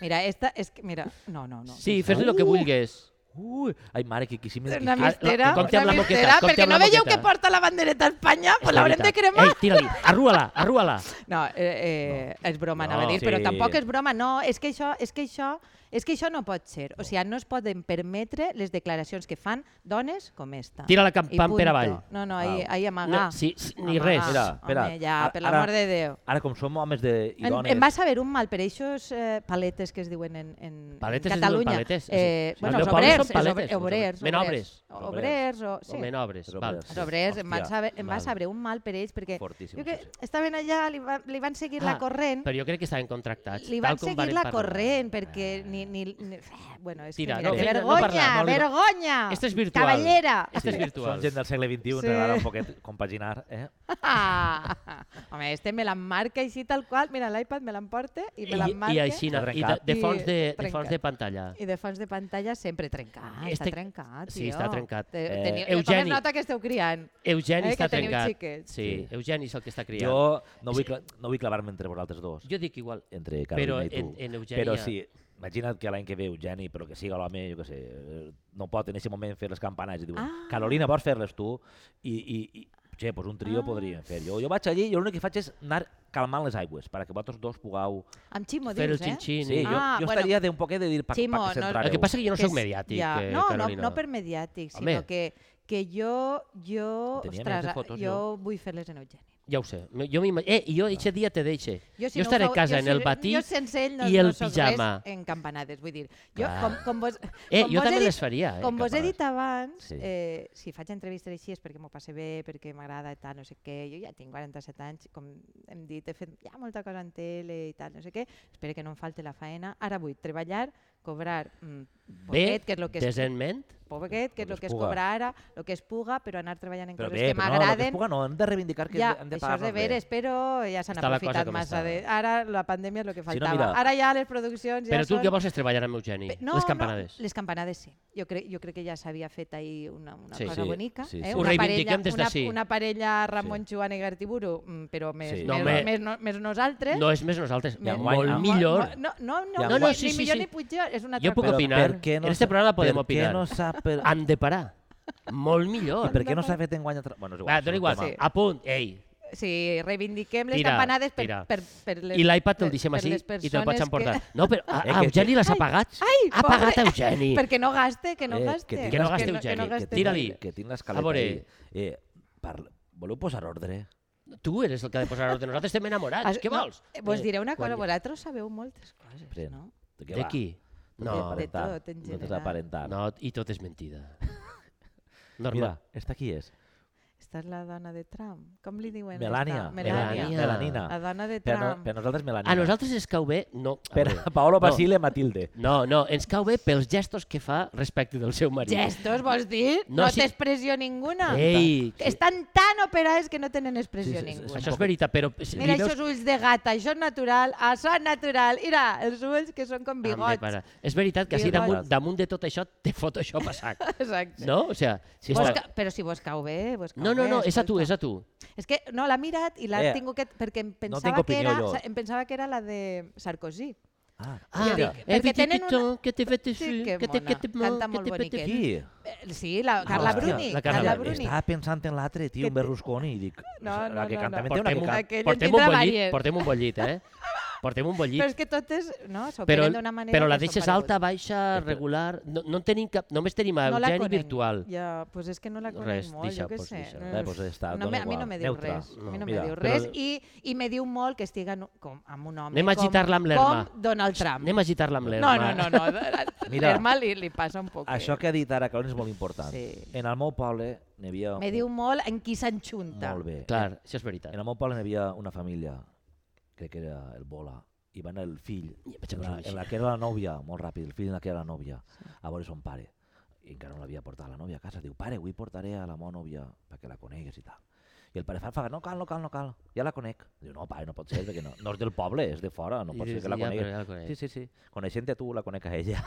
[SPEAKER 2] Mira, esta és que, mira, no, no, no.
[SPEAKER 3] Sí, fes-li el que
[SPEAKER 1] Uh!
[SPEAKER 3] vulguis.
[SPEAKER 1] Ui, ai, mare, que quisim...
[SPEAKER 2] Una
[SPEAKER 3] la-
[SPEAKER 2] mistera,
[SPEAKER 3] compte amb
[SPEAKER 2] una
[SPEAKER 3] la moqueta,
[SPEAKER 2] mistera,
[SPEAKER 3] compte
[SPEAKER 2] perquè
[SPEAKER 3] amb la
[SPEAKER 2] no veieu
[SPEAKER 3] moqueta.
[SPEAKER 2] que porta la bandereta a Espanya? Pues l'haurem de cremar.
[SPEAKER 3] Ei, tira-li, arrua-la, arrua-la.
[SPEAKER 2] No, eh, eh, és broma, no, anava a
[SPEAKER 1] No,
[SPEAKER 2] dir, però
[SPEAKER 1] sí.
[SPEAKER 2] tampoc és broma. No, és que això, és que això, és que això no pot ser. O sigui, no es poden permetre les declaracions que fan dones com esta.
[SPEAKER 3] Tira la
[SPEAKER 2] I
[SPEAKER 3] campana per
[SPEAKER 2] punto.
[SPEAKER 3] avall.
[SPEAKER 2] No, no, ahí, ahí amagar.
[SPEAKER 3] No, sí, sí, ni res.
[SPEAKER 1] Mira,
[SPEAKER 2] Mira,
[SPEAKER 1] espera,
[SPEAKER 2] home, ja,
[SPEAKER 1] ara-
[SPEAKER 2] per l'amor
[SPEAKER 1] ara-
[SPEAKER 2] de Déu.
[SPEAKER 1] Ara, com som homes de... i
[SPEAKER 2] En,
[SPEAKER 1] dones...
[SPEAKER 2] em va saber un mal per eixos eh, paletes que es diuen en, en,
[SPEAKER 3] Paletes es
[SPEAKER 2] en
[SPEAKER 3] diuen
[SPEAKER 2] Catalunya.
[SPEAKER 3] paletes, sí.
[SPEAKER 2] Eh,
[SPEAKER 3] Sí,
[SPEAKER 2] bueno,
[SPEAKER 3] al
[SPEAKER 2] els
[SPEAKER 3] meu poble
[SPEAKER 2] obrers,
[SPEAKER 3] són paletes,
[SPEAKER 2] els obrers,
[SPEAKER 3] men obres.
[SPEAKER 2] obrers, obrers, o,
[SPEAKER 3] O
[SPEAKER 2] sí.
[SPEAKER 3] menobres.
[SPEAKER 1] Però
[SPEAKER 3] val.
[SPEAKER 1] bé,
[SPEAKER 2] Els obrers, em van
[SPEAKER 1] Hòstia,
[SPEAKER 2] saber, em va
[SPEAKER 1] val.
[SPEAKER 2] saber un mal per ells, perquè
[SPEAKER 1] Fortíssim,
[SPEAKER 2] jo que
[SPEAKER 1] això sí.
[SPEAKER 2] estaven allà, li, va, li van seguir la
[SPEAKER 3] Ah,
[SPEAKER 2] corrent,
[SPEAKER 3] Però jo crec que estaven contractats.
[SPEAKER 2] li
[SPEAKER 3] tal
[SPEAKER 2] van
[SPEAKER 3] com
[SPEAKER 2] seguir
[SPEAKER 3] varen
[SPEAKER 2] la
[SPEAKER 3] parlar. Ah.
[SPEAKER 2] corrent, perquè ni... ni, ni bueno, és
[SPEAKER 3] Tira,
[SPEAKER 2] que mira,
[SPEAKER 3] no,
[SPEAKER 2] que
[SPEAKER 3] no, no
[SPEAKER 2] vergonya,
[SPEAKER 3] parlar, no li-
[SPEAKER 2] vergonya!
[SPEAKER 3] Este és virtual.
[SPEAKER 2] Cavallera!
[SPEAKER 3] Este és virtual.
[SPEAKER 1] Som gent del segle XXI, sí.
[SPEAKER 2] Sí.
[SPEAKER 1] t'agrada un poquet compaginar, eh?
[SPEAKER 2] Ah, home, este me l'emmarca així tal qual, mira, l'iPad me l'emporta i me
[SPEAKER 3] I, i
[SPEAKER 2] l'emmarca.
[SPEAKER 1] Està
[SPEAKER 3] així, i de,
[SPEAKER 1] trencat.
[SPEAKER 3] de, fons
[SPEAKER 2] I
[SPEAKER 3] de, de
[SPEAKER 2] trencat. Eh,
[SPEAKER 3] fons de pantalla.
[SPEAKER 2] I de fons de pantalla sempre trencat,
[SPEAKER 3] Este-
[SPEAKER 2] està trencat, tio.
[SPEAKER 3] sí, està trencat.
[SPEAKER 2] Te,
[SPEAKER 1] Eh,
[SPEAKER 2] teniu,
[SPEAKER 3] Eugeni.
[SPEAKER 2] Eugeni. nota que esteu criant.
[SPEAKER 3] Eugeni
[SPEAKER 2] Eh,
[SPEAKER 3] està
[SPEAKER 2] que teniu
[SPEAKER 3] trencat.
[SPEAKER 2] xiquets.
[SPEAKER 3] Sí,
[SPEAKER 1] Sí.
[SPEAKER 3] Eugeni és el que està criant.
[SPEAKER 1] Jo no vull, cla- no vull clavar-me entre vosaltres dos,
[SPEAKER 3] jo dic igual.
[SPEAKER 1] entre
[SPEAKER 3] Però
[SPEAKER 1] Carolina i tu.
[SPEAKER 3] en- en Eugènia-
[SPEAKER 1] Però sí, imagina't que l'any que ve Eugeni, però que siga l'home, jo què sé, eh, no pot en aquest moment fer les campanades. i Diuen,
[SPEAKER 2] Ah.
[SPEAKER 1] Carolina, vols fer-les tu? I, i, i Che, pues un trio ah. podríem fer. Jo, jo vaig allí i l'únic que faig és anar calmant les aigües, perquè vosaltres dos pugueu...
[SPEAKER 2] Amb Ximo,
[SPEAKER 3] Fer el
[SPEAKER 2] dius, eh?
[SPEAKER 3] xin-xin.
[SPEAKER 1] Sí,
[SPEAKER 3] i-
[SPEAKER 1] jo,
[SPEAKER 2] Ah,
[SPEAKER 1] jo
[SPEAKER 2] bueno.
[SPEAKER 1] estaria d'un poquet de dir pa,
[SPEAKER 2] Ximo,
[SPEAKER 1] pa
[SPEAKER 2] no-
[SPEAKER 1] que centrareu.
[SPEAKER 3] El que passa és que jo no
[SPEAKER 2] que
[SPEAKER 3] sóc
[SPEAKER 2] és-
[SPEAKER 3] mediàtic,
[SPEAKER 2] ja.
[SPEAKER 3] eh,
[SPEAKER 2] no,
[SPEAKER 3] Carolina.
[SPEAKER 2] No, no per mediàtic,
[SPEAKER 3] Home.
[SPEAKER 2] sinó que, que jo, jo,
[SPEAKER 1] Tenia més
[SPEAKER 2] ostres,
[SPEAKER 1] de fotos,
[SPEAKER 2] jo, jo vull fer-les en Eugeni.
[SPEAKER 3] Ja ho sé. No, Jo m'ima- eh, i jo eixe dia te deixe.
[SPEAKER 2] Jo, si
[SPEAKER 3] jo
[SPEAKER 2] no
[SPEAKER 3] estaré
[SPEAKER 2] ho
[SPEAKER 3] a
[SPEAKER 2] fa-
[SPEAKER 3] casa
[SPEAKER 2] jo
[SPEAKER 3] en
[SPEAKER 2] si-
[SPEAKER 3] el patí
[SPEAKER 2] jo sense ell no,
[SPEAKER 3] i el
[SPEAKER 2] no soc res
[SPEAKER 3] pijama.
[SPEAKER 2] en campanades, vull dir. Jo,
[SPEAKER 3] Clar.
[SPEAKER 2] com, com vos,
[SPEAKER 3] Eh,
[SPEAKER 2] com
[SPEAKER 3] jo
[SPEAKER 2] vos he
[SPEAKER 3] també
[SPEAKER 2] dit-
[SPEAKER 3] les faria, eh,
[SPEAKER 2] Com vos
[SPEAKER 1] campanades.
[SPEAKER 2] he dit abans,
[SPEAKER 1] Sí.
[SPEAKER 2] eh, si faig entrevistes així és perquè m'ho passe bé, perquè m'agrada i tal, no sé què. Jo ja tinc 47 anys, com hem dit, he fet ja molta cosa en tele i tal, no sé què. Espero que no em falte la faena. Ara vull treballar, cobrar mm,
[SPEAKER 3] bé,
[SPEAKER 2] poquet, que és el que... es-
[SPEAKER 3] decentment,
[SPEAKER 2] Expo Beguet, que
[SPEAKER 1] El
[SPEAKER 2] és el
[SPEAKER 1] que
[SPEAKER 2] que
[SPEAKER 1] és
[SPEAKER 2] es
[SPEAKER 1] puga.
[SPEAKER 2] cobra ara, el que es puga, però anar treballant en
[SPEAKER 1] Però
[SPEAKER 2] coses
[SPEAKER 1] bé,
[SPEAKER 2] que
[SPEAKER 1] però no, el que es
[SPEAKER 2] m'agraden.
[SPEAKER 1] puga no, hem de reivindicar que
[SPEAKER 2] ja,
[SPEAKER 1] hem de
[SPEAKER 2] això és
[SPEAKER 1] pagar-nos bé.
[SPEAKER 2] deberes, però ja s'han
[SPEAKER 3] Està la cosa ¿eh?
[SPEAKER 2] aprofitat
[SPEAKER 3] com
[SPEAKER 2] massa
[SPEAKER 3] està.
[SPEAKER 2] de... Ara la pandèmia és el que
[SPEAKER 1] no,
[SPEAKER 2] faltava.
[SPEAKER 1] mira-
[SPEAKER 2] Ara ja les produccions ja
[SPEAKER 3] Però tu el
[SPEAKER 2] són...
[SPEAKER 3] que vols és treballar amb Eugeni,
[SPEAKER 2] Pe-
[SPEAKER 3] les campanades.
[SPEAKER 2] No, les campanades sí. Jo crec, jo crec que ja s'havia fet ahir una, una
[SPEAKER 3] Sí,
[SPEAKER 2] cosa
[SPEAKER 1] sí,
[SPEAKER 2] bonica.
[SPEAKER 1] sí,
[SPEAKER 2] eh?
[SPEAKER 1] sí.
[SPEAKER 3] Ho
[SPEAKER 2] Una
[SPEAKER 3] reivindiquem
[SPEAKER 2] parella,
[SPEAKER 3] des
[SPEAKER 2] una,
[SPEAKER 3] d'ací.
[SPEAKER 2] Una parella Ramon Joan i Gartiburu, mm, però més,
[SPEAKER 1] Sí.
[SPEAKER 2] més,
[SPEAKER 3] No, home.
[SPEAKER 2] més, no- més nosaltres.
[SPEAKER 3] No és més nosaltres,
[SPEAKER 2] més-
[SPEAKER 1] enguany-
[SPEAKER 3] molt
[SPEAKER 1] enguany-
[SPEAKER 3] millor.
[SPEAKER 2] No, no, no,
[SPEAKER 1] I
[SPEAKER 2] no,
[SPEAKER 1] enguany-
[SPEAKER 2] ni,
[SPEAKER 3] Sí, sí,
[SPEAKER 2] millor
[SPEAKER 3] sí.
[SPEAKER 2] ni pitjor, és una altra
[SPEAKER 3] Jo puc
[SPEAKER 2] cosa.
[SPEAKER 1] Però
[SPEAKER 3] opinar.
[SPEAKER 1] per què no
[SPEAKER 3] en este
[SPEAKER 1] s'ha-
[SPEAKER 3] programa podem
[SPEAKER 1] per què
[SPEAKER 3] opinar. Ah,
[SPEAKER 1] no s'ha per-
[SPEAKER 3] Han de parar. Molt millor.
[SPEAKER 1] I per què no s'ha fet enguany... a tra- Bueno, és igual.
[SPEAKER 3] Va,
[SPEAKER 1] és
[SPEAKER 3] dona
[SPEAKER 1] un
[SPEAKER 3] igual.
[SPEAKER 1] tema.
[SPEAKER 3] A punt. Ei,
[SPEAKER 2] Sí, reivindiquem les
[SPEAKER 3] Tira,
[SPEAKER 2] campanades per,
[SPEAKER 3] tira.
[SPEAKER 2] per, per les
[SPEAKER 3] i l'iPad el
[SPEAKER 2] per-
[SPEAKER 3] deixem
[SPEAKER 2] per
[SPEAKER 3] així
[SPEAKER 2] les
[SPEAKER 3] i te'l
[SPEAKER 2] persones
[SPEAKER 3] pots
[SPEAKER 2] que-
[SPEAKER 3] emportar. No, però a,
[SPEAKER 1] Eh,
[SPEAKER 3] a
[SPEAKER 1] que-
[SPEAKER 3] Eugeni l'has
[SPEAKER 2] Ai,
[SPEAKER 3] apagat.
[SPEAKER 2] ai,
[SPEAKER 3] ha
[SPEAKER 2] pobre.
[SPEAKER 3] pagat Eugeni.
[SPEAKER 2] Perquè no gaste, que no
[SPEAKER 1] Eh,
[SPEAKER 2] gaste.
[SPEAKER 1] tinc
[SPEAKER 3] Que no
[SPEAKER 1] l'esca-
[SPEAKER 3] gaste, Eugeni,
[SPEAKER 2] no
[SPEAKER 3] que
[SPEAKER 2] gaste.
[SPEAKER 3] tira-li.
[SPEAKER 1] Que tinc l'escaleta
[SPEAKER 3] veure.
[SPEAKER 1] ahí. Eh, parla... Voleu posar ordre?
[SPEAKER 3] Tu eres el que ha de posar ordre. Nosaltres estem enamorats.
[SPEAKER 2] As-
[SPEAKER 3] Ah, Què
[SPEAKER 2] no,
[SPEAKER 3] vols?
[SPEAKER 2] eh, Vos
[SPEAKER 1] Eh,
[SPEAKER 2] diré una
[SPEAKER 1] quan
[SPEAKER 2] cosa,
[SPEAKER 1] hi-
[SPEAKER 2] vosaltres sabeu moltes coses,
[SPEAKER 1] Pren.
[SPEAKER 2] no?
[SPEAKER 1] Què
[SPEAKER 3] De
[SPEAKER 1] va? Eh,
[SPEAKER 3] qui? No,
[SPEAKER 2] de
[SPEAKER 1] aparentar.
[SPEAKER 2] tot, en
[SPEAKER 1] No t'has
[SPEAKER 2] general.
[SPEAKER 1] aparentar.
[SPEAKER 3] no, i tot és mentida.
[SPEAKER 1] Mira,
[SPEAKER 3] Normal.
[SPEAKER 1] esta qui és?
[SPEAKER 2] Esta és la dona de Trump. Com li diuen?
[SPEAKER 1] Melania.
[SPEAKER 2] esta? Melania.
[SPEAKER 3] Melania.
[SPEAKER 1] Melanina.
[SPEAKER 2] La dona de
[SPEAKER 1] Per, no,
[SPEAKER 2] Trump.
[SPEAKER 1] per nosaltres, Melanina.
[SPEAKER 3] a nosaltres Ah, ens cau bé... No, a
[SPEAKER 1] Per
[SPEAKER 3] veure.
[SPEAKER 1] a Paolo
[SPEAKER 3] No.
[SPEAKER 1] Basile Matilde.
[SPEAKER 3] No, no, ens cau bé pels gestos que fa respecte del seu marit.
[SPEAKER 2] Gestos, vols dir?
[SPEAKER 3] No,
[SPEAKER 2] No,
[SPEAKER 3] sí.
[SPEAKER 2] té expressió ninguna.
[SPEAKER 3] Ei, sí.
[SPEAKER 2] Estan tan operades que no tenen expressió
[SPEAKER 1] Sí, sí, sí,
[SPEAKER 2] ninguna.
[SPEAKER 3] Això és veritat, però... si
[SPEAKER 2] Mira,
[SPEAKER 3] li veus-
[SPEAKER 2] això és ulls de gata, això és natural, això és natural. Mira, els ulls que són com
[SPEAKER 3] Ah, me
[SPEAKER 2] bigots.
[SPEAKER 3] pare. És veritat que així
[SPEAKER 2] Bigots.
[SPEAKER 3] damunt, damunt de tot això té Photoshop a sac.
[SPEAKER 2] Exacte.
[SPEAKER 3] No? O sea, si
[SPEAKER 2] Vos
[SPEAKER 3] està...
[SPEAKER 2] ca... Però si vos cau bé, vos cau
[SPEAKER 3] No, no,
[SPEAKER 2] bé,
[SPEAKER 3] no, és a tu,
[SPEAKER 2] escolta.
[SPEAKER 3] és a tu.
[SPEAKER 2] És que no, l'ha mirat i l'ha
[SPEAKER 1] Eh,
[SPEAKER 2] eh, tingut que... Perquè em pensava,
[SPEAKER 1] tinc
[SPEAKER 2] que
[SPEAKER 1] opinió,
[SPEAKER 2] era,
[SPEAKER 1] jo.
[SPEAKER 2] em pensava que era la de Sarkozy.
[SPEAKER 1] Ah,
[SPEAKER 3] Ah,
[SPEAKER 1] mira.
[SPEAKER 2] dic,
[SPEAKER 3] eh,
[SPEAKER 2] perquè
[SPEAKER 3] petit
[SPEAKER 2] tenen
[SPEAKER 3] pitó, que te fet
[SPEAKER 2] Sí,
[SPEAKER 3] així,
[SPEAKER 2] que
[SPEAKER 3] que te
[SPEAKER 2] mona.
[SPEAKER 3] que te mo-
[SPEAKER 2] Canta
[SPEAKER 3] que
[SPEAKER 2] molt
[SPEAKER 3] te pete-
[SPEAKER 2] boniquet.
[SPEAKER 1] Qui?
[SPEAKER 2] Eh, Sí, la Carla
[SPEAKER 1] hòstia,
[SPEAKER 2] Bruni.
[SPEAKER 3] Ah, la Carla
[SPEAKER 2] Carla
[SPEAKER 3] Bruni.
[SPEAKER 2] Bruni.
[SPEAKER 1] Estava pensant en l'altre, tio, en
[SPEAKER 2] Que-
[SPEAKER 1] Berlusconi. i Dic,
[SPEAKER 2] No,
[SPEAKER 1] la
[SPEAKER 2] no,
[SPEAKER 1] que
[SPEAKER 2] no,
[SPEAKER 1] canta
[SPEAKER 2] no.
[SPEAKER 1] me té una
[SPEAKER 3] Portem un,
[SPEAKER 1] mica...
[SPEAKER 2] mica. Aquell en
[SPEAKER 3] portem un
[SPEAKER 2] tindrà
[SPEAKER 3] bollit,
[SPEAKER 2] vàries.
[SPEAKER 3] portem un bollit, eh? Portem un bollit.
[SPEAKER 2] Però és que totes, no,
[SPEAKER 3] però,
[SPEAKER 2] s'operen d'una manera...
[SPEAKER 3] però la
[SPEAKER 2] que són
[SPEAKER 3] deixes alta,
[SPEAKER 1] Eh,
[SPEAKER 3] baixa, regular... No, no en tenim cap, només tenim a
[SPEAKER 2] paregudes. la
[SPEAKER 3] Eugeni
[SPEAKER 2] conec.
[SPEAKER 3] virtual.
[SPEAKER 2] Ja, pues és que no la conec
[SPEAKER 3] Res,
[SPEAKER 2] molt,
[SPEAKER 3] deixa,
[SPEAKER 2] jo què
[SPEAKER 3] pues
[SPEAKER 2] sé.
[SPEAKER 3] deixa.
[SPEAKER 1] Eh, pues està,
[SPEAKER 2] no,
[SPEAKER 1] dona
[SPEAKER 2] me, a mi no
[SPEAKER 1] igual.
[SPEAKER 2] me diu
[SPEAKER 1] Neutra.
[SPEAKER 2] res. A mi no
[SPEAKER 1] Mira,
[SPEAKER 2] me diu
[SPEAKER 1] però-
[SPEAKER 2] res. I, I me diu molt que estiguen com, amb un home
[SPEAKER 3] Anem a
[SPEAKER 2] com,
[SPEAKER 3] agitar-la amb l'Erma.
[SPEAKER 2] com Donald Trump.
[SPEAKER 3] Anem a agitar-la amb l'Erma.
[SPEAKER 2] No, no, no, no.
[SPEAKER 1] Mira.
[SPEAKER 2] L'Erma li, li passa un poc.
[SPEAKER 1] Això que ha dit ara, Carol, és molt important.
[SPEAKER 2] Sí.
[SPEAKER 1] En el meu poble n'hi havia...
[SPEAKER 2] Me diu molt en qui s'enxunta.
[SPEAKER 1] Molt bé.
[SPEAKER 3] Clar, això és veritat.
[SPEAKER 1] En el meu poble n'hi havia una família, crec que era el Bola, i va anar el fill,
[SPEAKER 3] Ja vaig
[SPEAKER 1] en la,
[SPEAKER 3] aconseguir.
[SPEAKER 1] en la que era la nòvia, molt ràpid, el fill en la que era la nòvia, a veure son pare. I encara no l'havia portat la nòvia a casa. Diu, pare, avui portaré a la meva nòvia perquè la conegues i tal. I el pare fa, fa, no cal, no cal, no cal, ja la conec. Diu, no, pare, no pot ser, perquè no, no és del poble, és de fora, no
[SPEAKER 3] I
[SPEAKER 1] pot ser
[SPEAKER 3] dius,
[SPEAKER 1] que la
[SPEAKER 3] "Ja, però
[SPEAKER 1] conegues.
[SPEAKER 3] ja la conec.
[SPEAKER 1] sí, sí, sí, coneixent-te a tu, la conec a ella.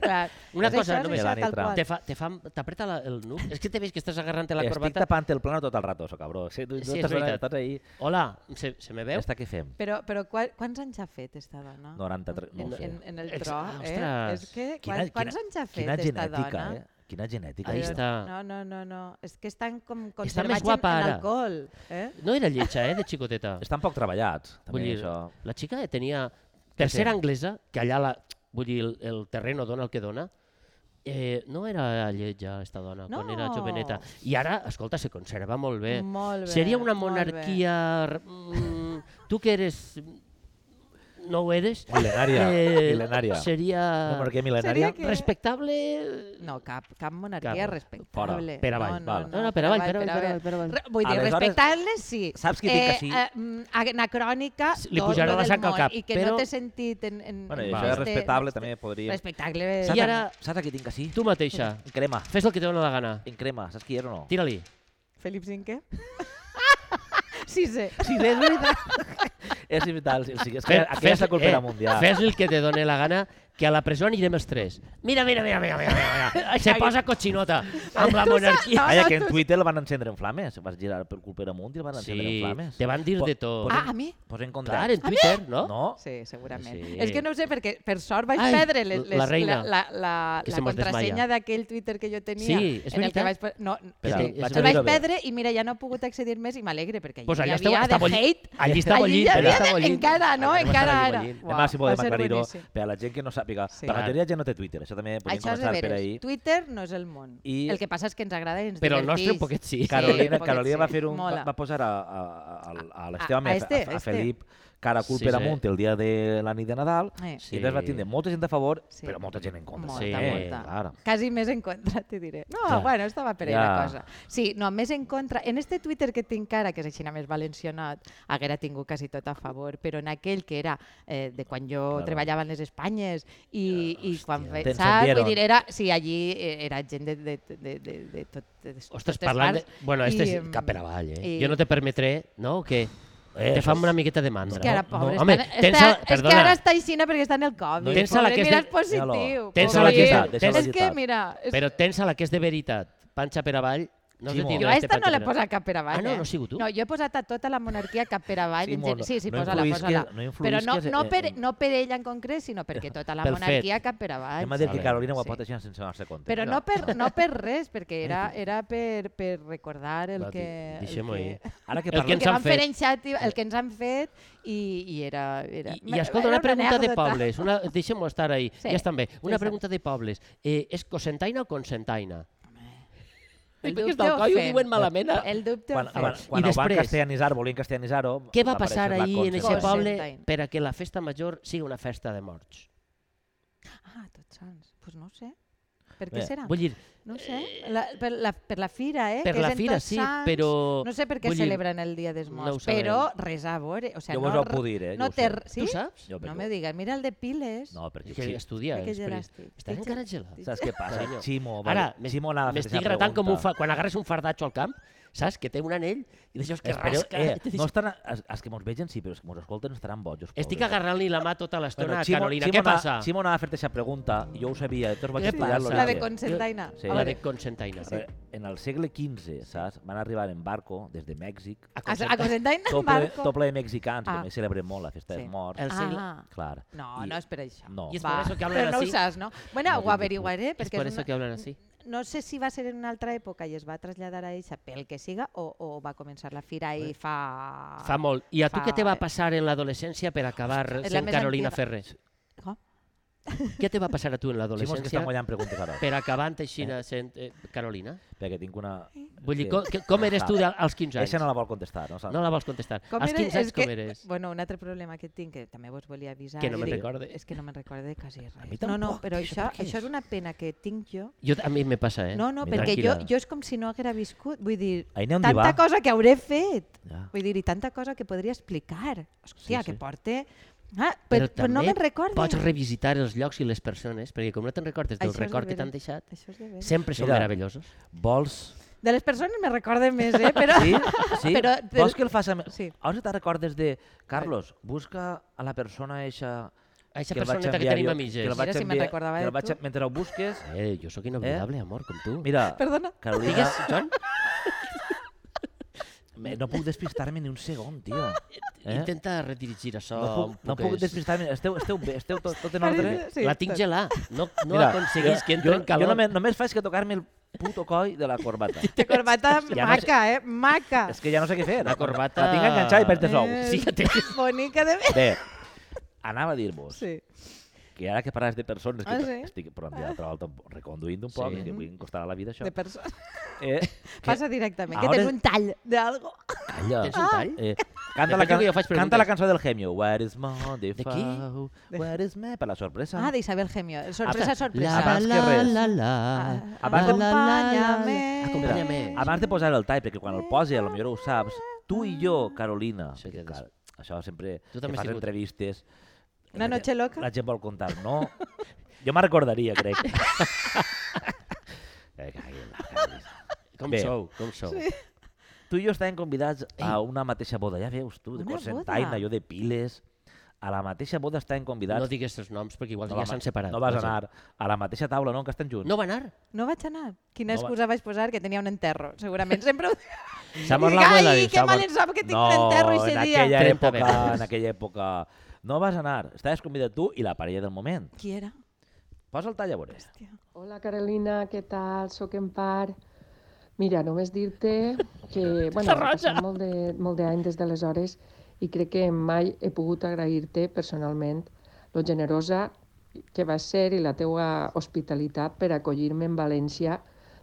[SPEAKER 2] Clar.
[SPEAKER 3] Una
[SPEAKER 2] És
[SPEAKER 3] cosa,
[SPEAKER 2] això, és
[SPEAKER 3] només,
[SPEAKER 2] això,
[SPEAKER 1] Melania
[SPEAKER 2] tal
[SPEAKER 1] Trump.
[SPEAKER 2] qual.
[SPEAKER 3] Te fa, te fa, t'apreta la- el nuc? És que te veus que estàs agarrant la
[SPEAKER 1] Estic
[SPEAKER 3] corbata.
[SPEAKER 1] tapant el plano tot el rato, so, cabró. Sí, tu, tu
[SPEAKER 3] Sí, és
[SPEAKER 1] estàs,
[SPEAKER 3] veritat.
[SPEAKER 1] estàs ahí.
[SPEAKER 3] Hola, se, se me veu?
[SPEAKER 1] Esta què fem?
[SPEAKER 2] Però, però qua- quants anys ha fet esta dona?
[SPEAKER 1] 93, no
[SPEAKER 2] en,
[SPEAKER 1] ho sé.
[SPEAKER 2] en, en el
[SPEAKER 3] Ex-
[SPEAKER 2] tro,
[SPEAKER 3] ah,
[SPEAKER 2] eh?
[SPEAKER 3] ostres.
[SPEAKER 2] És que quan, quants anys ha fet
[SPEAKER 1] quina
[SPEAKER 2] esta
[SPEAKER 1] genètica,
[SPEAKER 2] dona?
[SPEAKER 1] eh? Quina genètica.
[SPEAKER 3] Ahí
[SPEAKER 1] això.
[SPEAKER 3] està.
[SPEAKER 2] No, no, no, no. És que estan com
[SPEAKER 3] Està
[SPEAKER 2] conservats
[SPEAKER 3] més guapa
[SPEAKER 2] en, en
[SPEAKER 3] ara.
[SPEAKER 2] alcohol. Eh?
[SPEAKER 3] No era lletja, eh, de xicoteta.
[SPEAKER 1] Estan poc treballats, també,
[SPEAKER 3] Vull dir,
[SPEAKER 1] això.
[SPEAKER 3] la xica tenia tercera
[SPEAKER 1] té?
[SPEAKER 3] anglesa, que allà la, vull dir, el, el terreno dona el que dona, eh, no era lletja, esta dona, quan era
[SPEAKER 2] No.
[SPEAKER 3] joveneta. I ara, escolta, se conserva molt bé.
[SPEAKER 2] Molt bé,
[SPEAKER 3] Seria una
[SPEAKER 2] molt bé.
[SPEAKER 3] monarquia... r- Mm, tu que eres... mm, No ho eres? eh,
[SPEAKER 1] Mil·lenària, mil·lenària.
[SPEAKER 3] Seria...
[SPEAKER 1] Una monarquia mil·lenària.
[SPEAKER 2] Seria eh, que-
[SPEAKER 3] Respectable...
[SPEAKER 2] No, cap, cap monarquia
[SPEAKER 3] Cap.
[SPEAKER 2] respectable.
[SPEAKER 1] Fora. Per avall,
[SPEAKER 2] no, no,
[SPEAKER 1] val.
[SPEAKER 2] no,
[SPEAKER 3] No, no, per avall, per avall, per avall, per avall.
[SPEAKER 2] Re- Vull dir,
[SPEAKER 1] Aleshores,
[SPEAKER 2] respectar-les sí.
[SPEAKER 1] saps qui dic que sí?
[SPEAKER 2] Eh, mm, anacrònica,
[SPEAKER 3] Sí, li
[SPEAKER 2] tot
[SPEAKER 3] pujarà
[SPEAKER 2] lo
[SPEAKER 3] la
[SPEAKER 2] del
[SPEAKER 3] sang al
[SPEAKER 2] món,
[SPEAKER 3] cap,
[SPEAKER 2] I que
[SPEAKER 3] però-
[SPEAKER 2] no t'he sentit en... en
[SPEAKER 1] Bueno, i
[SPEAKER 2] en
[SPEAKER 1] això és
[SPEAKER 2] este-
[SPEAKER 1] respectable, també podria...
[SPEAKER 2] Respectable.
[SPEAKER 1] Saps,
[SPEAKER 3] I ara-
[SPEAKER 1] saps a qui tinc que sí?
[SPEAKER 3] Tu mateixa,
[SPEAKER 1] En crema.
[SPEAKER 3] fes el que te dona la gana.
[SPEAKER 1] En crema, saps qui és o no?
[SPEAKER 3] Tira-li.
[SPEAKER 2] Felip V? sí, sí.
[SPEAKER 1] Sí, és veritat. és vital. Sí, sí, és que aquella és la
[SPEAKER 2] eh,
[SPEAKER 1] cultura mundial.
[SPEAKER 3] Fes eh, el que te doni la gana, que a la presó anirem els tres. Mira, mira, mira, mira, mira, mira. mira. Se posa cochinota amb la monarquia.
[SPEAKER 1] Calla, que en Twitter el van encendre en flames. Vas girar pel cul per amunt i el van encendre en
[SPEAKER 3] Sí,
[SPEAKER 1] flames.
[SPEAKER 3] te van dir
[SPEAKER 1] Po-
[SPEAKER 3] de tot.
[SPEAKER 1] posen-
[SPEAKER 2] Ah, a mi?
[SPEAKER 1] Posa en context.
[SPEAKER 3] Clar, en Twitter, no?
[SPEAKER 1] No?
[SPEAKER 2] Sí, segurament.
[SPEAKER 1] Sí.
[SPEAKER 2] Sí. És que no ho sé, perquè per sort vaig
[SPEAKER 3] Ai,
[SPEAKER 2] Ai, perdre les,
[SPEAKER 3] la
[SPEAKER 2] les,
[SPEAKER 3] reina,
[SPEAKER 2] la, la, la,
[SPEAKER 3] que se
[SPEAKER 2] la
[SPEAKER 3] mos desmaia.
[SPEAKER 2] contrasenya d'aquell Twitter que jo tenia.
[SPEAKER 3] Sí, és
[SPEAKER 2] en el
[SPEAKER 3] veritat.
[SPEAKER 2] que vaig, per- no,
[SPEAKER 3] Espera,
[SPEAKER 2] sí,
[SPEAKER 3] vaig
[SPEAKER 2] el vaig
[SPEAKER 1] veure bé.
[SPEAKER 2] perdre i mira, ja no he pogut accedir més i m'alegre, perquè
[SPEAKER 3] Pues
[SPEAKER 2] allí hi
[SPEAKER 3] allà estava-
[SPEAKER 2] havia de
[SPEAKER 3] estava allí-
[SPEAKER 2] hate.
[SPEAKER 3] allí estava
[SPEAKER 2] allí,
[SPEAKER 3] allí,
[SPEAKER 2] hi
[SPEAKER 3] allà
[SPEAKER 2] havia,
[SPEAKER 3] estava allí.
[SPEAKER 2] encara, no?
[SPEAKER 3] Allà
[SPEAKER 2] Encara
[SPEAKER 3] estava allí
[SPEAKER 2] ara.
[SPEAKER 3] bollint.
[SPEAKER 1] Demà, si
[SPEAKER 2] va
[SPEAKER 1] podem
[SPEAKER 2] ser
[SPEAKER 1] aclarir-ho,
[SPEAKER 2] boníssim.
[SPEAKER 1] per a la gent que no sàpiga.
[SPEAKER 2] Sí.
[SPEAKER 1] La majoria ja no té Twitter, això també podem
[SPEAKER 2] Això és de
[SPEAKER 1] començar per
[SPEAKER 2] veres.
[SPEAKER 1] ahir.
[SPEAKER 2] Twitter no és el món.
[SPEAKER 1] I-
[SPEAKER 2] I... El que passa és que ens agrada i ens
[SPEAKER 3] Però el
[SPEAKER 2] divertís.
[SPEAKER 3] nostre un poquet sí.
[SPEAKER 1] Carolina,
[SPEAKER 2] un poquet
[SPEAKER 1] Carolina va
[SPEAKER 2] sí.
[SPEAKER 1] fer un, va,
[SPEAKER 2] Mola.
[SPEAKER 1] va posar a, a, a, a l'Esteve
[SPEAKER 2] a
[SPEAKER 1] home, a,
[SPEAKER 2] este,
[SPEAKER 1] a, a
[SPEAKER 2] este.
[SPEAKER 1] Felip, Caracul sí,
[SPEAKER 3] Sí,
[SPEAKER 1] per
[SPEAKER 3] sí.
[SPEAKER 1] amunt el dia de la nit de Nadal,
[SPEAKER 2] Eh.
[SPEAKER 1] sí. i llavors va tindre molta gent a favor,
[SPEAKER 2] Sí.
[SPEAKER 1] sí. però molta gent en contra.
[SPEAKER 2] Molta,
[SPEAKER 3] Sí,
[SPEAKER 2] molta.
[SPEAKER 1] clar.
[SPEAKER 2] Casi més en contra, t'hi diré. No,
[SPEAKER 1] Ja.
[SPEAKER 2] bueno, estava per ahí la
[SPEAKER 1] Ja.
[SPEAKER 2] cosa. Sí, no, més en contra. En este Twitter que tinc ara, que és així més valencianat, haguera tingut quasi tot a favor, però en aquell que era eh, de quan jo
[SPEAKER 1] Claro.
[SPEAKER 2] treballava en les Espanyes i, i quan fe,
[SPEAKER 1] Te
[SPEAKER 2] saps?
[SPEAKER 1] encendieron.
[SPEAKER 2] Vull dir, era, sí, allí eh, era gent de, de, de, de, de, tot, de
[SPEAKER 3] Ostres,
[SPEAKER 2] totes
[SPEAKER 3] parlant de...
[SPEAKER 2] parts.
[SPEAKER 3] Bueno, este és
[SPEAKER 2] em,
[SPEAKER 3] cap per avall, eh?
[SPEAKER 2] i-
[SPEAKER 3] Jo no te permetré, no? Que
[SPEAKER 1] Eh,
[SPEAKER 3] te
[SPEAKER 1] això
[SPEAKER 3] fan
[SPEAKER 1] és-
[SPEAKER 3] una miqueta de mandra.
[SPEAKER 2] És que ara,
[SPEAKER 3] no?
[SPEAKER 2] pobre,
[SPEAKER 3] no,
[SPEAKER 2] no,
[SPEAKER 3] home,
[SPEAKER 2] està,
[SPEAKER 3] tens
[SPEAKER 2] està,
[SPEAKER 3] a-
[SPEAKER 2] és que
[SPEAKER 3] perdona,
[SPEAKER 2] ara està aixina perquè està en el Covid.
[SPEAKER 3] Tens a la
[SPEAKER 2] pobre,
[SPEAKER 3] que és
[SPEAKER 2] mira,
[SPEAKER 3] de-
[SPEAKER 2] és positiu.
[SPEAKER 3] Tens a la que és de-
[SPEAKER 2] pobret.
[SPEAKER 3] tens a la
[SPEAKER 2] És que,
[SPEAKER 1] que-
[SPEAKER 2] mira... És...
[SPEAKER 3] Però tens a la que és de veritat, panxa per avall,
[SPEAKER 1] Sí,
[SPEAKER 3] no has de
[SPEAKER 1] molt.
[SPEAKER 3] tindre
[SPEAKER 2] Jo a
[SPEAKER 3] este
[SPEAKER 2] esta no
[SPEAKER 3] panxa
[SPEAKER 2] l'he
[SPEAKER 3] per avall.
[SPEAKER 2] posat cap per avall.
[SPEAKER 3] Ah, no,
[SPEAKER 2] eh?
[SPEAKER 3] no has sigut tu?
[SPEAKER 2] No, jo he posat a tota la monarquia cap per avall.
[SPEAKER 1] Sí,
[SPEAKER 2] en
[SPEAKER 1] molt.
[SPEAKER 2] gen- Sí, sí,
[SPEAKER 1] No
[SPEAKER 2] posa-la,
[SPEAKER 1] influïsques-
[SPEAKER 2] posa-la.
[SPEAKER 1] no
[SPEAKER 2] Però no,
[SPEAKER 1] influïsques
[SPEAKER 2] no,
[SPEAKER 1] en-
[SPEAKER 2] per,
[SPEAKER 1] en-
[SPEAKER 2] no per ella en concret, sinó perquè tota la
[SPEAKER 3] Pel
[SPEAKER 2] monarquia
[SPEAKER 3] fet.
[SPEAKER 2] cap per avall.
[SPEAKER 1] Hem de dir
[SPEAKER 3] Vale.
[SPEAKER 1] que Carolina ho ha
[SPEAKER 2] Sí.
[SPEAKER 1] pot així sense anar-se compte.
[SPEAKER 2] Però no per, no per res, perquè era, era per, per recordar el
[SPEAKER 3] Va,
[SPEAKER 2] que... el
[SPEAKER 3] di- deixem-ho
[SPEAKER 2] que-
[SPEAKER 3] ahir.
[SPEAKER 1] Ara que
[SPEAKER 3] El que
[SPEAKER 1] parlem...
[SPEAKER 2] el
[SPEAKER 3] ens
[SPEAKER 2] que
[SPEAKER 3] han
[SPEAKER 2] van fer
[SPEAKER 3] fet.
[SPEAKER 2] en xat, i- el que ens han fet i, i era... era
[SPEAKER 3] I, I escolta, una pregunta de pobles. Una... Deixem-ho estar ahí.
[SPEAKER 2] Sí,
[SPEAKER 3] Ja estan bé.
[SPEAKER 2] ja
[SPEAKER 3] Una
[SPEAKER 2] està.
[SPEAKER 3] pregunta de pobles. Eh, és cosentaina o consentaina?
[SPEAKER 2] El
[SPEAKER 3] Perquè
[SPEAKER 2] dubte
[SPEAKER 3] està al coll, ho
[SPEAKER 2] ofèn.
[SPEAKER 3] diuen malament. a-
[SPEAKER 2] El dubte
[SPEAKER 1] Quan,
[SPEAKER 2] ofèn.
[SPEAKER 1] quan, quan
[SPEAKER 3] I
[SPEAKER 1] ho van
[SPEAKER 3] després-
[SPEAKER 1] castellanitzar, volien castellanitzar-ho...
[SPEAKER 3] Què va
[SPEAKER 1] va
[SPEAKER 3] passar
[SPEAKER 1] aparèixer la
[SPEAKER 3] ahir en
[SPEAKER 1] Concha.
[SPEAKER 3] aquest poble
[SPEAKER 2] Consentaina.
[SPEAKER 3] per a que la festa major sigui una festa de morts?
[SPEAKER 2] Ah, tots sants. Doncs pues no ho sé. Per
[SPEAKER 1] Bé,
[SPEAKER 2] què serà?
[SPEAKER 3] Vull dir,
[SPEAKER 2] No ho sé, la, per, la, per la fira, eh?
[SPEAKER 3] Eh, per
[SPEAKER 2] que és
[SPEAKER 3] la
[SPEAKER 2] en
[SPEAKER 3] fira
[SPEAKER 2] Tots
[SPEAKER 3] sí,
[SPEAKER 2] Sants.
[SPEAKER 3] però...
[SPEAKER 2] No sé per què
[SPEAKER 3] vull dir,
[SPEAKER 2] celebren el Dia dels
[SPEAKER 3] no
[SPEAKER 2] Morts,
[SPEAKER 3] ho sabem.
[SPEAKER 2] però res a veure. O sea,
[SPEAKER 1] Jo
[SPEAKER 2] no,
[SPEAKER 1] vos ho
[SPEAKER 2] re-
[SPEAKER 1] puc dir, eh?
[SPEAKER 2] no
[SPEAKER 1] jo ho
[SPEAKER 2] té...
[SPEAKER 1] sé.
[SPEAKER 2] r- Sí?
[SPEAKER 3] Tu saps?
[SPEAKER 1] Jo perquè
[SPEAKER 2] no
[SPEAKER 1] ho-
[SPEAKER 2] me digas, mira el de Piles.
[SPEAKER 1] No, perquè
[SPEAKER 3] Que
[SPEAKER 1] sí.
[SPEAKER 3] estudia.
[SPEAKER 2] Mira que
[SPEAKER 3] és per-
[SPEAKER 2] geràstic.
[SPEAKER 3] Estàs
[SPEAKER 2] Dic-
[SPEAKER 3] encara gelat.
[SPEAKER 1] Saps què passa?
[SPEAKER 3] Carinyo.
[SPEAKER 1] Ximo,
[SPEAKER 3] Ara,
[SPEAKER 1] Ara,
[SPEAKER 3] m'es-
[SPEAKER 1] Ximo anava a fer
[SPEAKER 3] m'estic
[SPEAKER 1] aquesta
[SPEAKER 3] gratant com un
[SPEAKER 1] pregunta.
[SPEAKER 3] fa... Quan agarres un fardatxo al camp, saps? Que té un anell i deixes que
[SPEAKER 1] Espereu,
[SPEAKER 3] rasca.
[SPEAKER 1] eh,
[SPEAKER 3] i te
[SPEAKER 1] no
[SPEAKER 3] dius,
[SPEAKER 1] estan, els, els que mos vegen sí, però els que mos escolten estaran bojos.
[SPEAKER 3] Estic
[SPEAKER 1] pobres.
[SPEAKER 3] agarrant-li la mà tota l'estona
[SPEAKER 1] Bueno,
[SPEAKER 3] a Carolina. Què
[SPEAKER 1] anava-
[SPEAKER 3] passa?
[SPEAKER 1] Ximo anava a fer-te aquesta pregunta, i jo ho sabia, tots vaig
[SPEAKER 3] Què
[SPEAKER 1] estudiar
[SPEAKER 3] passa?
[SPEAKER 2] La de
[SPEAKER 3] Sí.
[SPEAKER 2] Consentaina.
[SPEAKER 1] Sí.
[SPEAKER 2] A
[SPEAKER 3] La
[SPEAKER 2] veure,
[SPEAKER 3] de Consentaina.
[SPEAKER 1] Re- En el segle XV, saps, van arribar en barco des de Mèxic,
[SPEAKER 2] A, a Consentaina en
[SPEAKER 1] tot ple,
[SPEAKER 2] barco?
[SPEAKER 1] tot ple de mexicans, que
[SPEAKER 2] Ah.
[SPEAKER 1] també celebren molt la festa
[SPEAKER 2] Sí.
[SPEAKER 1] dels morts.
[SPEAKER 3] El segle...
[SPEAKER 2] Ah,
[SPEAKER 1] Clar.
[SPEAKER 2] no,
[SPEAKER 1] I-
[SPEAKER 2] no és per això.
[SPEAKER 1] No.
[SPEAKER 3] I és
[SPEAKER 2] Va,
[SPEAKER 3] per això que hablan
[SPEAKER 2] però no ho
[SPEAKER 3] así.
[SPEAKER 2] saps, no? Bueno,
[SPEAKER 1] No
[SPEAKER 2] ho
[SPEAKER 1] dic-
[SPEAKER 2] averiguaré,
[SPEAKER 3] És
[SPEAKER 2] perquè
[SPEAKER 3] per
[SPEAKER 2] és
[SPEAKER 3] això
[SPEAKER 2] una,
[SPEAKER 3] que hablan así.
[SPEAKER 2] no sé si va ser en una altra època i es va traslladar a eixa pel que siga o, o va començar la fira i fa...
[SPEAKER 3] Fa molt. I a tu
[SPEAKER 2] Ah. Fa-
[SPEAKER 3] què te va passar en l'adolescència per acabar
[SPEAKER 2] és la
[SPEAKER 3] sent
[SPEAKER 2] més
[SPEAKER 3] Carolina
[SPEAKER 2] antiga.
[SPEAKER 3] Ferrer?
[SPEAKER 2] Com?
[SPEAKER 3] Què te va passar a tu en
[SPEAKER 1] Ximo, és que estan
[SPEAKER 3] l'adolescència
[SPEAKER 1] guanyant preguntes ara,
[SPEAKER 3] per acabar aixina sent eh, Carolina?
[SPEAKER 1] perquè tinc una...
[SPEAKER 3] Vull dir,
[SPEAKER 1] Sí.
[SPEAKER 3] co- que- com eres tu de- als 15
[SPEAKER 1] Eixa no
[SPEAKER 3] anys?
[SPEAKER 1] la vol contestar, no saps?
[SPEAKER 3] No la vols contestar. Als
[SPEAKER 2] era-
[SPEAKER 3] 15
[SPEAKER 2] és
[SPEAKER 3] anys
[SPEAKER 2] que,
[SPEAKER 3] com eres?
[SPEAKER 2] Bueno, un altre problema que tinc, que també vos volia avisar...
[SPEAKER 3] Que no
[SPEAKER 2] és
[SPEAKER 3] me'n
[SPEAKER 2] dir,
[SPEAKER 3] recorde.
[SPEAKER 2] És que no me'n recorde quasi res.
[SPEAKER 1] mi
[SPEAKER 2] no, no,
[SPEAKER 1] tampoc,
[SPEAKER 2] però
[SPEAKER 1] això
[SPEAKER 2] això,
[SPEAKER 1] per què
[SPEAKER 2] això
[SPEAKER 1] és?
[SPEAKER 2] és una pena que tinc jo.
[SPEAKER 3] Jo, a mi me passa, eh?
[SPEAKER 2] No, no,
[SPEAKER 1] Mira,
[SPEAKER 2] perquè jo,
[SPEAKER 3] tranquil·la.
[SPEAKER 2] jo és com si no haguera viscut. Vull dir,
[SPEAKER 1] Ahí n'hi ha un
[SPEAKER 2] tanta
[SPEAKER 1] divà.
[SPEAKER 2] cosa que hauré fet.
[SPEAKER 1] Ja.
[SPEAKER 2] Vull dir, i tanta cosa que podria explicar. Hòstia,
[SPEAKER 1] Sí, sí.
[SPEAKER 2] que porte... Ah, però, però, no
[SPEAKER 3] també
[SPEAKER 2] me'n recorde.
[SPEAKER 3] pots revisitar els llocs i les persones, perquè com no te'n recordes del
[SPEAKER 2] Això és
[SPEAKER 3] record
[SPEAKER 2] de
[SPEAKER 3] que t'han
[SPEAKER 2] veres.
[SPEAKER 3] deixat,
[SPEAKER 2] Això és de veres.
[SPEAKER 3] sempre són
[SPEAKER 1] Mira.
[SPEAKER 3] meravellosos.
[SPEAKER 1] Vols...
[SPEAKER 2] De les persones me recorde més, eh? Però...
[SPEAKER 1] Sí? Sí?
[SPEAKER 2] Però del-
[SPEAKER 1] Vols que el fas... Amb...
[SPEAKER 2] Sí.
[SPEAKER 1] Ara te recordes de... Carlos, busca a la persona eixa...
[SPEAKER 3] Eixa
[SPEAKER 1] el vaig
[SPEAKER 3] personeta que
[SPEAKER 1] enviar
[SPEAKER 3] tenim
[SPEAKER 1] jo-
[SPEAKER 3] a mitges.
[SPEAKER 1] Que el vaig
[SPEAKER 2] Mira si me'n
[SPEAKER 1] enviar-
[SPEAKER 2] recordava
[SPEAKER 1] que
[SPEAKER 2] de
[SPEAKER 1] el vaig-
[SPEAKER 2] tu.
[SPEAKER 1] Mentre ho busques...
[SPEAKER 3] Eh, jo sóc inoblidable, amor, com tu.
[SPEAKER 1] Mira,
[SPEAKER 2] Perdona.
[SPEAKER 1] Carolina...
[SPEAKER 3] Digues, Joan,
[SPEAKER 1] Me- No puc despistar-me ni un segon, tio. Eh?
[SPEAKER 3] intenta redirigir això.
[SPEAKER 1] No puc,
[SPEAKER 3] un
[SPEAKER 1] no
[SPEAKER 3] poquet.
[SPEAKER 1] puc despistar-me. Esteu, esteu bé, esteu tot, tot en ordre?
[SPEAKER 2] Sí,
[SPEAKER 3] la tinc
[SPEAKER 2] tot.
[SPEAKER 3] gelada. No, no aconseguís que entri
[SPEAKER 1] jo,
[SPEAKER 3] en calor.
[SPEAKER 1] Jo només, només faig que tocar-me el puto coll de la corbata.
[SPEAKER 2] De corbata
[SPEAKER 1] no
[SPEAKER 2] maca, eh? Maca.
[SPEAKER 1] És que ja no sé què fer.
[SPEAKER 3] La corbata-
[SPEAKER 1] La tinc enganxada i per de sou.
[SPEAKER 2] Eh,
[SPEAKER 3] Sí, ja té-
[SPEAKER 2] Bonica de bé.
[SPEAKER 1] Bé, anava a dir-vos
[SPEAKER 2] Sí.
[SPEAKER 1] que ara que parles de persones que
[SPEAKER 2] Ah, sí?
[SPEAKER 1] estic però de l'altra volta reconduint un poc,
[SPEAKER 3] Sí.
[SPEAKER 1] sí. que vull costar a la vida això.
[SPEAKER 2] De persona.
[SPEAKER 1] Eh,
[SPEAKER 2] Passa directament, que
[SPEAKER 1] Ahora-
[SPEAKER 2] tens un tall d'algo.
[SPEAKER 1] Calla.
[SPEAKER 3] Tens un tall?
[SPEAKER 1] Eh, canta, la,
[SPEAKER 3] penso
[SPEAKER 1] can...
[SPEAKER 3] que jo faig
[SPEAKER 1] canta la
[SPEAKER 3] preguntes.
[SPEAKER 1] cançó del Gemio. Where is my De
[SPEAKER 3] qui?
[SPEAKER 1] Where is my... Per la sorpresa.
[SPEAKER 2] Ah, d'Isabel Gemio. Sorpresa,
[SPEAKER 1] Abans-
[SPEAKER 2] sorpresa.
[SPEAKER 1] abans que res.
[SPEAKER 3] La, la, la,
[SPEAKER 2] Ah,
[SPEAKER 1] abans de-
[SPEAKER 2] Acompáñame.
[SPEAKER 3] Acompanya'm.
[SPEAKER 1] Abans de posar el tall, perquè quan el posi, a lo millor ho saps, tu i jo, Carolina,
[SPEAKER 3] Sí,
[SPEAKER 1] que,
[SPEAKER 3] que
[SPEAKER 1] clar, això sempre
[SPEAKER 3] Tu
[SPEAKER 1] tu
[SPEAKER 3] també
[SPEAKER 1] que
[SPEAKER 3] has
[SPEAKER 1] fas
[SPEAKER 3] sigut.
[SPEAKER 1] entrevistes...
[SPEAKER 2] Una
[SPEAKER 1] la
[SPEAKER 2] noche
[SPEAKER 1] gent-
[SPEAKER 2] loca.
[SPEAKER 1] La gent vol contar, no? jo me'n recordaria, crec. Eh, cagui en la Carolina.
[SPEAKER 3] Com
[SPEAKER 1] Bé.
[SPEAKER 3] sou, com sou.
[SPEAKER 1] tu i jo estàvem convidats a una mateixa boda, ja veus tu, de
[SPEAKER 2] Una
[SPEAKER 1] Cosentaina,
[SPEAKER 2] boda.
[SPEAKER 1] jo de Piles... A la mateixa boda estàvem convidats...
[SPEAKER 3] No digues els noms, perquè igual
[SPEAKER 1] va-
[SPEAKER 3] ja s'han separat.
[SPEAKER 1] No vas
[SPEAKER 3] Vaja.
[SPEAKER 1] anar a la mateixa taula, no? Que estan junts.
[SPEAKER 3] No va anar?
[SPEAKER 2] No vaig anar. Quina
[SPEAKER 1] No va-
[SPEAKER 2] excusa vaig posar? Que tenia un enterro. Segurament sempre ho...
[SPEAKER 3] S'ha mort
[SPEAKER 2] Dic,
[SPEAKER 3] l'abuela.
[SPEAKER 2] Ai,
[SPEAKER 3] diu,
[SPEAKER 2] que
[SPEAKER 3] s'ha
[SPEAKER 2] mal
[SPEAKER 3] mort.
[SPEAKER 2] em sap que tinc
[SPEAKER 1] no,
[SPEAKER 2] un enterro i
[SPEAKER 1] en
[SPEAKER 2] ese dia.
[SPEAKER 1] aquella
[SPEAKER 3] 30
[SPEAKER 1] època,
[SPEAKER 3] vegades.
[SPEAKER 1] en aquella època... No vas anar, estaves convidat tu i la parella del moment.
[SPEAKER 2] Qui era?
[SPEAKER 1] Posa el tall a veure.
[SPEAKER 8] Hola Carolina, què tal? Soc en Par. Mira, només dir-te que bueno, ha passat molt de, molt d'any des d'aleshores i crec que mai he pogut agrair-te personalment lo generosa que vas ser i la teua hospitalitat per acollir-me en València.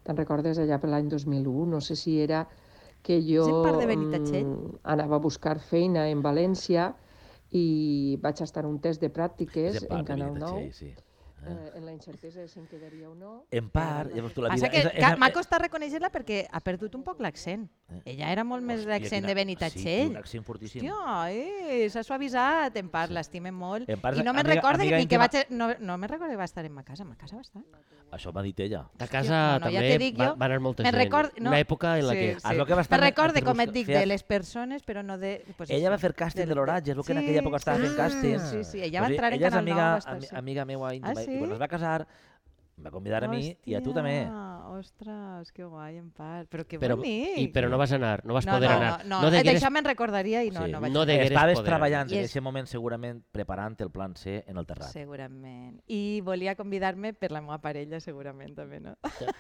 [SPEAKER 8] Te'n recordes allà per l'any 2001? No sé si era que jo
[SPEAKER 2] Sent part de Benitatxell?
[SPEAKER 8] mm, anava a buscar feina en València i vaig estar en un test de pràctiques
[SPEAKER 1] És en part,
[SPEAKER 8] en Canal 9,
[SPEAKER 1] evidentment, sí, sí.
[SPEAKER 8] eh, en la incertesa de si em quedaria o no.
[SPEAKER 1] En part, llavors tu la vida...
[SPEAKER 2] Passa que
[SPEAKER 1] és- és-
[SPEAKER 2] ca- m'ha costat reconèixer-la perquè ha perdut un poc l'accent.
[SPEAKER 1] Eh.
[SPEAKER 2] Ella era molt més
[SPEAKER 1] Hòstia,
[SPEAKER 2] d'accent
[SPEAKER 1] quina-
[SPEAKER 2] de
[SPEAKER 1] ah, Sí,
[SPEAKER 2] Benitatxell.
[SPEAKER 1] un accent fortíssim.
[SPEAKER 2] Hòstia, eh, s'ha suavitzat, en part, l'estimem molt.
[SPEAKER 1] En part,
[SPEAKER 2] I no me'n
[SPEAKER 1] amiga-
[SPEAKER 2] recorda
[SPEAKER 1] amiga
[SPEAKER 2] ni que
[SPEAKER 1] íntima-
[SPEAKER 2] vaig... No, no me'n recordo que va estar en ma casa, en ma casa va estar.
[SPEAKER 1] Això m'ha dit ella.
[SPEAKER 3] A casa
[SPEAKER 2] no, no, ja
[SPEAKER 3] també
[SPEAKER 2] t'he dit
[SPEAKER 3] va,
[SPEAKER 2] jo.
[SPEAKER 3] va anar molta
[SPEAKER 2] Me'n
[SPEAKER 3] gent.
[SPEAKER 2] record- no.
[SPEAKER 3] Una època en la
[SPEAKER 2] Sí,
[SPEAKER 3] que... ah,
[SPEAKER 2] sí.
[SPEAKER 1] És el que va estar
[SPEAKER 2] Me'n recorde, com et
[SPEAKER 1] buscant-
[SPEAKER 2] dic,
[SPEAKER 1] fer-
[SPEAKER 2] de les persones, però no de... Pues
[SPEAKER 1] Ella
[SPEAKER 2] això,
[SPEAKER 1] va fer càsting
[SPEAKER 2] del-
[SPEAKER 1] de l'oratge, és el que en
[SPEAKER 2] Sí,
[SPEAKER 1] aquella època estava
[SPEAKER 2] sí,
[SPEAKER 1] fent càstings.
[SPEAKER 2] Sí, sí, ella va
[SPEAKER 1] sigui,
[SPEAKER 2] entrar en
[SPEAKER 1] ella és
[SPEAKER 2] Canal 9
[SPEAKER 1] amiga,
[SPEAKER 2] va estar,
[SPEAKER 1] ami-
[SPEAKER 2] sí.
[SPEAKER 1] amiga meva íntima.
[SPEAKER 2] Ah,
[SPEAKER 1] I
[SPEAKER 2] sí?
[SPEAKER 1] quan es va casar, em va convidar a mi i a tu també.
[SPEAKER 2] Hòstia, Ostres, que guai, en part. Però que
[SPEAKER 3] Però,
[SPEAKER 2] bonic.
[SPEAKER 3] i, però no vas anar, no vas
[SPEAKER 2] no,
[SPEAKER 3] poder
[SPEAKER 2] no, No,
[SPEAKER 3] anar.
[SPEAKER 2] eh, no, no
[SPEAKER 3] degueres-
[SPEAKER 2] Això me'n recordaria i no,
[SPEAKER 1] Sí.
[SPEAKER 2] no vaig
[SPEAKER 3] No
[SPEAKER 2] anar.
[SPEAKER 3] de- hagués
[SPEAKER 1] Estaves
[SPEAKER 3] poder.
[SPEAKER 1] treballant en
[SPEAKER 2] I és-
[SPEAKER 1] aquest moment segurament preparant el plan C en el terrat.
[SPEAKER 2] Segurament. I volia convidar-me per la meva parella, segurament, també, no?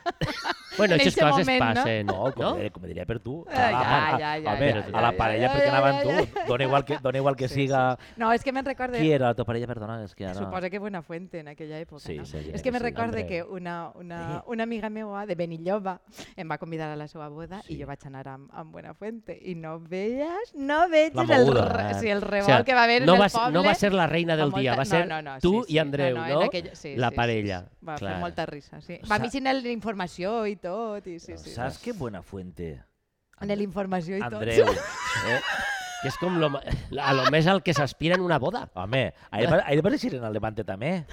[SPEAKER 3] Bueno,
[SPEAKER 2] en
[SPEAKER 3] aquestes
[SPEAKER 2] eixe
[SPEAKER 3] coses
[SPEAKER 2] moment, no?
[SPEAKER 3] passen,
[SPEAKER 1] No, com,
[SPEAKER 3] no?
[SPEAKER 1] no? com diria per tu.
[SPEAKER 2] Ah, ja,
[SPEAKER 1] a-
[SPEAKER 2] ja, ja,
[SPEAKER 1] home,
[SPEAKER 3] ja,
[SPEAKER 1] a la
[SPEAKER 3] ja,
[SPEAKER 1] parella
[SPEAKER 2] ja,
[SPEAKER 1] perquè
[SPEAKER 2] ja,
[SPEAKER 1] anaven
[SPEAKER 2] ja,
[SPEAKER 1] tu. Dona igual que, dona igual que
[SPEAKER 2] Sí,
[SPEAKER 1] siga...
[SPEAKER 2] No, és que me'n recorde...
[SPEAKER 1] Qui era la teva parella? Perdona, és que ara...
[SPEAKER 2] Suposa que Buena Fuente en aquella època,
[SPEAKER 1] Sí,
[SPEAKER 2] no?
[SPEAKER 1] sí,
[SPEAKER 2] és que me
[SPEAKER 1] sí,
[SPEAKER 2] recorde
[SPEAKER 1] Andreu.
[SPEAKER 2] que una, una, una amiga meva de Benilloba em va convidar a la seva boda
[SPEAKER 1] Sí.
[SPEAKER 2] i jo vaig anar amb, amb Buena Fuente i no veies, no veies
[SPEAKER 1] La
[SPEAKER 2] el,
[SPEAKER 1] moguda,
[SPEAKER 2] re,
[SPEAKER 1] eh?
[SPEAKER 2] sí, el
[SPEAKER 3] O
[SPEAKER 2] revolt
[SPEAKER 3] sea,
[SPEAKER 2] que va haver
[SPEAKER 3] no
[SPEAKER 2] en
[SPEAKER 3] va,
[SPEAKER 2] el
[SPEAKER 3] ser-
[SPEAKER 2] poble.
[SPEAKER 3] no va ser la reina del
[SPEAKER 2] Fa
[SPEAKER 3] dia,
[SPEAKER 2] molta-
[SPEAKER 3] va ser
[SPEAKER 2] no, no, no,
[SPEAKER 3] tu
[SPEAKER 2] sí, sí,
[SPEAKER 3] i Andreu, no?
[SPEAKER 2] en aquella- sí,
[SPEAKER 3] la
[SPEAKER 2] sí, sí,
[SPEAKER 3] parella.
[SPEAKER 2] sí. Va
[SPEAKER 3] clar.
[SPEAKER 2] fer molta risa, sí.
[SPEAKER 1] Sa-
[SPEAKER 2] Va mixint el- l'informació i tot, i sí, sí.
[SPEAKER 1] Saps que Buenafuente...
[SPEAKER 2] En l'informació i tot.
[SPEAKER 1] Andreu, eh?
[SPEAKER 3] Que és com lo, ma- a lo més al que s'aspira en una boda.
[SPEAKER 1] Home, ahir, va- ahir vas eixir en el Levante també.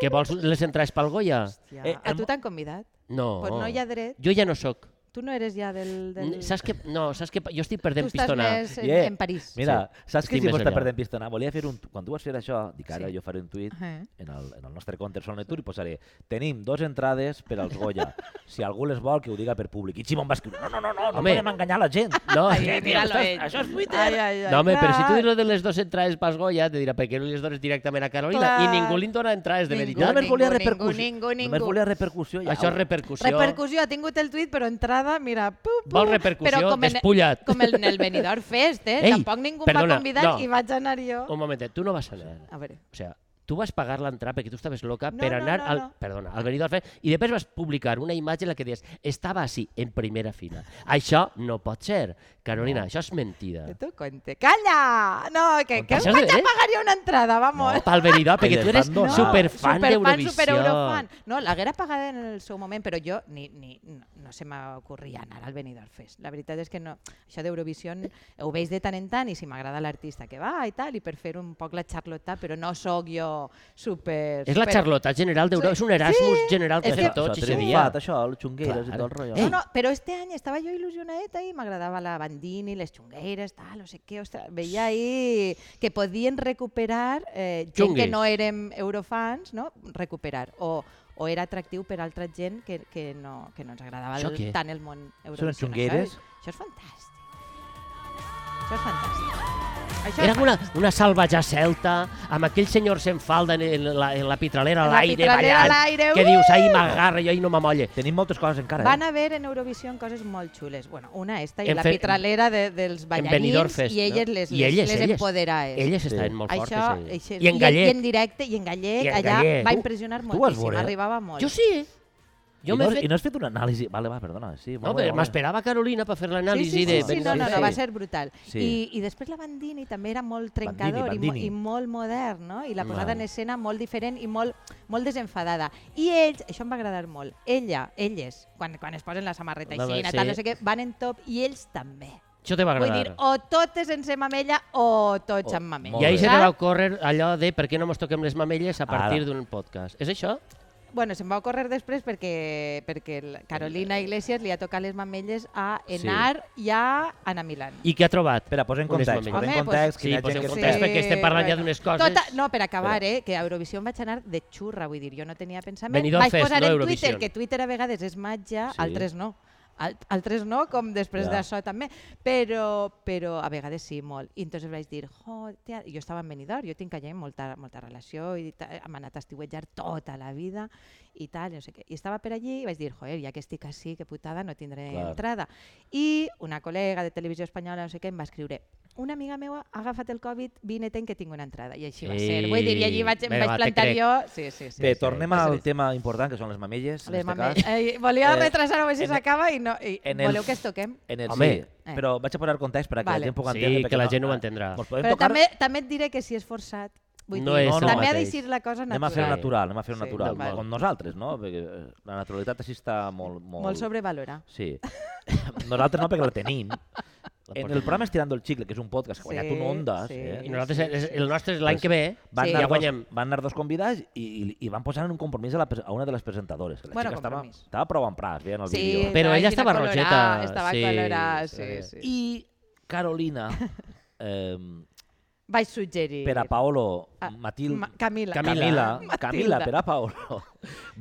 [SPEAKER 3] Que vols les entrades pel Goya?
[SPEAKER 2] Hòstia,
[SPEAKER 1] Eh,
[SPEAKER 2] a
[SPEAKER 1] el
[SPEAKER 2] tu
[SPEAKER 1] mo-
[SPEAKER 2] t'han convidat?
[SPEAKER 3] No.
[SPEAKER 2] Pues no hi ha dret.
[SPEAKER 3] Jo ja no sóc.
[SPEAKER 2] Tu no eres ja del... del...
[SPEAKER 3] N- Saps que... No, saps que jo estic
[SPEAKER 2] tu
[SPEAKER 3] perdent
[SPEAKER 2] estàs
[SPEAKER 3] pistona.
[SPEAKER 2] més en,
[SPEAKER 1] Yeah.
[SPEAKER 2] en París.
[SPEAKER 1] Mira, sí. saps que
[SPEAKER 3] Estic
[SPEAKER 1] si
[SPEAKER 3] més
[SPEAKER 1] m'està
[SPEAKER 3] allà.
[SPEAKER 1] perdent pistona? Volia fer un... tu- Quan tu vas fer això, dic ara
[SPEAKER 2] Sí.
[SPEAKER 1] jo faré un tuit
[SPEAKER 2] Eh.
[SPEAKER 1] en el, en el nostre compte Sol Tour i posaré tenim dos entrades per als Goya. si algú les vol, que ho diga per públic. I Simon va escriure, no, no, no, no, no
[SPEAKER 3] Home.
[SPEAKER 1] podem enganyar la gent.
[SPEAKER 3] No,
[SPEAKER 1] Eh, mira, això, és- això és Twitter.
[SPEAKER 2] Ai, ai, ai,
[SPEAKER 3] no home, però si tu
[SPEAKER 2] clar.
[SPEAKER 3] dius lo de les dues entrades pels Goya, te dirà per què no les dones directament a Carolina
[SPEAKER 2] Clar.
[SPEAKER 3] i ningú li dona entrades de
[SPEAKER 2] Ningú,
[SPEAKER 1] Jo
[SPEAKER 3] veritat.
[SPEAKER 1] només volia
[SPEAKER 2] ningú,
[SPEAKER 1] repercussió.
[SPEAKER 2] ningú, ningú.
[SPEAKER 1] Només volia repercussió. Ja.
[SPEAKER 3] Això és repercussió.
[SPEAKER 2] Repercussió, ha tingut el tuit, però entrada, mira... Pu, pu,
[SPEAKER 3] Vol repercussió?
[SPEAKER 2] Però com en-
[SPEAKER 3] Despulla't.
[SPEAKER 2] Com el, en el Benidorm Fest, eh?
[SPEAKER 3] Ei,
[SPEAKER 2] Tampoc ningú em va
[SPEAKER 3] perdona,
[SPEAKER 2] convidar
[SPEAKER 3] no.
[SPEAKER 2] i vaig anar jo.
[SPEAKER 3] Un momentet, tu no vas anar.
[SPEAKER 2] A veure,
[SPEAKER 3] O sea, tu vas pagar l'entrada perquè tu estaves loca
[SPEAKER 2] No,
[SPEAKER 3] per
[SPEAKER 2] no,
[SPEAKER 3] anar
[SPEAKER 2] no,
[SPEAKER 3] al,
[SPEAKER 2] no.
[SPEAKER 3] perdona, al Benidorm Fest i després vas publicar una imatge en la que deies estava així, en primera fila. Això no pot ser. Carolina, això és mentida.
[SPEAKER 2] que tu cuente. Calla! No, que, que
[SPEAKER 3] Això
[SPEAKER 2] em vaig
[SPEAKER 3] de
[SPEAKER 2] a
[SPEAKER 3] veres?
[SPEAKER 2] pagar jo una entrada, vamos.
[SPEAKER 3] No, pel Benidorm, perquè
[SPEAKER 1] Ell
[SPEAKER 3] tu
[SPEAKER 1] es
[SPEAKER 3] eres
[SPEAKER 1] van donar.
[SPEAKER 3] superfan
[SPEAKER 2] superfan,
[SPEAKER 3] d'Eurovisió.
[SPEAKER 2] supereurofan. No, l'haguera pagat en el seu moment, però jo ni, ni, no, no se m'ocorria anar al Benidorm Fest. La veritat és que no. Això d'Eurovisió ho veig de tant en tant i si m'agrada l'artista que va i tal, i per fer un poc la charlota, però no sóc jo super...
[SPEAKER 3] És la
[SPEAKER 2] super-
[SPEAKER 3] Charlota general d'Europa, és un Erasmus general que
[SPEAKER 2] és
[SPEAKER 3] fem
[SPEAKER 2] que-
[SPEAKER 3] tots i
[SPEAKER 1] Això
[SPEAKER 3] se
[SPEAKER 1] ha
[SPEAKER 3] dia.
[SPEAKER 1] triomfat, Això, el xungueres i
[SPEAKER 3] Clar.
[SPEAKER 1] tot el rotllo.
[SPEAKER 3] Ei.
[SPEAKER 2] Eh, No, no, però este any estava jo il·lusionadeta i m'agradava la bandini, les xungueires, tal, no sé què, ostres, veia ahí que podien recuperar eh, gent
[SPEAKER 3] Xunguis.
[SPEAKER 2] que no érem eurofans, no? recuperar, o, o era atractiu per altra gent que, que, no, que no ens agradava
[SPEAKER 3] Això
[SPEAKER 2] el,
[SPEAKER 3] què?
[SPEAKER 2] tant el món
[SPEAKER 1] Són
[SPEAKER 2] eurovisional.
[SPEAKER 1] les xungueres?
[SPEAKER 2] Això, això és fantàstic. Això és fantàstic. Això
[SPEAKER 3] Era
[SPEAKER 2] és
[SPEAKER 3] una, una salvatge celta, amb aquell senyor sense falda en, en, la, en la pitralera a
[SPEAKER 2] En la
[SPEAKER 3] l'aire,
[SPEAKER 2] pitralera a
[SPEAKER 3] ballant,
[SPEAKER 2] l'aire,
[SPEAKER 3] que
[SPEAKER 2] uh!
[SPEAKER 3] dius, ahir m'agarra, jo ahir no m'amolle.
[SPEAKER 1] Tenim moltes coses encara,
[SPEAKER 2] Van
[SPEAKER 1] eh?
[SPEAKER 2] haver en Eurovisió coses molt xules. Bueno, una esta i
[SPEAKER 3] En
[SPEAKER 2] la
[SPEAKER 3] fe-
[SPEAKER 2] pitralera de, dels
[SPEAKER 3] Benidorm
[SPEAKER 2] ballarins
[SPEAKER 3] Fest,
[SPEAKER 2] i elles
[SPEAKER 3] no?
[SPEAKER 2] les,
[SPEAKER 3] I
[SPEAKER 2] les,
[SPEAKER 3] elles,
[SPEAKER 2] les
[SPEAKER 3] elles.
[SPEAKER 2] empoderades.
[SPEAKER 3] Elles
[SPEAKER 1] Sí.
[SPEAKER 3] estaven molt
[SPEAKER 2] Això,
[SPEAKER 3] fortes.
[SPEAKER 2] això,
[SPEAKER 3] elles. I en
[SPEAKER 2] I
[SPEAKER 3] gallec.
[SPEAKER 2] en directe, i en gallec,
[SPEAKER 3] I en
[SPEAKER 2] allà
[SPEAKER 3] gallec. Uh,
[SPEAKER 2] va
[SPEAKER 3] Tu-
[SPEAKER 2] impressionar
[SPEAKER 1] tu vas
[SPEAKER 2] moltíssim,
[SPEAKER 1] veure?
[SPEAKER 2] arribava molt.
[SPEAKER 3] Jo sí, eh? Jo
[SPEAKER 1] I,
[SPEAKER 3] m'he
[SPEAKER 1] no, I
[SPEAKER 3] fet...
[SPEAKER 1] no has fet una anàlisi? Vale, va, perdona. Sí,
[SPEAKER 3] No,
[SPEAKER 1] molt bé,
[SPEAKER 3] però
[SPEAKER 1] molt bé.
[SPEAKER 3] m'esperava Carolina per fer
[SPEAKER 2] Sí,
[SPEAKER 3] l'anàlisi
[SPEAKER 2] sí, sí,
[SPEAKER 3] de...
[SPEAKER 2] sí, no, no, no,
[SPEAKER 1] sí.
[SPEAKER 2] va ser brutal.
[SPEAKER 1] Sí.
[SPEAKER 2] I, I després la Bandini també era molt trencador
[SPEAKER 1] Bandini, Bandini.
[SPEAKER 2] I, mo- i molt modern, no? I la posada
[SPEAKER 1] Vale.
[SPEAKER 2] en escena molt diferent i molt, molt desenfadada. I ells, això em va agradar molt, ella, elles, quan, quan es posen la samarreta
[SPEAKER 3] Home,
[SPEAKER 2] així,
[SPEAKER 3] sí.
[SPEAKER 2] tal, no sé què, van en top i ells també.
[SPEAKER 3] Això te va
[SPEAKER 2] Vull
[SPEAKER 3] agradar.
[SPEAKER 2] dir, o totes ens amb ella o tots amb mamella.
[SPEAKER 1] molt
[SPEAKER 3] I ahir
[SPEAKER 1] bé.
[SPEAKER 3] se te
[SPEAKER 2] Clar,
[SPEAKER 3] va ocórrer allò de per què no mos toquem les mamelles a partir
[SPEAKER 1] Ara.
[SPEAKER 3] d'un podcast. És això?
[SPEAKER 2] Bueno, se'm va ocórrer després perquè, perquè el- Carolina Iglesias li ha tocat les mamelles a Enar sí. i a Ana Milán.
[SPEAKER 3] I què ha trobat?
[SPEAKER 1] Espera, posa en
[SPEAKER 3] Unes
[SPEAKER 1] context,
[SPEAKER 3] mamelles.
[SPEAKER 1] posa en
[SPEAKER 2] Home, pues-
[SPEAKER 1] context, que
[SPEAKER 3] Sí,
[SPEAKER 1] hi ha
[SPEAKER 3] posa
[SPEAKER 1] gent
[SPEAKER 3] en
[SPEAKER 1] que
[SPEAKER 3] context,
[SPEAKER 1] té-
[SPEAKER 3] perquè estem parlant ja d'unes coses.
[SPEAKER 2] Tota, no, per acabar, eh, que a Eurovisió em vaig anar de xurra, vull dir, jo no tenia pensament.
[SPEAKER 3] Benidorm
[SPEAKER 2] vaig
[SPEAKER 3] Fest,
[SPEAKER 2] posar
[SPEAKER 3] no
[SPEAKER 2] en
[SPEAKER 3] Eurovision.
[SPEAKER 2] Twitter, que Twitter a vegades és matja,
[SPEAKER 1] Sí.
[SPEAKER 2] sí. altres no. Al- altres no, com després
[SPEAKER 1] Ja.
[SPEAKER 2] d'això també, però, però a vegades sí, molt. I entonces vaig dir, jo, tia, jo estava en Benidorm, jo tinc allà molta, molta relació, i ta- hem anat a estiuetjar tota la vida i tal, no sé què. I estava per allí i vaig dir, joder, ja que estic així, que putada, no tindré
[SPEAKER 1] Clar.
[SPEAKER 2] entrada. I una col·lega de Televisió Espanyola, no sé què, em va escriure, una amiga meva, agafa't el Covid, vine ten que tinc una entrada. I així va
[SPEAKER 3] Ei,
[SPEAKER 2] ser. Vull dir, i allí vaig, em
[SPEAKER 3] vinga,
[SPEAKER 2] vaig
[SPEAKER 3] va, te
[SPEAKER 2] plantar
[SPEAKER 3] crec.
[SPEAKER 2] jo... Sí, sí, sí.
[SPEAKER 1] Bé,
[SPEAKER 2] sí.
[SPEAKER 1] tornem
[SPEAKER 2] Això
[SPEAKER 1] al
[SPEAKER 2] és.
[SPEAKER 1] tema important, que són les mamelles, en
[SPEAKER 2] Les
[SPEAKER 1] este
[SPEAKER 2] mames.
[SPEAKER 1] cas.
[SPEAKER 2] Eh, volia
[SPEAKER 1] Eh,
[SPEAKER 2] retrasar-ho a veure si
[SPEAKER 1] en el-
[SPEAKER 2] s'acaba i no... I
[SPEAKER 1] en el-
[SPEAKER 2] voleu que es toquem?
[SPEAKER 1] En el,
[SPEAKER 3] Home.
[SPEAKER 1] sí, però vaig a posar context perquè
[SPEAKER 2] Eh. Vale.
[SPEAKER 1] la gent pugui
[SPEAKER 3] Sí,
[SPEAKER 1] entendre.
[SPEAKER 3] que la
[SPEAKER 1] perquè
[SPEAKER 3] gent ho entendrà.
[SPEAKER 1] Mos podem
[SPEAKER 2] Però
[SPEAKER 1] tocar...
[SPEAKER 2] també, també et diré que si és forçat, vull
[SPEAKER 3] No
[SPEAKER 2] dir,
[SPEAKER 3] és el
[SPEAKER 2] també ha de
[SPEAKER 3] mateix.
[SPEAKER 2] ser la cosa
[SPEAKER 1] Anem a fer-ho
[SPEAKER 2] natural.
[SPEAKER 1] natural, anem a fer-ho
[SPEAKER 2] Sí,
[SPEAKER 1] natural,
[SPEAKER 2] val.
[SPEAKER 1] com nosaltres, no? Perquè eh, la naturalitat així està molt... Molt,
[SPEAKER 2] Molt sobrevalorar.
[SPEAKER 1] Sí. nosaltres no, perquè la tenim. En el programa Estirando el Chicle, que és un podcast que ha guanyat
[SPEAKER 2] Sí,
[SPEAKER 1] un Ondas,
[SPEAKER 2] sí.
[SPEAKER 1] eh?
[SPEAKER 3] I nosaltres, és- el nostre és l'any
[SPEAKER 1] Pues,
[SPEAKER 3] que ve,
[SPEAKER 1] Van,
[SPEAKER 2] Sí.
[SPEAKER 1] anar dos,
[SPEAKER 3] ja guanyem.
[SPEAKER 1] van anar dos convidats i, i, i van posar en un compromís a, la, pres- a una de les presentadores. que La
[SPEAKER 2] Bueno,
[SPEAKER 1] xica estava,
[SPEAKER 2] compromís.
[SPEAKER 1] estava prou empràs, veien el
[SPEAKER 2] Sí,
[SPEAKER 1] vídeo.
[SPEAKER 3] Però ella
[SPEAKER 2] així
[SPEAKER 3] estava
[SPEAKER 2] colorada,
[SPEAKER 3] rojeta,
[SPEAKER 2] Estava
[SPEAKER 3] sí,
[SPEAKER 2] colorada, sí,
[SPEAKER 3] sí.
[SPEAKER 2] sí.
[SPEAKER 1] I Carolina, eh,
[SPEAKER 2] Vaig suggerir...
[SPEAKER 1] per a Paolo,
[SPEAKER 2] Ah,
[SPEAKER 1] Matil,
[SPEAKER 2] Ma- Camila.
[SPEAKER 1] Camila, Camila,
[SPEAKER 2] Matilda.
[SPEAKER 1] per a Paolo,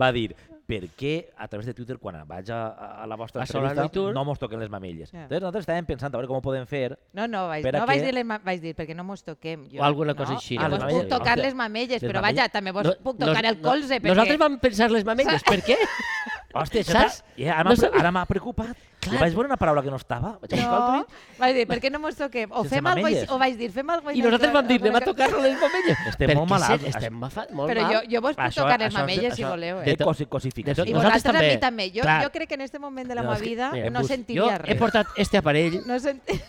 [SPEAKER 1] va dir per què a través de Twitter quan vaig a, a la vostra
[SPEAKER 3] A Solano i
[SPEAKER 1] entrevista
[SPEAKER 3] Tur.
[SPEAKER 1] no mos toquen les mamelles.
[SPEAKER 2] Ja.
[SPEAKER 1] Entonces nosaltres estàvem pensant a veure com ho podem fer
[SPEAKER 2] No, no, vaig,
[SPEAKER 1] Per a
[SPEAKER 2] no vaig,
[SPEAKER 1] què?
[SPEAKER 2] dir les, ma- vaig dir perquè no mos toquem. Jo,
[SPEAKER 3] O alguna cosa
[SPEAKER 2] no?
[SPEAKER 3] així,
[SPEAKER 1] Ah,
[SPEAKER 2] Ah,
[SPEAKER 1] les
[SPEAKER 2] vos puc
[SPEAKER 1] mamelles.
[SPEAKER 2] tocar
[SPEAKER 1] Hòstia,
[SPEAKER 2] les mamelles,
[SPEAKER 1] les
[SPEAKER 2] però
[SPEAKER 1] mamelles-
[SPEAKER 2] vaja, també vos
[SPEAKER 3] No-
[SPEAKER 2] puc
[SPEAKER 3] nos-
[SPEAKER 2] tocar el
[SPEAKER 3] no-
[SPEAKER 2] colze. perquè...
[SPEAKER 3] Nosaltres vam pensar les mamelles, per què?
[SPEAKER 1] Hòstia, això
[SPEAKER 3] Saps?
[SPEAKER 1] t'ha- ja, ara
[SPEAKER 3] No
[SPEAKER 1] m'ha pre-
[SPEAKER 3] sabia.
[SPEAKER 1] ara m'ha preocupat. Clar. vaig veure una paraula que no estava. Vaig buscar el
[SPEAKER 2] No,
[SPEAKER 1] tuit.
[SPEAKER 2] vaig dir, per què no mos toquem? O
[SPEAKER 1] Sense
[SPEAKER 2] fem alguna
[SPEAKER 1] mamelles.
[SPEAKER 2] cosa, o vaig dir, fem alguna
[SPEAKER 3] I nosaltres vam dir, anem a tocar-lo les mamelles.
[SPEAKER 1] Estem
[SPEAKER 3] Per
[SPEAKER 1] molt
[SPEAKER 3] què se-
[SPEAKER 1] malalts.
[SPEAKER 3] Estem mafa, molt
[SPEAKER 2] Però jo,
[SPEAKER 3] mal.
[SPEAKER 2] jo vos puc
[SPEAKER 1] Això-
[SPEAKER 2] tocar les
[SPEAKER 1] això és-
[SPEAKER 2] mamelles, si
[SPEAKER 1] això-
[SPEAKER 2] voleu.
[SPEAKER 1] De
[SPEAKER 2] Eh?
[SPEAKER 3] tot-
[SPEAKER 1] cosi,
[SPEAKER 3] de tot-
[SPEAKER 2] I
[SPEAKER 1] cosificació.
[SPEAKER 3] nosaltres
[SPEAKER 2] vosaltres a mi
[SPEAKER 3] també.
[SPEAKER 2] també. Jo,
[SPEAKER 3] Clar.
[SPEAKER 2] jo crec que en este moment de la
[SPEAKER 1] No,
[SPEAKER 2] meva
[SPEAKER 1] és que-
[SPEAKER 2] vida
[SPEAKER 1] mira,
[SPEAKER 2] no
[SPEAKER 3] Eh, Pues,
[SPEAKER 2] sentiria
[SPEAKER 3] Jo he
[SPEAKER 2] res.
[SPEAKER 3] portat este aparell
[SPEAKER 2] No senti...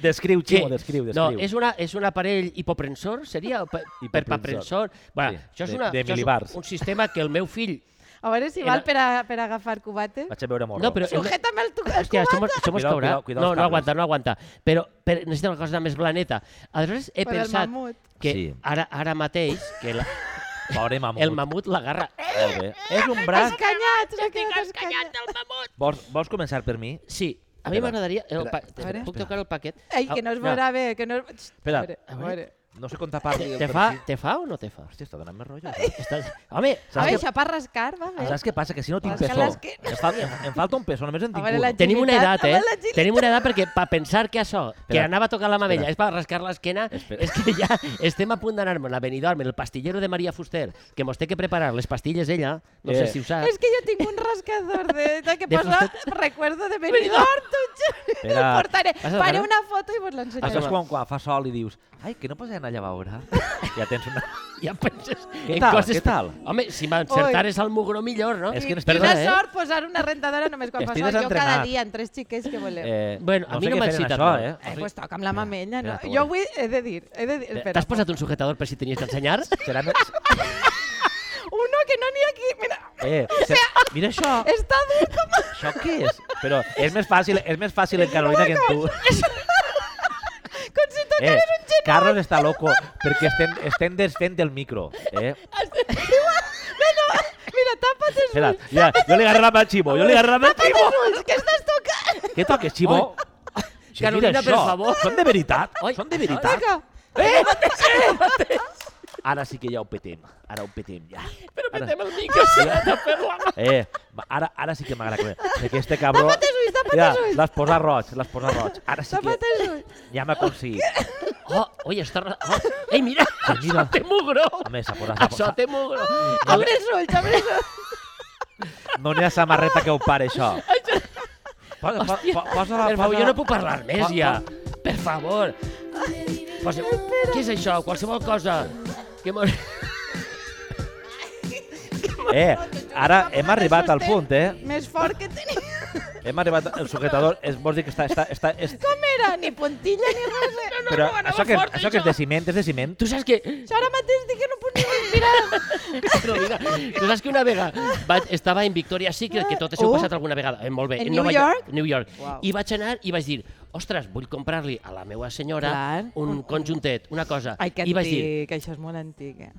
[SPEAKER 1] Descriu,
[SPEAKER 3] que-
[SPEAKER 1] Ximo, descriu,
[SPEAKER 3] No,
[SPEAKER 1] descriu.
[SPEAKER 3] és, una, és un aparell hipoprensor, seria? O pa- Hiperpaprensor. Bueno,
[SPEAKER 1] Sí,
[SPEAKER 3] això és,
[SPEAKER 1] de-
[SPEAKER 3] una,
[SPEAKER 1] de
[SPEAKER 3] això
[SPEAKER 1] milibars.
[SPEAKER 3] és un sistema que el meu fill...
[SPEAKER 2] A veure si
[SPEAKER 3] Era-
[SPEAKER 2] val per, a, per agafar cubates.
[SPEAKER 1] Vaig a veure morro.
[SPEAKER 3] No, però-
[SPEAKER 2] Sujétame el, tu el
[SPEAKER 3] Hòstia, això mos, això mos
[SPEAKER 1] Cuidao,
[SPEAKER 3] caurà.
[SPEAKER 1] cuidao, cuidao
[SPEAKER 3] eh? no,
[SPEAKER 1] els
[SPEAKER 3] no
[SPEAKER 1] cables.
[SPEAKER 3] aguanta, no aguanta. Però, però necessita una cosa més planeta. Aleshores, he
[SPEAKER 2] Per el
[SPEAKER 3] pensat
[SPEAKER 2] mamut.
[SPEAKER 3] que
[SPEAKER 1] Sí.
[SPEAKER 3] ara, ara mateix que la,
[SPEAKER 1] Pobre mamut.
[SPEAKER 3] el mamut l'agarra.
[SPEAKER 1] Molt bé. És un braç...
[SPEAKER 2] Escanyats, m'ha quedat escanyat.
[SPEAKER 1] Vols, vols començar per mi?
[SPEAKER 3] Sí, a mi
[SPEAKER 1] Espera,
[SPEAKER 3] m'agradaria... el pa-
[SPEAKER 2] A veure.
[SPEAKER 3] Puc tocar el paquet? Ah,
[SPEAKER 2] Ai, que no es
[SPEAKER 1] Mira.
[SPEAKER 2] veurà bé, que no... Xxt,
[SPEAKER 1] Espera.
[SPEAKER 2] a
[SPEAKER 3] A
[SPEAKER 2] veure.
[SPEAKER 3] veure.
[SPEAKER 1] No sé com tapar-li el
[SPEAKER 3] Te fa,
[SPEAKER 1] perfil.
[SPEAKER 3] te fa o no te fa?
[SPEAKER 1] Hòstia, està donant més rotllo. saps?
[SPEAKER 3] Estàs... Home,
[SPEAKER 2] A
[SPEAKER 1] Saps
[SPEAKER 2] veure,
[SPEAKER 1] què-
[SPEAKER 2] això per rascar, va bé.
[SPEAKER 1] Saps què passa? Que si no tinc
[SPEAKER 2] Rasca
[SPEAKER 1] peso.
[SPEAKER 2] l'esquena.
[SPEAKER 1] Em, fal, em, em falta un peso, només en
[SPEAKER 2] A
[SPEAKER 1] tinc
[SPEAKER 2] veure,
[SPEAKER 1] un.
[SPEAKER 2] la gent-
[SPEAKER 3] Tenim una edat,
[SPEAKER 2] Agilitat,
[SPEAKER 3] eh?
[SPEAKER 2] home, l'agilitat.
[SPEAKER 3] Tenim una edat perquè per pensar que això, que
[SPEAKER 1] Espera.
[SPEAKER 3] anava a tocar la mamella,
[SPEAKER 1] Espera.
[SPEAKER 3] és per rascar l'esquena, és que ja estem a punt d'anar-me'n a Benidorm, el pastillero de Maria Fuster, que mos té que preparar les pastilles ella, no
[SPEAKER 1] Eh.
[SPEAKER 3] sé si ho saps.
[SPEAKER 2] És que jo tinc un rascador de... de que
[SPEAKER 3] De
[SPEAKER 2] posa
[SPEAKER 3] fusta-
[SPEAKER 2] recuerdo de Benidorm, tu, Xavi. El
[SPEAKER 1] Espera.
[SPEAKER 2] portaré.
[SPEAKER 3] Has de
[SPEAKER 2] Faré
[SPEAKER 3] parar?
[SPEAKER 2] una foto i vos
[SPEAKER 1] Això és
[SPEAKER 2] l'ensenyaré.
[SPEAKER 1] quan, quan fa sol i dius ai, que no pots anar allà a veure? Ja tens una...
[SPEAKER 3] Ja penses
[SPEAKER 1] Què
[SPEAKER 3] en
[SPEAKER 1] tal,
[SPEAKER 3] coses...
[SPEAKER 1] què tal?
[SPEAKER 3] Home, si m'encertares el mugró millor, no?
[SPEAKER 1] És que no estic-
[SPEAKER 2] Quina
[SPEAKER 1] Perdona, eh?
[SPEAKER 2] sort posar una rentadora només quan fa
[SPEAKER 1] Estic
[SPEAKER 2] sol. Jo cada
[SPEAKER 1] desentrenat.
[SPEAKER 2] dia, en tres xiquets que voleu. Eh,
[SPEAKER 1] Eh,
[SPEAKER 3] Bueno, a mi
[SPEAKER 1] sé
[SPEAKER 3] no
[SPEAKER 1] què
[SPEAKER 3] m'han
[SPEAKER 1] fer en
[SPEAKER 3] citat
[SPEAKER 1] això,
[SPEAKER 3] molt.
[SPEAKER 1] eh? O sigui,
[SPEAKER 2] pues toca amb la mamella, no?
[SPEAKER 1] espera,
[SPEAKER 2] Jo vull... He de dir, he de dir...
[SPEAKER 1] Eh,
[SPEAKER 2] Espera,
[SPEAKER 3] Eh, T'has posat un sujetador per si tenies que ensenyar?
[SPEAKER 1] serà més...
[SPEAKER 2] Uno que no n'hi ha aquí, mira.
[SPEAKER 1] Eh, se... Mira això,
[SPEAKER 2] Està dur com...
[SPEAKER 1] això què és? Però és més fàcil, és més fàcil en Carolina que en tu. Eh,
[SPEAKER 2] Com si tocares un genoll.
[SPEAKER 1] Carlos està loco perquè estem, estem desfent del micro. Eh?
[SPEAKER 2] Mira, mira, tapa't els
[SPEAKER 1] Espera,
[SPEAKER 2] ulls.
[SPEAKER 1] ja, jo li agarro la mà al Ximo, jo li agarro la mà al
[SPEAKER 2] Tapa't
[SPEAKER 1] Ximo.
[SPEAKER 2] els ulls, que estàs tocant.
[SPEAKER 1] Què toques, Ximo? Sí,
[SPEAKER 3] Carolina,
[SPEAKER 1] mira
[SPEAKER 3] per
[SPEAKER 1] això.
[SPEAKER 3] favor.
[SPEAKER 1] Són de veritat?
[SPEAKER 3] Oi.
[SPEAKER 1] Són de veritat? Eh?
[SPEAKER 2] Vinga.
[SPEAKER 1] Ara sí que ja ho petem. Ara ho petem, ja. Però
[SPEAKER 3] Té el micro, sí, de fer-la.
[SPEAKER 1] Eh, va, ara, ara sí que m'agrada que que aquest cabró...
[SPEAKER 2] Tapa't els ulls, tapa't
[SPEAKER 1] Ja,
[SPEAKER 2] els ulls.
[SPEAKER 1] l'has posat roig, l'has posat roig. Ara sí
[SPEAKER 2] Tapa't
[SPEAKER 1] que
[SPEAKER 2] els ulls.
[SPEAKER 1] ja m'ha aconseguit.
[SPEAKER 3] Oh, oi, està... ra- Oh. Ei, mira,
[SPEAKER 1] mira.
[SPEAKER 3] això té mugró.
[SPEAKER 1] Home, s'ha posat...
[SPEAKER 3] Això té mugró.
[SPEAKER 2] Obre els ulls, obre els ulls.
[SPEAKER 1] No n'hi ha samarreta que ho pare, això. Posa, po, po, posa la...
[SPEAKER 3] Per favor,
[SPEAKER 1] posa-
[SPEAKER 3] jo no puc parlar més,
[SPEAKER 1] Fa-
[SPEAKER 3] ja. Per favor. Posa... Què és això? Qualsevol cosa. Que mos...
[SPEAKER 1] Eh, ara hem arribat al punt, eh?
[SPEAKER 2] Més fort que tenia.
[SPEAKER 1] Hem arribat... El sujetador, es, vols dir que està... està, està és,
[SPEAKER 2] Com era? Ni puntilla ni res. eh?
[SPEAKER 1] però això que, això que és de ciment, és de ciment.
[SPEAKER 3] Tu saps que...
[SPEAKER 2] Això ara mateix dic que no podia respirar.
[SPEAKER 3] Carolina, tu saps que una vegada va, estava en Victoria Secret, que tot això ho
[SPEAKER 2] Oh.
[SPEAKER 3] he passat alguna vegada, eh, molt bé.
[SPEAKER 2] En
[SPEAKER 3] Nova
[SPEAKER 2] New York?
[SPEAKER 3] New York.
[SPEAKER 2] Uau.
[SPEAKER 3] I vaig anar i vaig dir, ostres, vull comprar-li a la meva senyora
[SPEAKER 2] Clar.
[SPEAKER 3] un conjuntet, una cosa.
[SPEAKER 2] Ai, que
[SPEAKER 3] I vaig dir,
[SPEAKER 2] antic, això és molt antic. eh?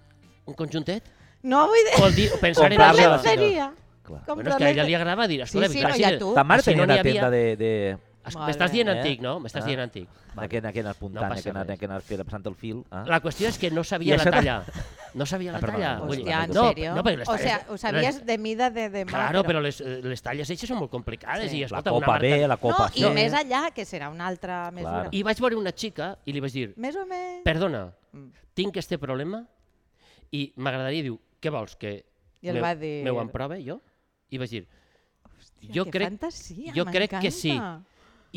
[SPEAKER 3] un conjuntet?
[SPEAKER 2] No vull dir...
[SPEAKER 3] Vol dir, pensar en
[SPEAKER 1] Comprar-li
[SPEAKER 3] això.
[SPEAKER 1] a la senyora.
[SPEAKER 2] Comprar-lenceria.
[SPEAKER 1] Clar.
[SPEAKER 3] Bueno, és que a ella li agrada dir,
[SPEAKER 2] Sí, sí, no, i a tu.
[SPEAKER 1] Ta mare
[SPEAKER 3] Si no
[SPEAKER 1] tenia
[SPEAKER 3] n'hi
[SPEAKER 1] una
[SPEAKER 3] havia-
[SPEAKER 1] tenda de... de...
[SPEAKER 2] Molt
[SPEAKER 3] M'estàs
[SPEAKER 2] bé.
[SPEAKER 3] dient
[SPEAKER 1] Eh?
[SPEAKER 3] antic, no? M'estàs
[SPEAKER 1] Ah.
[SPEAKER 3] dient antic.
[SPEAKER 1] Vale. Que, que anar apuntant,
[SPEAKER 3] No
[SPEAKER 1] no
[SPEAKER 3] passa
[SPEAKER 1] que anar,
[SPEAKER 3] res.
[SPEAKER 1] que anar passant el fil. Eh?
[SPEAKER 3] La qüestió és que no
[SPEAKER 1] I
[SPEAKER 3] sabia la
[SPEAKER 1] això ta-
[SPEAKER 3] talla. No sabia la
[SPEAKER 1] Ah, perdona,
[SPEAKER 3] talla.
[SPEAKER 1] perdona.
[SPEAKER 3] Vull dir,
[SPEAKER 2] Hòstia, en
[SPEAKER 3] no,
[SPEAKER 2] sèrio?
[SPEAKER 3] no, perquè les
[SPEAKER 2] o
[SPEAKER 3] talles-
[SPEAKER 2] sea, ho sabies
[SPEAKER 3] les-
[SPEAKER 2] de mida de demà.
[SPEAKER 3] Claro, però les, les talles eixes són molt complicades
[SPEAKER 2] Sí.
[SPEAKER 3] i
[SPEAKER 1] La
[SPEAKER 3] escolta, una
[SPEAKER 1] copa
[SPEAKER 3] marca...
[SPEAKER 1] B, la copa
[SPEAKER 2] No,
[SPEAKER 1] C.
[SPEAKER 2] i més eh, allà, que serà una altra mesura.
[SPEAKER 1] Clar.
[SPEAKER 3] I vaig veure una xica i li vaig dir,
[SPEAKER 2] Més o menys.
[SPEAKER 3] perdona,
[SPEAKER 2] Mm.
[SPEAKER 3] tinc este problema i m'agradaria, diu, què vols, que
[SPEAKER 2] I el
[SPEAKER 3] me-
[SPEAKER 2] va dir-
[SPEAKER 3] me ho emprove, jo? I vaig dir,
[SPEAKER 2] Hòstia,
[SPEAKER 3] jo
[SPEAKER 2] que
[SPEAKER 3] crec-
[SPEAKER 2] fantasia,
[SPEAKER 3] jo crec que
[SPEAKER 2] m'encanta.
[SPEAKER 3] sí.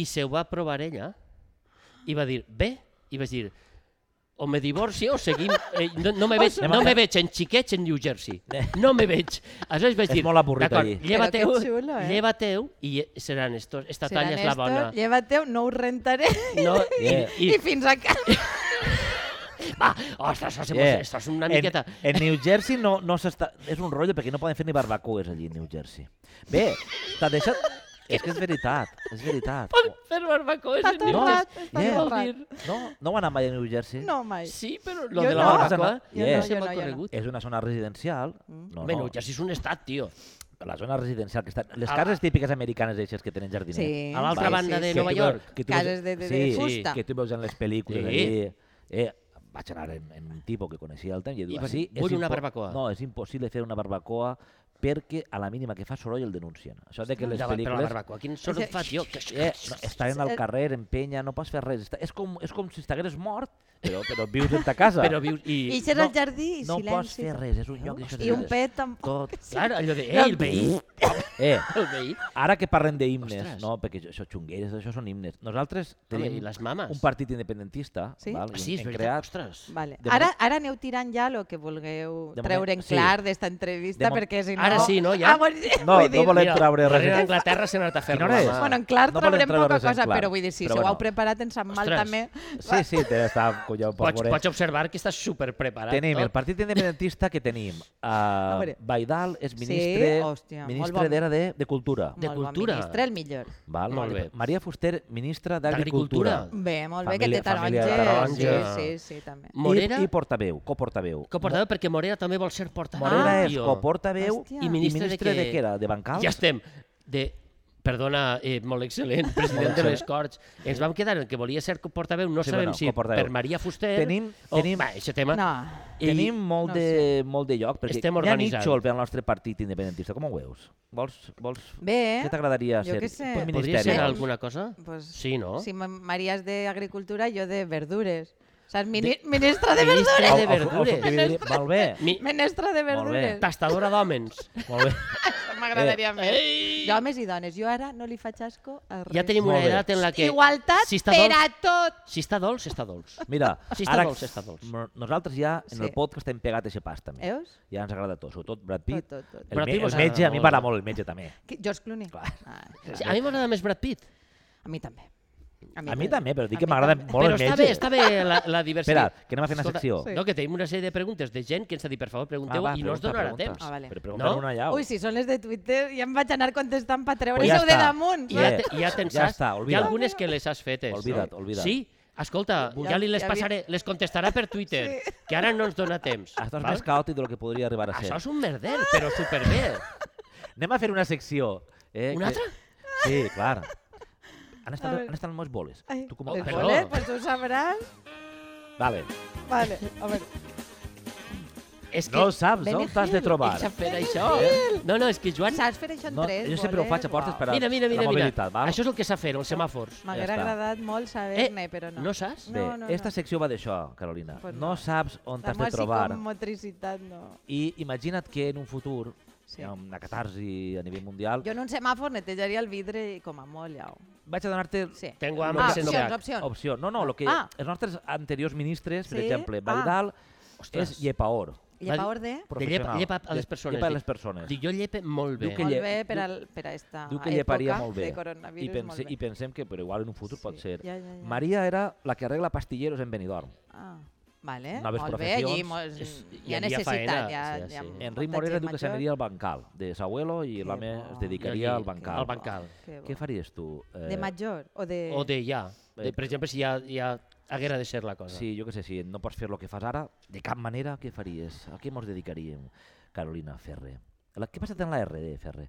[SPEAKER 3] i se ho va provar ella i va dir, bé, i vaig dir, o me divorcio o seguim... Eh, no, no, me veig,
[SPEAKER 1] Anem a-
[SPEAKER 3] no me veig en xiquets en New Jersey. No me veig. Aleshores vaig
[SPEAKER 1] És
[SPEAKER 3] dir...
[SPEAKER 1] molt avorrit
[SPEAKER 3] "D'acord,
[SPEAKER 1] allí."
[SPEAKER 3] Lleva-teu,
[SPEAKER 2] Però que xulo, eh?
[SPEAKER 3] lleva-teu i seran estos. Esta
[SPEAKER 2] Seran
[SPEAKER 3] talla és la
[SPEAKER 2] esto,
[SPEAKER 3] bona.
[SPEAKER 2] Lleva-teu, no ho rentaré.
[SPEAKER 3] No,
[SPEAKER 1] Yeah.
[SPEAKER 3] i,
[SPEAKER 2] I, fins a casa.
[SPEAKER 3] i, va, ostres, eh, això
[SPEAKER 1] Yeah.
[SPEAKER 3] yeah. és una miqueta...
[SPEAKER 1] En, en New Jersey no, no s'està... És un rotllo perquè no poden fer ni barbacoes allí a New Jersey. Bé, t'ha deixat... és que és veritat, és veritat.
[SPEAKER 2] Oh,
[SPEAKER 3] Fer barbacoes
[SPEAKER 2] Està
[SPEAKER 3] en
[SPEAKER 2] tot
[SPEAKER 3] New
[SPEAKER 2] rat,
[SPEAKER 3] Jersey.
[SPEAKER 2] està
[SPEAKER 3] Què
[SPEAKER 1] tot
[SPEAKER 3] vol
[SPEAKER 2] rat.
[SPEAKER 3] dir?
[SPEAKER 1] No, no ho ha anat mai a New Jersey.
[SPEAKER 2] No, mai.
[SPEAKER 3] Sí, però lo
[SPEAKER 2] Jo
[SPEAKER 3] de la
[SPEAKER 2] no.
[SPEAKER 3] barbacoa
[SPEAKER 1] Jo
[SPEAKER 3] no
[SPEAKER 1] no,
[SPEAKER 3] se
[SPEAKER 2] jo
[SPEAKER 3] m'ha
[SPEAKER 2] no, jo
[SPEAKER 3] corregut.
[SPEAKER 1] És una zona residencial.
[SPEAKER 2] Mm.
[SPEAKER 1] No,
[SPEAKER 3] Bé, New
[SPEAKER 1] no.
[SPEAKER 3] Jersey és un estat, tio.
[SPEAKER 1] La zona residencial que està... Les
[SPEAKER 3] A la-
[SPEAKER 1] cases típiques americanes eixes que tenen jardiner.
[SPEAKER 2] Sí.
[SPEAKER 3] A l'altra
[SPEAKER 1] Vale.
[SPEAKER 3] banda de
[SPEAKER 1] Que
[SPEAKER 3] Nova
[SPEAKER 1] tu veus-
[SPEAKER 3] York.
[SPEAKER 1] que tu
[SPEAKER 2] Cases de- de- de
[SPEAKER 1] sí,
[SPEAKER 2] fusta.
[SPEAKER 1] que tu veus en les pel·lícules
[SPEAKER 3] Sí.
[SPEAKER 1] allí. Eh, vaig anar en, en un tipus que coneixia el temps i diu,
[SPEAKER 3] I vas
[SPEAKER 1] "Així
[SPEAKER 3] dir, "Vull
[SPEAKER 1] és
[SPEAKER 3] una
[SPEAKER 1] impo-
[SPEAKER 3] barbacoa."
[SPEAKER 1] No, és impossible fer una barbacoa perquè a la mínima que fa soroll el denuncien. Això de que les
[SPEAKER 3] De la- Però la
[SPEAKER 1] pel·lícules...
[SPEAKER 3] barbacoa, quin sort fa, tio? Que...
[SPEAKER 1] Eh, no, estaven al carrer, en penya, no pots fer res. Està- És com, és com si estigueres mort, però, però vius en ta casa.
[SPEAKER 3] Però vius... I...
[SPEAKER 2] I ser
[SPEAKER 1] no-
[SPEAKER 2] al jardí i
[SPEAKER 1] no pots
[SPEAKER 2] silenci.
[SPEAKER 1] fer res, és un lloc d'això de
[SPEAKER 2] I un
[SPEAKER 1] res.
[SPEAKER 2] pet tampoc.
[SPEAKER 1] Tot.
[SPEAKER 3] Clar, allò de... Eh, el veí!
[SPEAKER 1] Eh,
[SPEAKER 3] El veí!
[SPEAKER 1] ara que parlem d'himnes,
[SPEAKER 3] Ostres.
[SPEAKER 1] no? Perquè això, això xungueres, això són himnes. Nosaltres
[SPEAKER 3] Home,
[SPEAKER 1] tenim
[SPEAKER 3] i les mames? Ah,
[SPEAKER 1] un partit independentista,
[SPEAKER 2] Sí?
[SPEAKER 1] val?
[SPEAKER 3] Sí, és
[SPEAKER 1] hem
[SPEAKER 3] veritat,
[SPEAKER 1] creat
[SPEAKER 3] ostres.
[SPEAKER 2] Vale.
[SPEAKER 1] De
[SPEAKER 2] Ara, ara aneu tirant ja el que vulgueu
[SPEAKER 1] De
[SPEAKER 2] treure en
[SPEAKER 1] moment- sí.
[SPEAKER 2] clar d'esta entrevista,
[SPEAKER 1] De mo-
[SPEAKER 2] perquè si no...
[SPEAKER 3] Ara sí, no, ja?
[SPEAKER 2] Ah, bueno,
[SPEAKER 1] No,
[SPEAKER 2] vull
[SPEAKER 1] no
[SPEAKER 2] dir,
[SPEAKER 1] volem traure res.
[SPEAKER 3] darrere d'Anglaterra se n'ha anat a fer
[SPEAKER 1] Quina hora
[SPEAKER 3] la mà.
[SPEAKER 1] és?
[SPEAKER 2] Bueno, en clar
[SPEAKER 1] No volem
[SPEAKER 2] traurem
[SPEAKER 1] treure
[SPEAKER 2] poca
[SPEAKER 1] res en
[SPEAKER 2] cosa,
[SPEAKER 1] clar.
[SPEAKER 2] però vull dir, si
[SPEAKER 1] Però
[SPEAKER 2] s'ho
[SPEAKER 1] bueno.
[SPEAKER 2] heu preparat en Sant Mal
[SPEAKER 3] Ostres.
[SPEAKER 2] també...
[SPEAKER 1] Sí, sí, te està collant
[SPEAKER 3] Pots,
[SPEAKER 1] pobret.
[SPEAKER 3] pots observar que estàs superpreparat.
[SPEAKER 1] Tenim
[SPEAKER 3] no?
[SPEAKER 1] el partit independentista que tenim. Uh,
[SPEAKER 2] veure.
[SPEAKER 1] Baidal és
[SPEAKER 2] Sí,
[SPEAKER 1] ministre,
[SPEAKER 2] hòstia, molt
[SPEAKER 1] ministre
[SPEAKER 2] bon. Mm.
[SPEAKER 1] d'era de, de Cultura.
[SPEAKER 3] De
[SPEAKER 2] Molt bon
[SPEAKER 3] cultura.
[SPEAKER 2] Ministre, el millor.
[SPEAKER 1] Val?
[SPEAKER 3] Molt bé.
[SPEAKER 1] Maria Fuster, ministra
[SPEAKER 3] D'Agricultura.
[SPEAKER 1] d'Agricultura.
[SPEAKER 2] Bé, molt bé, que
[SPEAKER 1] Família-
[SPEAKER 2] té taronges.
[SPEAKER 1] família
[SPEAKER 3] taronja.
[SPEAKER 2] Sí, sí, sí, també.
[SPEAKER 3] Morera,
[SPEAKER 1] I, I portaveu, coportaveu.
[SPEAKER 3] coportaveu, perquè Morera també vol ser portaveu.
[SPEAKER 1] Morera és
[SPEAKER 3] tio.
[SPEAKER 1] coportaveu
[SPEAKER 2] Hòstia.
[SPEAKER 1] i ministre, de,
[SPEAKER 3] què?
[SPEAKER 1] què era? De bancals?
[SPEAKER 3] Ja estem. De, perdona, eh, molt excel·lent, president de les Corts. Ens vam quedar en el que volia ser portaveu, no
[SPEAKER 1] Sí,
[SPEAKER 3] sabem
[SPEAKER 1] bueno,
[SPEAKER 3] si
[SPEAKER 1] coportaveu.
[SPEAKER 3] per Maria Fuster
[SPEAKER 1] Tenim-
[SPEAKER 3] o...
[SPEAKER 1] tenim-
[SPEAKER 3] Va, aquest tema.
[SPEAKER 2] No.
[SPEAKER 3] I-
[SPEAKER 1] Tenim molt,
[SPEAKER 2] no
[SPEAKER 1] de, molt de lloc, perquè
[SPEAKER 3] Estem
[SPEAKER 1] hi ha
[SPEAKER 3] organitzats.
[SPEAKER 1] nítxol pel nostre partit independentista. Com ho veus? Vols, vols...
[SPEAKER 2] Bé,
[SPEAKER 1] Què t'agradaria
[SPEAKER 2] jo
[SPEAKER 1] ser?
[SPEAKER 2] què sé.
[SPEAKER 1] Pues
[SPEAKER 3] Podria ser
[SPEAKER 1] ministeri.
[SPEAKER 3] alguna cosa?
[SPEAKER 2] Pues,
[SPEAKER 3] Sí, no?
[SPEAKER 2] Si ma- Maria és d'agricultura, jo de verdures. Saps? Mini, Ministra de
[SPEAKER 3] Ministre
[SPEAKER 2] verdures!
[SPEAKER 1] Au, au,
[SPEAKER 3] de
[SPEAKER 1] au,
[SPEAKER 3] verdures.
[SPEAKER 1] subdividir- Molt bé.
[SPEAKER 3] Mi...
[SPEAKER 2] Menestra de
[SPEAKER 1] Molt bé.
[SPEAKER 2] verdures.
[SPEAKER 3] Tastadora d'hòmens.
[SPEAKER 1] Molt bé.
[SPEAKER 2] Això M'agradaria més.
[SPEAKER 3] Ei!
[SPEAKER 2] Jo, homes i dones, jo ara no li faig asco a res.
[SPEAKER 3] Ja tenim
[SPEAKER 1] Molt
[SPEAKER 3] una
[SPEAKER 1] bé.
[SPEAKER 3] edat en la que...
[SPEAKER 2] Igualtat
[SPEAKER 3] si està
[SPEAKER 2] per
[SPEAKER 3] dolç,
[SPEAKER 2] a tot.
[SPEAKER 3] Si està dolç, està dolç.
[SPEAKER 1] Eh, Mira,
[SPEAKER 3] Si està dolç, està dolç.
[SPEAKER 1] no- nosaltres ja en el
[SPEAKER 2] Sí. Eh?
[SPEAKER 1] podcast hem pegat aquest pas també.
[SPEAKER 2] Veus?
[SPEAKER 1] Ja ens agrada tot, sobretot Brad Pitt.
[SPEAKER 2] Tot, tot, tot.
[SPEAKER 1] El,
[SPEAKER 3] Brad
[SPEAKER 1] me,
[SPEAKER 3] Pitt
[SPEAKER 1] el
[SPEAKER 3] us
[SPEAKER 1] metge,
[SPEAKER 3] agrada
[SPEAKER 1] a mi
[SPEAKER 3] molt.
[SPEAKER 1] m'agrada molt el metge també.
[SPEAKER 2] Qui- George Clooney. Ah,
[SPEAKER 3] Sí, a mi m'agrada més Brad Pitt.
[SPEAKER 2] a mi també.
[SPEAKER 1] A mi també, però dic
[SPEAKER 2] A
[SPEAKER 1] que
[SPEAKER 2] mi
[SPEAKER 1] m'agrada
[SPEAKER 2] també.
[SPEAKER 1] molt
[SPEAKER 3] Però
[SPEAKER 1] el metge.
[SPEAKER 3] està bé, està bé la, la
[SPEAKER 1] Espera,
[SPEAKER 3] diversitat.
[SPEAKER 1] que anem a fer una
[SPEAKER 3] Escolta,
[SPEAKER 1] secció.
[SPEAKER 3] No, que tenim una sèrie de preguntes de gent que ens ha dit, per favor,
[SPEAKER 1] Ah,
[SPEAKER 3] pregunteu, i no ens
[SPEAKER 1] pregunta,
[SPEAKER 3] donarà
[SPEAKER 1] pregunta.
[SPEAKER 3] temps.
[SPEAKER 2] Ah, vale.
[SPEAKER 1] Però pregunta
[SPEAKER 3] No?
[SPEAKER 1] una ja.
[SPEAKER 2] Ui, si són les de Twitter, ja em vaig anar contestant per treure
[SPEAKER 1] Pues ja
[SPEAKER 2] ho de
[SPEAKER 1] està.
[SPEAKER 2] damunt.
[SPEAKER 3] I Ja,
[SPEAKER 1] Eh,
[SPEAKER 3] te, i ja te'n
[SPEAKER 1] ja
[SPEAKER 3] saps.
[SPEAKER 1] està,
[SPEAKER 3] hi ha
[SPEAKER 1] oblida't.
[SPEAKER 3] algunes que les has fetes.
[SPEAKER 1] Oblida't,
[SPEAKER 3] no?
[SPEAKER 1] oblida't.
[SPEAKER 3] Sí? Escolta, ja,
[SPEAKER 2] Ja-
[SPEAKER 3] li les
[SPEAKER 2] ja vi-
[SPEAKER 3] passaré, les contestarà per Twitter, que ara no ens dona temps.
[SPEAKER 1] Ah, Estàs
[SPEAKER 3] val? Ah,
[SPEAKER 1] més caòtic del que podria arribar a ser.
[SPEAKER 3] Això és un merder, però superbé.
[SPEAKER 1] Anem a fer una secció. Eh,
[SPEAKER 3] Una altra?
[SPEAKER 1] Sí, clar. Han estat,
[SPEAKER 2] A veure.
[SPEAKER 1] han estat molts boles.
[SPEAKER 2] Ai,
[SPEAKER 1] Tu com ho
[SPEAKER 2] les
[SPEAKER 1] fas?
[SPEAKER 3] Perdó.
[SPEAKER 2] bolet, pues ho sabràs.
[SPEAKER 1] Vale.
[SPEAKER 2] Vale, a veure.
[SPEAKER 3] És que
[SPEAKER 1] No saps
[SPEAKER 2] Benny
[SPEAKER 1] on t'has de
[SPEAKER 2] Hill,
[SPEAKER 1] trobar. Eh?
[SPEAKER 3] s'ha fet això. No, no, és que Joan...
[SPEAKER 2] Saps fer això en
[SPEAKER 1] No,
[SPEAKER 2] tres
[SPEAKER 1] jo sempre ho
[SPEAKER 2] bolet?
[SPEAKER 1] faig a portes
[SPEAKER 2] Uau.
[SPEAKER 1] per a
[SPEAKER 3] Mira, mira, mira,
[SPEAKER 1] la
[SPEAKER 3] mira.
[SPEAKER 1] mobilitat. Val?
[SPEAKER 3] Això és el que s'ha fet, els semàfors.
[SPEAKER 1] Ja està.
[SPEAKER 2] M'haguera
[SPEAKER 1] Eh,
[SPEAKER 2] agradat molt saber-ne, però no.
[SPEAKER 3] no saps?
[SPEAKER 1] Bé,
[SPEAKER 2] No, no, no.
[SPEAKER 1] esta secció va d'això, Carolina.
[SPEAKER 2] Pues
[SPEAKER 1] no.
[SPEAKER 2] no.
[SPEAKER 1] saps on
[SPEAKER 2] La
[SPEAKER 1] t'has de
[SPEAKER 2] meva
[SPEAKER 1] trobar.
[SPEAKER 2] psicomotricitat, no.
[SPEAKER 1] I imagina't que en un futur
[SPEAKER 2] Sí.
[SPEAKER 1] hi ha una catarsi a nivell mundial.
[SPEAKER 2] Jo en un semàfor netejaria el vidre i com a molt, ja. ho-
[SPEAKER 1] Vaig a donar-te
[SPEAKER 2] Sí.
[SPEAKER 3] Tengo hambre,
[SPEAKER 2] Ah,
[SPEAKER 1] que no.
[SPEAKER 3] sento
[SPEAKER 2] opcions,
[SPEAKER 3] gana.
[SPEAKER 2] opcions.
[SPEAKER 1] opció. No, no, lo que
[SPEAKER 2] Ah.
[SPEAKER 1] els nostres anteriors ministres, per
[SPEAKER 2] Sí?
[SPEAKER 1] exemple,
[SPEAKER 2] Ah.
[SPEAKER 1] Baidal, és
[SPEAKER 3] Ostres.
[SPEAKER 1] llepaor.
[SPEAKER 2] Llepaor de...
[SPEAKER 3] De llepa,
[SPEAKER 1] professional.
[SPEAKER 3] llepa a les persones.
[SPEAKER 1] Llepa a
[SPEAKER 3] dic.
[SPEAKER 1] les persones.
[SPEAKER 3] Dic, jo llepe molt bé. eh?
[SPEAKER 1] Diu que
[SPEAKER 2] molt
[SPEAKER 1] lle-
[SPEAKER 2] bé per,
[SPEAKER 1] diu-
[SPEAKER 2] al, per a esta
[SPEAKER 1] Diu que
[SPEAKER 2] època
[SPEAKER 1] lleparia molt bé.
[SPEAKER 2] de coronavirus.
[SPEAKER 1] I, pense,
[SPEAKER 2] molt bé.
[SPEAKER 1] I pensem que, però igual en un futur pot ser.
[SPEAKER 2] ja, ja, ja.
[SPEAKER 1] Maria era la que arregla pastilleros en Benidorm.
[SPEAKER 2] Ah, vale,
[SPEAKER 1] Noves
[SPEAKER 2] molt bé,
[SPEAKER 1] professions,
[SPEAKER 2] allí molt,
[SPEAKER 3] és-
[SPEAKER 2] hi
[SPEAKER 3] hi
[SPEAKER 2] ha
[SPEAKER 3] havia
[SPEAKER 2] necessitat.
[SPEAKER 3] faena,
[SPEAKER 2] Hi ha,
[SPEAKER 3] sí,
[SPEAKER 2] hi ha
[SPEAKER 3] sí.
[SPEAKER 2] molta
[SPEAKER 1] Enric
[SPEAKER 2] gent
[SPEAKER 1] Morera diu que
[SPEAKER 2] major.
[SPEAKER 1] s'aniria al bancal de Sabuelo i
[SPEAKER 2] Que
[SPEAKER 1] l'home
[SPEAKER 2] bo.
[SPEAKER 1] es dedicaria
[SPEAKER 3] Jo
[SPEAKER 1] al
[SPEAKER 3] dic,
[SPEAKER 1] bancal.
[SPEAKER 3] al bancal.
[SPEAKER 2] Que bo.
[SPEAKER 1] Què faries tu? Eh,
[SPEAKER 2] De major o de...
[SPEAKER 3] O de ja. De, per exemple, si ja, ja haguera de ser la cosa.
[SPEAKER 1] Sí, jo què sé, si no pots fer el que fas ara, de cap manera, què faries? A què mos dedicaríem, Carolina Ferrer? La, què ha passat en la RD, Ferrer?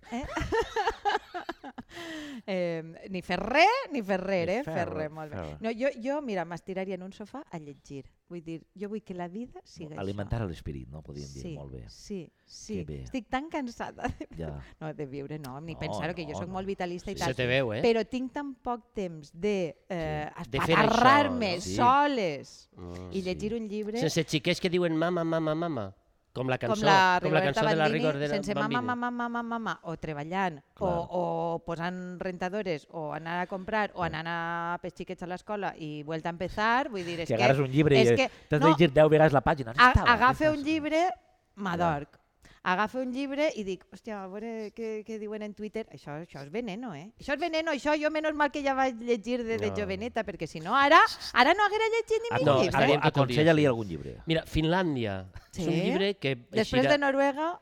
[SPEAKER 2] Eh, ni Ferrer, ni Ferrer,
[SPEAKER 1] Ni
[SPEAKER 2] eh?
[SPEAKER 1] Ferrer,
[SPEAKER 2] Ferrer, molt bé.
[SPEAKER 1] Ferrer.
[SPEAKER 2] No, jo, jo, mira, m'estiraria en un sofà a llegir. Vull dir, jo vull que la vida siga
[SPEAKER 1] Alimentar l'esperit, no? Podríem
[SPEAKER 2] això.
[SPEAKER 1] dir,
[SPEAKER 2] sí,
[SPEAKER 1] molt bé.
[SPEAKER 2] Sí, sí.
[SPEAKER 1] Que bé.
[SPEAKER 2] Estic tan cansada de,
[SPEAKER 1] Ja.
[SPEAKER 2] no, de viure, no, ni
[SPEAKER 1] No,
[SPEAKER 2] pensar-ho, que
[SPEAKER 1] no,
[SPEAKER 2] jo sóc
[SPEAKER 1] no.
[SPEAKER 2] molt vitalista i
[SPEAKER 3] Se
[SPEAKER 2] tal.
[SPEAKER 3] te veu, eh?
[SPEAKER 2] Però tinc tan poc temps de eh,
[SPEAKER 3] De fer això,
[SPEAKER 2] espatarrar-me
[SPEAKER 3] no?
[SPEAKER 1] Sí.
[SPEAKER 2] soles
[SPEAKER 3] Mm.
[SPEAKER 2] i llegir un llibre...
[SPEAKER 3] Sense xiquets que diuen mama, mama, mama. Com la cançó,
[SPEAKER 2] com la
[SPEAKER 3] com la
[SPEAKER 2] Rigoberta
[SPEAKER 3] cançó de la
[SPEAKER 2] Bandini,
[SPEAKER 3] Rigoberta
[SPEAKER 2] sense
[SPEAKER 3] Bandini.
[SPEAKER 2] mama, mama, mama, mama, o treballant,
[SPEAKER 1] Clar.
[SPEAKER 2] o, o posant rentadores, o anar a comprar, o anant a pels xiquets a l'escola i vuelta a empezar, vull dir, és
[SPEAKER 1] Si
[SPEAKER 2] que...
[SPEAKER 1] agarres un llibre
[SPEAKER 2] és
[SPEAKER 1] i
[SPEAKER 2] que,
[SPEAKER 1] t'has de
[SPEAKER 2] no,
[SPEAKER 1] llegir 10 vegades la pàgina.
[SPEAKER 2] a,
[SPEAKER 1] On estava?
[SPEAKER 2] agafa
[SPEAKER 1] Què
[SPEAKER 2] un
[SPEAKER 1] fas?
[SPEAKER 2] llibre, m'adorc. Agafa un llibre i dic, hòstia, a veure què, què diuen en Twitter. Això, això és veneno, eh? Això és veneno, això jo menys mal que ja vaig llegir de, de
[SPEAKER 3] No.
[SPEAKER 2] joveneta, perquè si no, ara ara no haguera llegit ni
[SPEAKER 1] Acon-
[SPEAKER 2] mig
[SPEAKER 3] No,
[SPEAKER 2] llibre.
[SPEAKER 1] acon-
[SPEAKER 3] estaríem tot el dia
[SPEAKER 1] Aconsella-li
[SPEAKER 3] així.
[SPEAKER 1] algun llibre.
[SPEAKER 3] Mira, Finlàndia. És un
[SPEAKER 2] Sí?
[SPEAKER 3] llibre que...
[SPEAKER 2] Després de Noruega,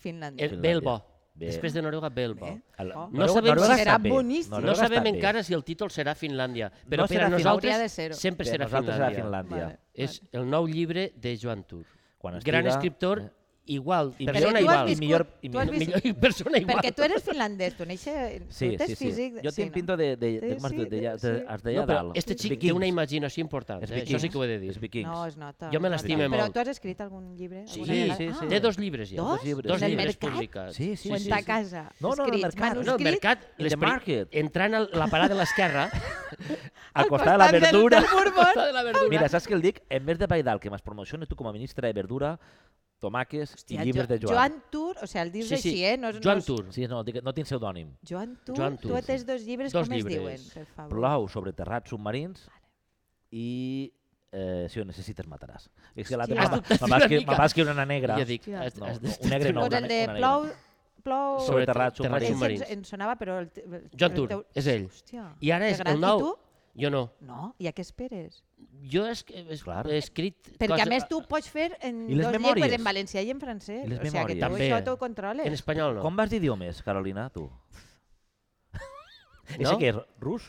[SPEAKER 2] Finlàndia.
[SPEAKER 3] El, ve el bo.
[SPEAKER 1] Bé.
[SPEAKER 3] Després de Noruega ve el bo.
[SPEAKER 2] Bé.
[SPEAKER 1] El-
[SPEAKER 2] No
[SPEAKER 1] Noruega-
[SPEAKER 3] sabem si
[SPEAKER 1] Noruega
[SPEAKER 2] serà
[SPEAKER 1] està bé.
[SPEAKER 2] boníssim.
[SPEAKER 1] Noruega
[SPEAKER 3] No
[SPEAKER 1] està
[SPEAKER 3] sabem
[SPEAKER 1] bé.
[SPEAKER 3] encara si el títol serà Finlàndia, però
[SPEAKER 1] No
[SPEAKER 3] per
[SPEAKER 1] serà
[SPEAKER 3] a
[SPEAKER 1] Finlàndia.
[SPEAKER 3] nosaltres
[SPEAKER 2] Hauria de ser-ho.
[SPEAKER 3] sempre
[SPEAKER 1] Bé,
[SPEAKER 3] serà
[SPEAKER 1] nosaltres serà
[SPEAKER 3] Finlàndia.
[SPEAKER 1] Finlàndia.
[SPEAKER 2] Vale.
[SPEAKER 3] És el nou llibre de Joan Tur.
[SPEAKER 1] Quan
[SPEAKER 3] Gran
[SPEAKER 1] estiga-
[SPEAKER 3] escriptor, igual, i
[SPEAKER 1] Però
[SPEAKER 3] persona
[SPEAKER 2] tu has
[SPEAKER 3] igual.
[SPEAKER 1] I
[SPEAKER 2] viscut-
[SPEAKER 1] millor- i
[SPEAKER 2] tu has
[SPEAKER 1] millor-
[SPEAKER 2] vist-
[SPEAKER 3] Millor i persona igual.
[SPEAKER 2] Perquè tu eres finlandès, tu neixes...
[SPEAKER 1] Sí,
[SPEAKER 2] tu tens
[SPEAKER 1] sí, sí.
[SPEAKER 2] Físic,
[SPEAKER 1] jo tinc
[SPEAKER 2] no?
[SPEAKER 1] pinta de, de, de,
[SPEAKER 2] Sí,
[SPEAKER 1] com es
[SPEAKER 2] sí,
[SPEAKER 1] diu? de,
[SPEAKER 2] de-
[SPEAKER 1] ja- de,
[SPEAKER 2] sí.
[SPEAKER 1] els de
[SPEAKER 3] No,
[SPEAKER 1] allà
[SPEAKER 3] però
[SPEAKER 1] dalt.
[SPEAKER 3] este xic té
[SPEAKER 1] Vikings.
[SPEAKER 3] una imaginació important,
[SPEAKER 1] Els
[SPEAKER 3] eh? això sí
[SPEAKER 1] vikings.
[SPEAKER 3] que ho he de dir.
[SPEAKER 1] Els vikings.
[SPEAKER 2] No, es nota.
[SPEAKER 3] Jo me
[SPEAKER 2] es
[SPEAKER 3] l'estime
[SPEAKER 2] nota.
[SPEAKER 3] molt.
[SPEAKER 2] Però tu has escrit algun llibre?
[SPEAKER 3] Sí,
[SPEAKER 2] alguna
[SPEAKER 3] sí,
[SPEAKER 2] vegada?
[SPEAKER 1] sí,
[SPEAKER 2] Ah.
[SPEAKER 1] sí.
[SPEAKER 3] Té dos llibres ja.
[SPEAKER 2] Dos?
[SPEAKER 1] Dos llibres.
[SPEAKER 3] Dos
[SPEAKER 2] En el
[SPEAKER 3] llibres
[SPEAKER 2] mercat?
[SPEAKER 3] publicats.
[SPEAKER 1] Sí, sí, sí,
[SPEAKER 2] O en
[SPEAKER 1] sí,
[SPEAKER 2] ta
[SPEAKER 1] sí.
[SPEAKER 2] casa.
[SPEAKER 1] No, no, en el
[SPEAKER 2] escrits,
[SPEAKER 1] mercat.
[SPEAKER 3] No, el
[SPEAKER 2] manuscrit,
[SPEAKER 3] mercat,
[SPEAKER 1] In
[SPEAKER 3] les
[SPEAKER 1] the
[SPEAKER 3] pri-
[SPEAKER 1] market.
[SPEAKER 3] entrant a la parada de l'esquerra,
[SPEAKER 1] Al costat de la
[SPEAKER 2] del-
[SPEAKER 1] verdura.
[SPEAKER 2] del Bourbon.
[SPEAKER 3] de la verdura,
[SPEAKER 1] Mira, saps què el dic? En vez de Baidal, que m'has promocionat tu com a ministra de verdura, tomàques i
[SPEAKER 2] Hòstia,
[SPEAKER 1] llibres de
[SPEAKER 2] Jo-
[SPEAKER 1] Joan.
[SPEAKER 2] Joan Tur, o sigui, el dius
[SPEAKER 3] Sí, sí.
[SPEAKER 2] així, eh? No, és- no
[SPEAKER 3] Joan
[SPEAKER 2] és-
[SPEAKER 3] Tur.
[SPEAKER 1] Sí, no, dic- no tinc pseudònim.
[SPEAKER 2] Joan Tur,
[SPEAKER 3] Joan Tur,
[SPEAKER 2] tu tens dos llibres,
[SPEAKER 3] Dos
[SPEAKER 2] com es
[SPEAKER 3] llibres.
[SPEAKER 2] diuen? Per favor.
[SPEAKER 1] Plou sobre terrats submarins i eh, si ho necessites mataràs. És que l'altre
[SPEAKER 2] Hòstia.
[SPEAKER 1] me'n
[SPEAKER 2] Has
[SPEAKER 1] va- me'n
[SPEAKER 3] dubtat
[SPEAKER 1] va
[SPEAKER 3] una
[SPEAKER 1] escri- me'n
[SPEAKER 3] mica.
[SPEAKER 1] va escriure una negra.
[SPEAKER 3] jo dic...
[SPEAKER 2] Hòstia.
[SPEAKER 3] has-
[SPEAKER 1] No,
[SPEAKER 3] has
[SPEAKER 1] no,
[SPEAKER 3] de-
[SPEAKER 1] un negre no,
[SPEAKER 2] Pues
[SPEAKER 1] una, una
[SPEAKER 2] el de
[SPEAKER 1] negra.
[SPEAKER 2] plou... plou...
[SPEAKER 1] Sobre terrats
[SPEAKER 3] terrats
[SPEAKER 2] Ese ens,
[SPEAKER 1] submarins.
[SPEAKER 3] submarins.
[SPEAKER 2] ens sonava, però... El, te- el,
[SPEAKER 3] Joan
[SPEAKER 2] el
[SPEAKER 3] Tur,
[SPEAKER 2] teu-
[SPEAKER 3] és ell.
[SPEAKER 2] Hòstia.
[SPEAKER 3] I ara
[SPEAKER 2] que
[SPEAKER 3] és
[SPEAKER 2] gran.
[SPEAKER 3] el nou.
[SPEAKER 2] I tu?
[SPEAKER 3] Jo no.
[SPEAKER 2] No, i a què esperes?
[SPEAKER 3] Jo és, és,
[SPEAKER 1] Clar.
[SPEAKER 3] he escrit...
[SPEAKER 2] Perquè
[SPEAKER 3] cosa-
[SPEAKER 2] a més tu ho pots fer en
[SPEAKER 1] I les
[SPEAKER 2] dos
[SPEAKER 1] memòries?
[SPEAKER 2] llengües, en valencià i en francès.
[SPEAKER 1] I les
[SPEAKER 2] o sigui, que tu
[SPEAKER 1] memòries?
[SPEAKER 2] això
[SPEAKER 3] També.
[SPEAKER 2] t'ho controles.
[SPEAKER 3] En espanyol no.
[SPEAKER 1] Com vas d'idiomes, Carolina, tu? Ese
[SPEAKER 3] No?
[SPEAKER 1] que és rus?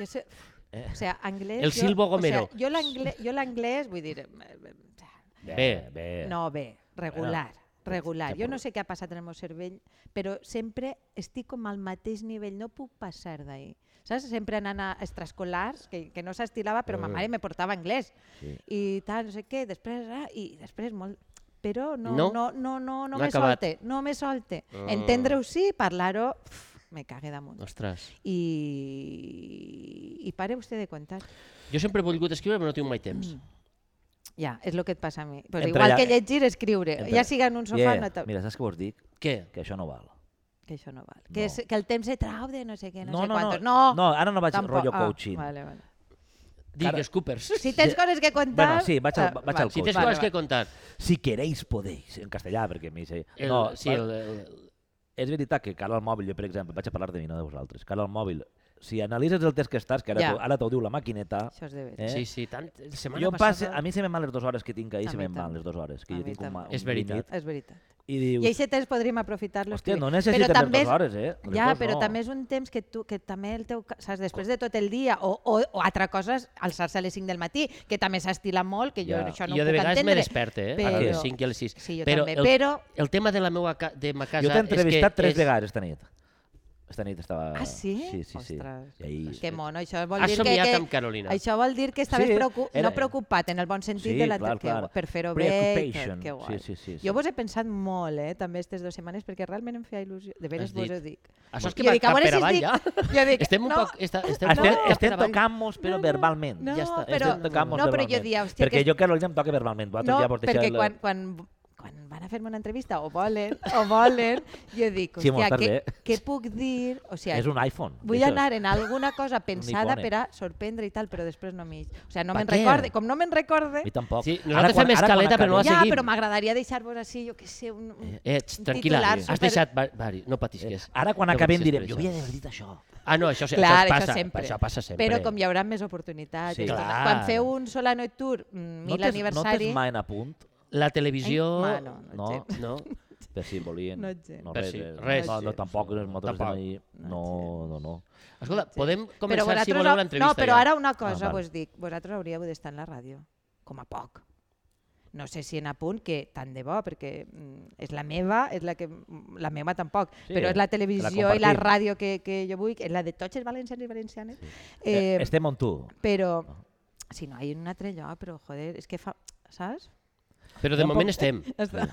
[SPEAKER 2] Jo sé, o sigui, anglès...
[SPEAKER 3] El
[SPEAKER 2] jo-
[SPEAKER 3] Silvo
[SPEAKER 2] O
[SPEAKER 3] Gomero.
[SPEAKER 2] sigui, jo l'anglès- jo l'anglès, vull dir... eh, eh,
[SPEAKER 3] Bé.
[SPEAKER 1] bé.
[SPEAKER 2] No, bé, regular. Regular.
[SPEAKER 1] Ja
[SPEAKER 2] Jo no
[SPEAKER 1] prou.
[SPEAKER 2] sé què ha passat en el meu cervell, però sempre estic com al mateix nivell, no puc passar d'ahir. Saps? Sempre anant a extraescolars, que, que no s'estilava, però ma mare me portava anglès.
[SPEAKER 1] Sí.
[SPEAKER 2] I tal, no sé què, després... Ah, I després molt... Però no,
[SPEAKER 3] No?
[SPEAKER 2] no, no, no, no,
[SPEAKER 3] No ha
[SPEAKER 2] me
[SPEAKER 3] acabat.
[SPEAKER 2] solte, no me solte.
[SPEAKER 3] Ah.
[SPEAKER 2] Entendre-ho sí, parlar-ho... pf, Me cague damunt.
[SPEAKER 3] Ostres.
[SPEAKER 2] I, I pare vostè de contar.
[SPEAKER 3] Jo sempre he volgut escriure, però no tinc mai temps.
[SPEAKER 2] Mm. Ja, és el que et passa a mi. Pues
[SPEAKER 1] Entre
[SPEAKER 2] igual
[SPEAKER 1] la-
[SPEAKER 2] que llegir, escriure.
[SPEAKER 1] entre-
[SPEAKER 2] Ja siga en un sofà,
[SPEAKER 1] Yeah.
[SPEAKER 2] no te...
[SPEAKER 1] Mira, saps què vos dic?
[SPEAKER 3] Què?
[SPEAKER 1] Que això no val.
[SPEAKER 2] Que això no val.
[SPEAKER 1] No.
[SPEAKER 2] Que, és, que el temps se trau de no sé què, no, sé quantos.
[SPEAKER 1] no, no, ara no vaig
[SPEAKER 2] Oh, tampoc.
[SPEAKER 1] rotllo coaching.
[SPEAKER 2] Ah, vale, vale.
[SPEAKER 3] Digues, Coopers.
[SPEAKER 2] Si tens coses que contar...
[SPEAKER 1] Bueno, sí, vaig al-
[SPEAKER 2] Ah,
[SPEAKER 1] vaig al
[SPEAKER 3] Si tens
[SPEAKER 1] Vale,
[SPEAKER 3] coses que contar.
[SPEAKER 1] Si queréis, podéis. En castellà, perquè a mi... Sí.
[SPEAKER 3] El,
[SPEAKER 1] no,
[SPEAKER 3] sí,
[SPEAKER 1] va-
[SPEAKER 3] el, el,
[SPEAKER 1] És veritat que cara al mòbil, jo per exemple, vaig a parlar de mi, no de vosaltres, cara al mòbil, si analitzes el test que estàs, que ara,
[SPEAKER 2] Ja.
[SPEAKER 1] t'ho- ara t'ho diu la maquineta,
[SPEAKER 2] Això és de veres.
[SPEAKER 1] eh?
[SPEAKER 3] sí, sí, tant. Setmana
[SPEAKER 1] jo em passe,
[SPEAKER 3] passada...
[SPEAKER 1] a mi se me van les dues hores que tinc ahir,
[SPEAKER 2] A
[SPEAKER 1] se
[SPEAKER 2] mi
[SPEAKER 1] me van
[SPEAKER 2] també.
[SPEAKER 1] les dues hores, que
[SPEAKER 2] A
[SPEAKER 1] jo
[SPEAKER 2] mi
[SPEAKER 1] tinc un, ma-
[SPEAKER 2] també.
[SPEAKER 1] un
[SPEAKER 3] És veritat.
[SPEAKER 1] límit,
[SPEAKER 2] És veritat.
[SPEAKER 1] I
[SPEAKER 2] I
[SPEAKER 1] dius,
[SPEAKER 2] aquest temps podríem aprofitar-lo.
[SPEAKER 1] Eh. hòstia,
[SPEAKER 2] escrivint.
[SPEAKER 1] no
[SPEAKER 2] Però
[SPEAKER 1] necessites les
[SPEAKER 2] també
[SPEAKER 1] dues
[SPEAKER 2] és-
[SPEAKER 1] hores, eh? Les
[SPEAKER 2] Ja,
[SPEAKER 1] dues
[SPEAKER 2] però
[SPEAKER 1] no.
[SPEAKER 2] també és un temps que tu, que també el teu, ca- saps, després de tot el dia, o, o, o altra cosa és alçar-se a les 5 del matí, que també s'estila molt, que jo
[SPEAKER 1] Ja.
[SPEAKER 2] això no
[SPEAKER 3] jo
[SPEAKER 2] ho
[SPEAKER 3] de
[SPEAKER 2] puc
[SPEAKER 3] vegades me
[SPEAKER 2] entendre.
[SPEAKER 3] desperta, eh?
[SPEAKER 2] però-
[SPEAKER 3] A les 5 i a les 6.
[SPEAKER 2] Sí, jo
[SPEAKER 3] però
[SPEAKER 2] també,
[SPEAKER 3] el,
[SPEAKER 2] però-
[SPEAKER 3] El tema de la meva ca de ma casa
[SPEAKER 1] Jo t'he
[SPEAKER 3] és que
[SPEAKER 1] entrevistat tres
[SPEAKER 3] és-
[SPEAKER 1] vegades esta nit. Esta nit estava...
[SPEAKER 2] Ah, sí?
[SPEAKER 1] Sí, sí, sí.
[SPEAKER 2] Ostres.
[SPEAKER 1] I ahir...
[SPEAKER 2] Que mono, això vol
[SPEAKER 3] Has
[SPEAKER 2] dir que,
[SPEAKER 3] somiat
[SPEAKER 2] que,
[SPEAKER 3] amb Carolina.
[SPEAKER 2] Això vol dir que estaves
[SPEAKER 1] Sí,
[SPEAKER 2] preocu
[SPEAKER 1] era-
[SPEAKER 2] no preocupat en el bon sentit
[SPEAKER 1] Sí,
[SPEAKER 2] de la
[SPEAKER 1] clar,
[SPEAKER 2] que,
[SPEAKER 1] clar.
[SPEAKER 2] per fer-ho bé. i tot,
[SPEAKER 1] Preoccupation.
[SPEAKER 2] Que guai.
[SPEAKER 1] Sí, sí, sí, sí.
[SPEAKER 2] Jo vos he pensat molt, eh, també aquestes dues setmanes, perquè realment em feia il·lusió. De veres
[SPEAKER 3] Has
[SPEAKER 2] vos
[SPEAKER 3] dit.
[SPEAKER 2] ho dic.
[SPEAKER 3] Això
[SPEAKER 2] Jo
[SPEAKER 3] és que va
[SPEAKER 2] dic, a
[SPEAKER 3] cap
[SPEAKER 2] veure
[SPEAKER 3] per
[SPEAKER 2] si es
[SPEAKER 3] avall,
[SPEAKER 2] dic-
[SPEAKER 3] ja.
[SPEAKER 2] Jo dic,
[SPEAKER 3] Estem un
[SPEAKER 2] no,
[SPEAKER 3] poc... Esta, estem
[SPEAKER 1] Estem,
[SPEAKER 3] poc
[SPEAKER 1] estem
[SPEAKER 3] per avall.
[SPEAKER 1] tocant-nos, però
[SPEAKER 2] No, no,
[SPEAKER 1] verbalment.
[SPEAKER 2] no,
[SPEAKER 1] ja està,
[SPEAKER 2] però-
[SPEAKER 1] estem tocant-nos
[SPEAKER 2] no, però jo
[SPEAKER 1] verbalment.
[SPEAKER 2] dia, hòstia,
[SPEAKER 1] Perquè
[SPEAKER 2] que-
[SPEAKER 1] jo, Carolina, em toca verbalment.
[SPEAKER 2] no,
[SPEAKER 1] Vosaltres ja vos deixeu...
[SPEAKER 2] perquè
[SPEAKER 1] la-
[SPEAKER 2] quan, quan, quan van a fer-me una entrevista, o volen, o volen, jo dic,
[SPEAKER 1] Sí, molt
[SPEAKER 2] hòstia,
[SPEAKER 1] tarda,
[SPEAKER 2] què,
[SPEAKER 1] eh?
[SPEAKER 2] què puc dir? O sigui,
[SPEAKER 1] És un iPhone.
[SPEAKER 2] Vull
[SPEAKER 1] això és.
[SPEAKER 2] anar en alguna cosa pensada
[SPEAKER 1] icone.
[SPEAKER 2] per a sorprendre i tal, però després no m'hi... O sigui, no
[SPEAKER 1] Pa
[SPEAKER 2] me'n
[SPEAKER 1] què?
[SPEAKER 2] recorde. Com no me'n recorde...
[SPEAKER 1] A mi tampoc.
[SPEAKER 3] Sí, nosaltres fem escaleta, però no la
[SPEAKER 2] Ja,
[SPEAKER 3] seguim.
[SPEAKER 2] però m'agradaria deixar-vos així, jo que sé, un...
[SPEAKER 1] Eh,
[SPEAKER 2] un-
[SPEAKER 3] Eh, Ets,
[SPEAKER 2] un
[SPEAKER 3] tranquil·la,
[SPEAKER 2] titular
[SPEAKER 3] has
[SPEAKER 2] super-
[SPEAKER 3] deixat... va- Vari, no patis, que és...
[SPEAKER 1] Ara quan
[SPEAKER 3] no
[SPEAKER 1] acabem
[SPEAKER 3] potser és
[SPEAKER 1] direm, jo
[SPEAKER 3] per
[SPEAKER 1] havia
[SPEAKER 3] això".
[SPEAKER 1] d'haver dit això.
[SPEAKER 3] Ah, no, això, se-
[SPEAKER 2] Clar,
[SPEAKER 3] això, passa,
[SPEAKER 2] sempre.
[SPEAKER 3] Això passa sempre.
[SPEAKER 2] Però com hi haurà més oportunitats.
[SPEAKER 1] Sí.
[SPEAKER 2] i tot.
[SPEAKER 3] Clar.
[SPEAKER 2] Quan feu un Solano i Tour, mm, mil
[SPEAKER 1] tens-
[SPEAKER 2] aniversari...
[SPEAKER 1] No tens mai en apunt?
[SPEAKER 3] La televisió...
[SPEAKER 2] Ai, no, no,
[SPEAKER 1] No,
[SPEAKER 2] gens.
[SPEAKER 3] No?
[SPEAKER 1] per si volien.
[SPEAKER 2] No gens.
[SPEAKER 1] no
[SPEAKER 3] Per
[SPEAKER 1] res,
[SPEAKER 3] si,
[SPEAKER 1] res.
[SPEAKER 3] res.
[SPEAKER 1] No, no, tampoc, nosaltres
[SPEAKER 3] Tampoc.
[SPEAKER 1] estem ahí. No, no, no.
[SPEAKER 3] Escolta, podem
[SPEAKER 2] Però
[SPEAKER 3] començar, si
[SPEAKER 2] vosaltres...
[SPEAKER 3] voleu,
[SPEAKER 2] no,
[SPEAKER 3] l'entrevista
[SPEAKER 2] no, però
[SPEAKER 3] ja.
[SPEAKER 2] ara una cosa
[SPEAKER 1] Ah, val.
[SPEAKER 2] vos dic. Vosaltres hauríeu d'estar en la ràdio, com a poc. No sé si en apunt, que tant de bo, perquè mm, és la meva, és la que... mm, La meva tampoc,
[SPEAKER 1] Sí,
[SPEAKER 2] però és la
[SPEAKER 1] la
[SPEAKER 2] televisió i la
[SPEAKER 1] compartim.
[SPEAKER 2] ràdio que, que jo vull, és la de tots els valencians i valencianes.
[SPEAKER 1] Eh, estem on tu.
[SPEAKER 2] Però, si no, hay un altre lloc, però, joder, és que fa... Saps?
[SPEAKER 3] Però de
[SPEAKER 1] Tampoc-
[SPEAKER 3] moment estem.
[SPEAKER 1] Sí, molt bé.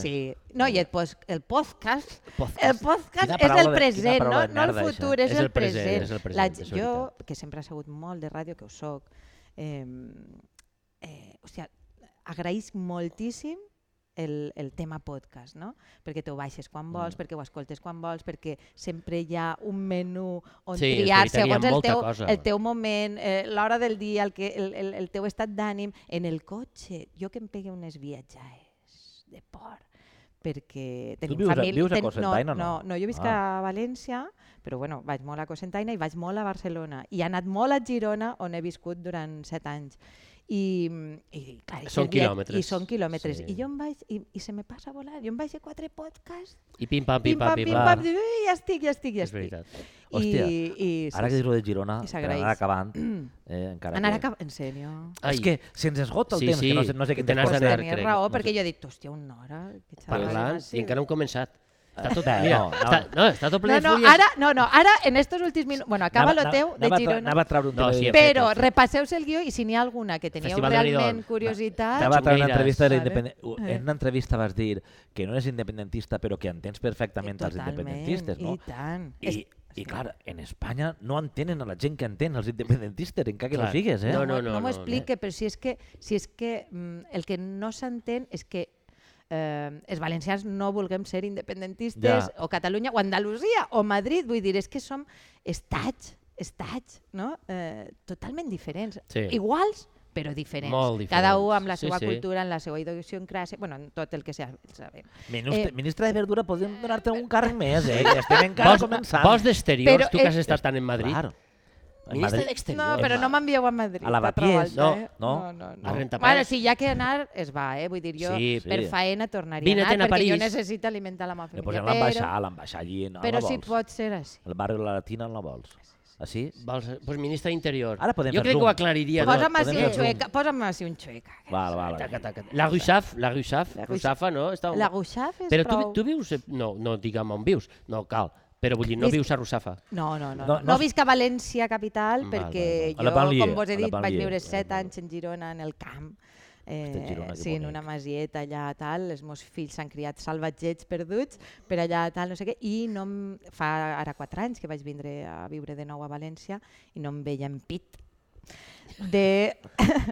[SPEAKER 2] Sí. Eh, No, i el, pos, el podcast,
[SPEAKER 3] Podcast.
[SPEAKER 2] el
[SPEAKER 1] Quina
[SPEAKER 2] podcast és el
[SPEAKER 1] paraula de- quina
[SPEAKER 2] present, no,
[SPEAKER 1] paraula de
[SPEAKER 2] no el
[SPEAKER 1] merda,
[SPEAKER 2] futur,
[SPEAKER 1] això.
[SPEAKER 2] és, el present.
[SPEAKER 3] és el present,
[SPEAKER 2] La,
[SPEAKER 3] és
[SPEAKER 2] jo,
[SPEAKER 3] veritat.
[SPEAKER 2] que sempre he sigut molt de ràdio, que ho soc, eh, eh, o sigui, agraïsc moltíssim el, el tema podcast, no? Perquè t'ho baixes quan vols, perquè ho escoltes quan vols, perquè sempre hi ha un menú on
[SPEAKER 3] Sí, és
[SPEAKER 2] triar
[SPEAKER 3] veritat, hi ha
[SPEAKER 2] segons el
[SPEAKER 3] molta
[SPEAKER 2] teu,
[SPEAKER 3] cosa.
[SPEAKER 2] el teu moment, eh, l'hora del dia, el, que, el, el, el teu estat d'ànim, en el cotxe. Jo que em pegui unes viatjaes de por, perquè tenim
[SPEAKER 1] vius a-
[SPEAKER 2] família...
[SPEAKER 1] vius a
[SPEAKER 2] ten-
[SPEAKER 1] Cocentaina o
[SPEAKER 2] no?
[SPEAKER 1] no?
[SPEAKER 2] No, jo visc
[SPEAKER 1] Ah.
[SPEAKER 2] a València, però bueno, vaig molt a Cocentaina i vaig molt a Barcelona. I he anat molt a Girona, on he viscut durant set anys. I, i, clar, i
[SPEAKER 3] Són
[SPEAKER 2] el viat-
[SPEAKER 3] quilòmetres.
[SPEAKER 2] I són quilòmetres.
[SPEAKER 3] Sí.
[SPEAKER 2] I jo em vaig, i, i se me passa a volar. Jo em vaig a quatre podcasts.
[SPEAKER 3] I pim-pam,
[SPEAKER 2] pam,
[SPEAKER 3] pim-pam, pim-pam.
[SPEAKER 2] dic, "Ui, ja estic, ja estic, ja
[SPEAKER 3] És
[SPEAKER 2] estic.
[SPEAKER 3] veritat.
[SPEAKER 2] I,
[SPEAKER 1] Hòstia,
[SPEAKER 2] i,
[SPEAKER 1] Ara que dius lo de Girona,
[SPEAKER 2] I
[SPEAKER 1] per
[SPEAKER 2] s'agraeix.
[SPEAKER 1] anar acabant, eh, encara
[SPEAKER 2] Mm. Anar a
[SPEAKER 1] que...
[SPEAKER 2] cap... En sèrio.
[SPEAKER 1] És que se'ns esgota el
[SPEAKER 3] Sí,
[SPEAKER 1] temps,
[SPEAKER 3] sí,
[SPEAKER 1] que no sé, no sé
[SPEAKER 3] que
[SPEAKER 1] què
[SPEAKER 3] te n'has
[SPEAKER 1] temps
[SPEAKER 3] d'anar,
[SPEAKER 1] portem.
[SPEAKER 2] Tenies
[SPEAKER 3] crec,
[SPEAKER 2] raó,
[SPEAKER 3] no
[SPEAKER 2] perquè
[SPEAKER 3] sé.
[SPEAKER 2] jo he dit, hòstia, una hora. que xaval,
[SPEAKER 3] Parlant,
[SPEAKER 2] sí".
[SPEAKER 3] i encara no hem començat. Està tot,
[SPEAKER 1] Eh,
[SPEAKER 3] mira,
[SPEAKER 1] no,
[SPEAKER 3] està,
[SPEAKER 1] no.
[SPEAKER 3] no, està tot ple
[SPEAKER 2] No,
[SPEAKER 3] de
[SPEAKER 2] no,
[SPEAKER 3] fulles.
[SPEAKER 2] ara, no, no, ara, en estos últims minuts... Bueno, acaba lo
[SPEAKER 1] Anava-
[SPEAKER 2] teu de
[SPEAKER 1] anava a tra-
[SPEAKER 2] Girona.
[SPEAKER 1] Anava a traure un
[SPEAKER 3] No,
[SPEAKER 1] tema de
[SPEAKER 3] sí,
[SPEAKER 1] Girona.
[SPEAKER 2] Però
[SPEAKER 3] fet,
[SPEAKER 2] repasseu-se el guió i si n'hi ha alguna que teníeu
[SPEAKER 3] Festival de
[SPEAKER 2] realment
[SPEAKER 3] Benidorm.
[SPEAKER 2] curiositat...
[SPEAKER 1] Te va traure una
[SPEAKER 3] Xungueiras,
[SPEAKER 1] entrevista de
[SPEAKER 2] ¿sabes?
[SPEAKER 1] independen- u-
[SPEAKER 2] Eh.
[SPEAKER 1] En una entrevista vas dir que no eres independentista, però que entens perfectament els
[SPEAKER 2] Totalment,
[SPEAKER 1] independentistes, no?
[SPEAKER 2] I tant. És-
[SPEAKER 1] I, i clar, en Espanya no entenen a la gent que entén els independentistes, encara que no
[SPEAKER 3] Clar.
[SPEAKER 1] sigues, eh?
[SPEAKER 3] No, no.
[SPEAKER 2] no, m'ho explique, però si és que, si és que mm, el que no s'entén és que eh, els valencians no vulguem ser independentistes,
[SPEAKER 1] Ja.
[SPEAKER 2] o Catalunya, o Andalusia, o Madrid, vull dir, és que som estats, estats, no? Eh, totalment diferents.
[SPEAKER 3] Sí.
[SPEAKER 2] Iguals, però diferents.
[SPEAKER 3] Molt
[SPEAKER 2] Cada un
[SPEAKER 3] diferents.
[SPEAKER 2] amb la
[SPEAKER 3] Sí,
[SPEAKER 2] seva
[SPEAKER 3] sí.
[SPEAKER 2] cultura, en la seva idiosincràsia, bueno, en tot el que sea, sabem.
[SPEAKER 1] Ministre,
[SPEAKER 2] Eh.
[SPEAKER 1] ministre de Verdura, podríem donar-te un càrrec més, eh? Que estem encara
[SPEAKER 3] Vols,
[SPEAKER 1] començant.
[SPEAKER 3] vols d'exteriors,
[SPEAKER 2] Però
[SPEAKER 3] tu que has
[SPEAKER 2] és-
[SPEAKER 3] estat tant en Madrid.
[SPEAKER 1] Clar. En
[SPEAKER 3] Ministre
[SPEAKER 1] Madrid-
[SPEAKER 3] d'Exteriors.
[SPEAKER 2] No, però
[SPEAKER 1] va.
[SPEAKER 2] no m'envieu a Madrid.
[SPEAKER 1] A la
[SPEAKER 2] d'altra
[SPEAKER 1] Bapiés,
[SPEAKER 2] volta,
[SPEAKER 1] no,
[SPEAKER 2] eh?
[SPEAKER 1] no,
[SPEAKER 2] no,
[SPEAKER 3] A
[SPEAKER 2] no.
[SPEAKER 3] rentapares.
[SPEAKER 2] Bueno, si hi ha que anar, es va, eh? Vull dir, jo
[SPEAKER 3] Sí,
[SPEAKER 1] sí.
[SPEAKER 2] per faena tornaria
[SPEAKER 3] Vine't
[SPEAKER 2] a anar,
[SPEAKER 3] a
[SPEAKER 2] perquè jo
[SPEAKER 3] París.
[SPEAKER 2] necessito alimentar la meva
[SPEAKER 1] No,
[SPEAKER 2] família.
[SPEAKER 1] pues ja
[SPEAKER 2] però
[SPEAKER 1] l'ambaixar, l'ambaixar allí, no
[SPEAKER 2] però
[SPEAKER 1] la
[SPEAKER 2] si
[SPEAKER 1] vols.
[SPEAKER 2] pot ser així.
[SPEAKER 1] El barri de la Latina no la vols. Ah, sí?
[SPEAKER 3] Vols, doncs ministre d'Interior.
[SPEAKER 1] Ara podem fer
[SPEAKER 3] jo crec
[SPEAKER 1] zoom.
[SPEAKER 3] que ho aclariria tot.
[SPEAKER 2] Posa'm així
[SPEAKER 1] podem
[SPEAKER 2] un
[SPEAKER 1] fer zoom.
[SPEAKER 2] xueca, posa'm així un xueca.
[SPEAKER 1] Val, val.
[SPEAKER 3] Taca, taca. La Russaf, la Russaf,
[SPEAKER 2] La Russaf.
[SPEAKER 3] Russafa, no? Està...
[SPEAKER 2] La guixaf és
[SPEAKER 3] Però tu,
[SPEAKER 2] prou...
[SPEAKER 3] tu vius... No, no digue'm on vius, no cal. Però vull dir, no
[SPEAKER 2] Visc-
[SPEAKER 3] vius a Russafa.
[SPEAKER 2] No, no,
[SPEAKER 1] No,
[SPEAKER 2] no. No,
[SPEAKER 1] no.
[SPEAKER 2] no visc a València capital
[SPEAKER 3] Val,
[SPEAKER 1] val,
[SPEAKER 2] perquè
[SPEAKER 1] val. A la
[SPEAKER 2] jo,
[SPEAKER 1] banlieue,
[SPEAKER 2] com vos
[SPEAKER 1] a
[SPEAKER 2] he
[SPEAKER 1] la eh,
[SPEAKER 2] dit, vaig
[SPEAKER 1] banlieue.
[SPEAKER 2] viure set
[SPEAKER 1] Banlieue.
[SPEAKER 2] anys en Girona, en el camp. Eh,
[SPEAKER 1] Hòstia, Girona, que
[SPEAKER 2] sí, en
[SPEAKER 1] bonic.
[SPEAKER 2] una masieta allà a tal, els meus fills s'han criat salvatgets perduts per allà a tal, no sé què, i no em... fa ara quatre anys que vaig vindre a viure de nou a València i no em veia en pit de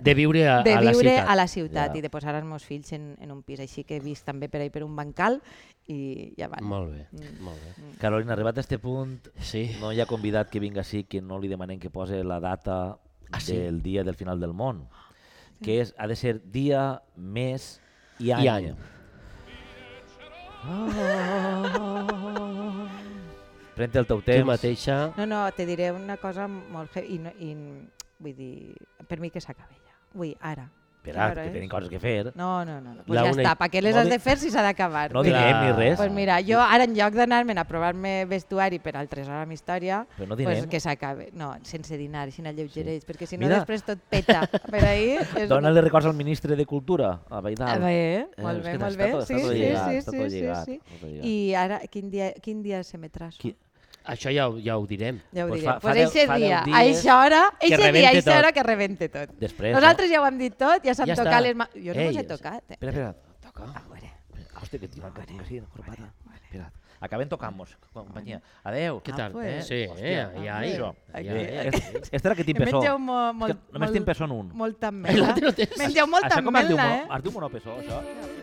[SPEAKER 3] De viure a,
[SPEAKER 2] de
[SPEAKER 3] a la
[SPEAKER 2] viure
[SPEAKER 3] ciutat.
[SPEAKER 2] a la ciutat
[SPEAKER 1] Ja.
[SPEAKER 2] i de posar els meus fills en, en un pis així que he vist també per ahí per un bancal i ja va.
[SPEAKER 3] Molt bé,
[SPEAKER 2] Mm.
[SPEAKER 3] molt bé.
[SPEAKER 1] Carolina, arribat a este punt,
[SPEAKER 3] Sí.
[SPEAKER 1] no hi ha convidat que vingui així que no li demanem que pose la data
[SPEAKER 3] Ah, sí?
[SPEAKER 1] del dia del final del món, que és, ha de ser dia, mes i any.
[SPEAKER 3] I any.
[SPEAKER 1] Pren el teu
[SPEAKER 3] Tu
[SPEAKER 1] temps.
[SPEAKER 3] mateixa...
[SPEAKER 2] No, no, te diré una cosa molt heavy, i, no, i n- vull dir, per mi que s'acabi ja. Vull, ara.
[SPEAKER 1] Espera,
[SPEAKER 2] Ara,
[SPEAKER 1] que
[SPEAKER 2] eh?
[SPEAKER 1] tenim coses que fer.
[SPEAKER 2] No, no, no, no. Pues
[SPEAKER 3] La
[SPEAKER 2] ja
[SPEAKER 3] una i-
[SPEAKER 2] està, per què les
[SPEAKER 1] No
[SPEAKER 2] has
[SPEAKER 1] di-
[SPEAKER 2] de fer si s'ha d'acabar?
[SPEAKER 1] No
[SPEAKER 2] Vull dir,
[SPEAKER 1] direm ni res.
[SPEAKER 2] Pues mira, jo ara en lloc d'anar-me'n a provar-me vestuari per al tres hores amb història,
[SPEAKER 1] Però no
[SPEAKER 2] pues
[SPEAKER 1] dinem.
[SPEAKER 2] que s'acabe. No, sense dinar, així n'alleugereix, sí. perquè si no
[SPEAKER 1] Mira.
[SPEAKER 2] després tot peta. Per ahir... És...
[SPEAKER 1] Dóna-li records al ministre de Cultura, a
[SPEAKER 2] Ah,
[SPEAKER 1] Baidal.
[SPEAKER 2] bé,
[SPEAKER 1] Eh,
[SPEAKER 2] molt
[SPEAKER 1] és
[SPEAKER 2] bé,
[SPEAKER 1] que
[SPEAKER 2] molt
[SPEAKER 1] està
[SPEAKER 2] bé.
[SPEAKER 1] tot-
[SPEAKER 2] sí,
[SPEAKER 1] està tot
[SPEAKER 2] sí,
[SPEAKER 1] lligat,
[SPEAKER 2] sí,
[SPEAKER 1] està
[SPEAKER 2] sí,
[SPEAKER 1] tot
[SPEAKER 2] sí,
[SPEAKER 1] lligat,
[SPEAKER 2] sí.
[SPEAKER 1] està tot lligat.
[SPEAKER 2] I ara, quin dia, quin dia se me traço?
[SPEAKER 1] Qui-
[SPEAKER 3] Això ja, ho- ja ho direm.
[SPEAKER 2] Ja ho
[SPEAKER 1] Pues
[SPEAKER 2] pues
[SPEAKER 1] fa- fa
[SPEAKER 2] diré. Pues
[SPEAKER 1] deu-
[SPEAKER 2] eixe
[SPEAKER 1] fa deu
[SPEAKER 2] dia, a
[SPEAKER 1] dies
[SPEAKER 2] eixa hora, eixe dia, a
[SPEAKER 3] rebente
[SPEAKER 2] eixa
[SPEAKER 3] tot.
[SPEAKER 2] hora que rebente tot.
[SPEAKER 1] Després,
[SPEAKER 2] Nosaltres ja ho hem dit tot, ja s'han
[SPEAKER 3] Ja
[SPEAKER 2] ja
[SPEAKER 3] està.
[SPEAKER 2] tocat les mans. Jo no
[SPEAKER 3] Ei,
[SPEAKER 2] mos he
[SPEAKER 3] ja
[SPEAKER 2] tocat. Eh?
[SPEAKER 1] Espera, espera.
[SPEAKER 2] A veure.
[SPEAKER 1] Hòstia, que tinc que tinc així, de corbata. Espera. Acabem tocant-nos, companyia. Adeu. Ah,
[SPEAKER 3] Què tal?
[SPEAKER 2] pues.
[SPEAKER 3] Sí, eh? Ja,
[SPEAKER 2] pues.
[SPEAKER 3] ja, ja, ja.
[SPEAKER 1] Esta esta era que tinc
[SPEAKER 2] Em
[SPEAKER 1] peçó.
[SPEAKER 2] mengeu molt,
[SPEAKER 1] És que
[SPEAKER 2] molt,
[SPEAKER 1] només tinc peçó en un.
[SPEAKER 2] molta mela.
[SPEAKER 3] L'altre no tens.
[SPEAKER 2] Mengeu molta
[SPEAKER 1] Això com es diu?
[SPEAKER 2] mela,
[SPEAKER 1] mo-
[SPEAKER 2] eh?
[SPEAKER 1] Es diu monopesó, això?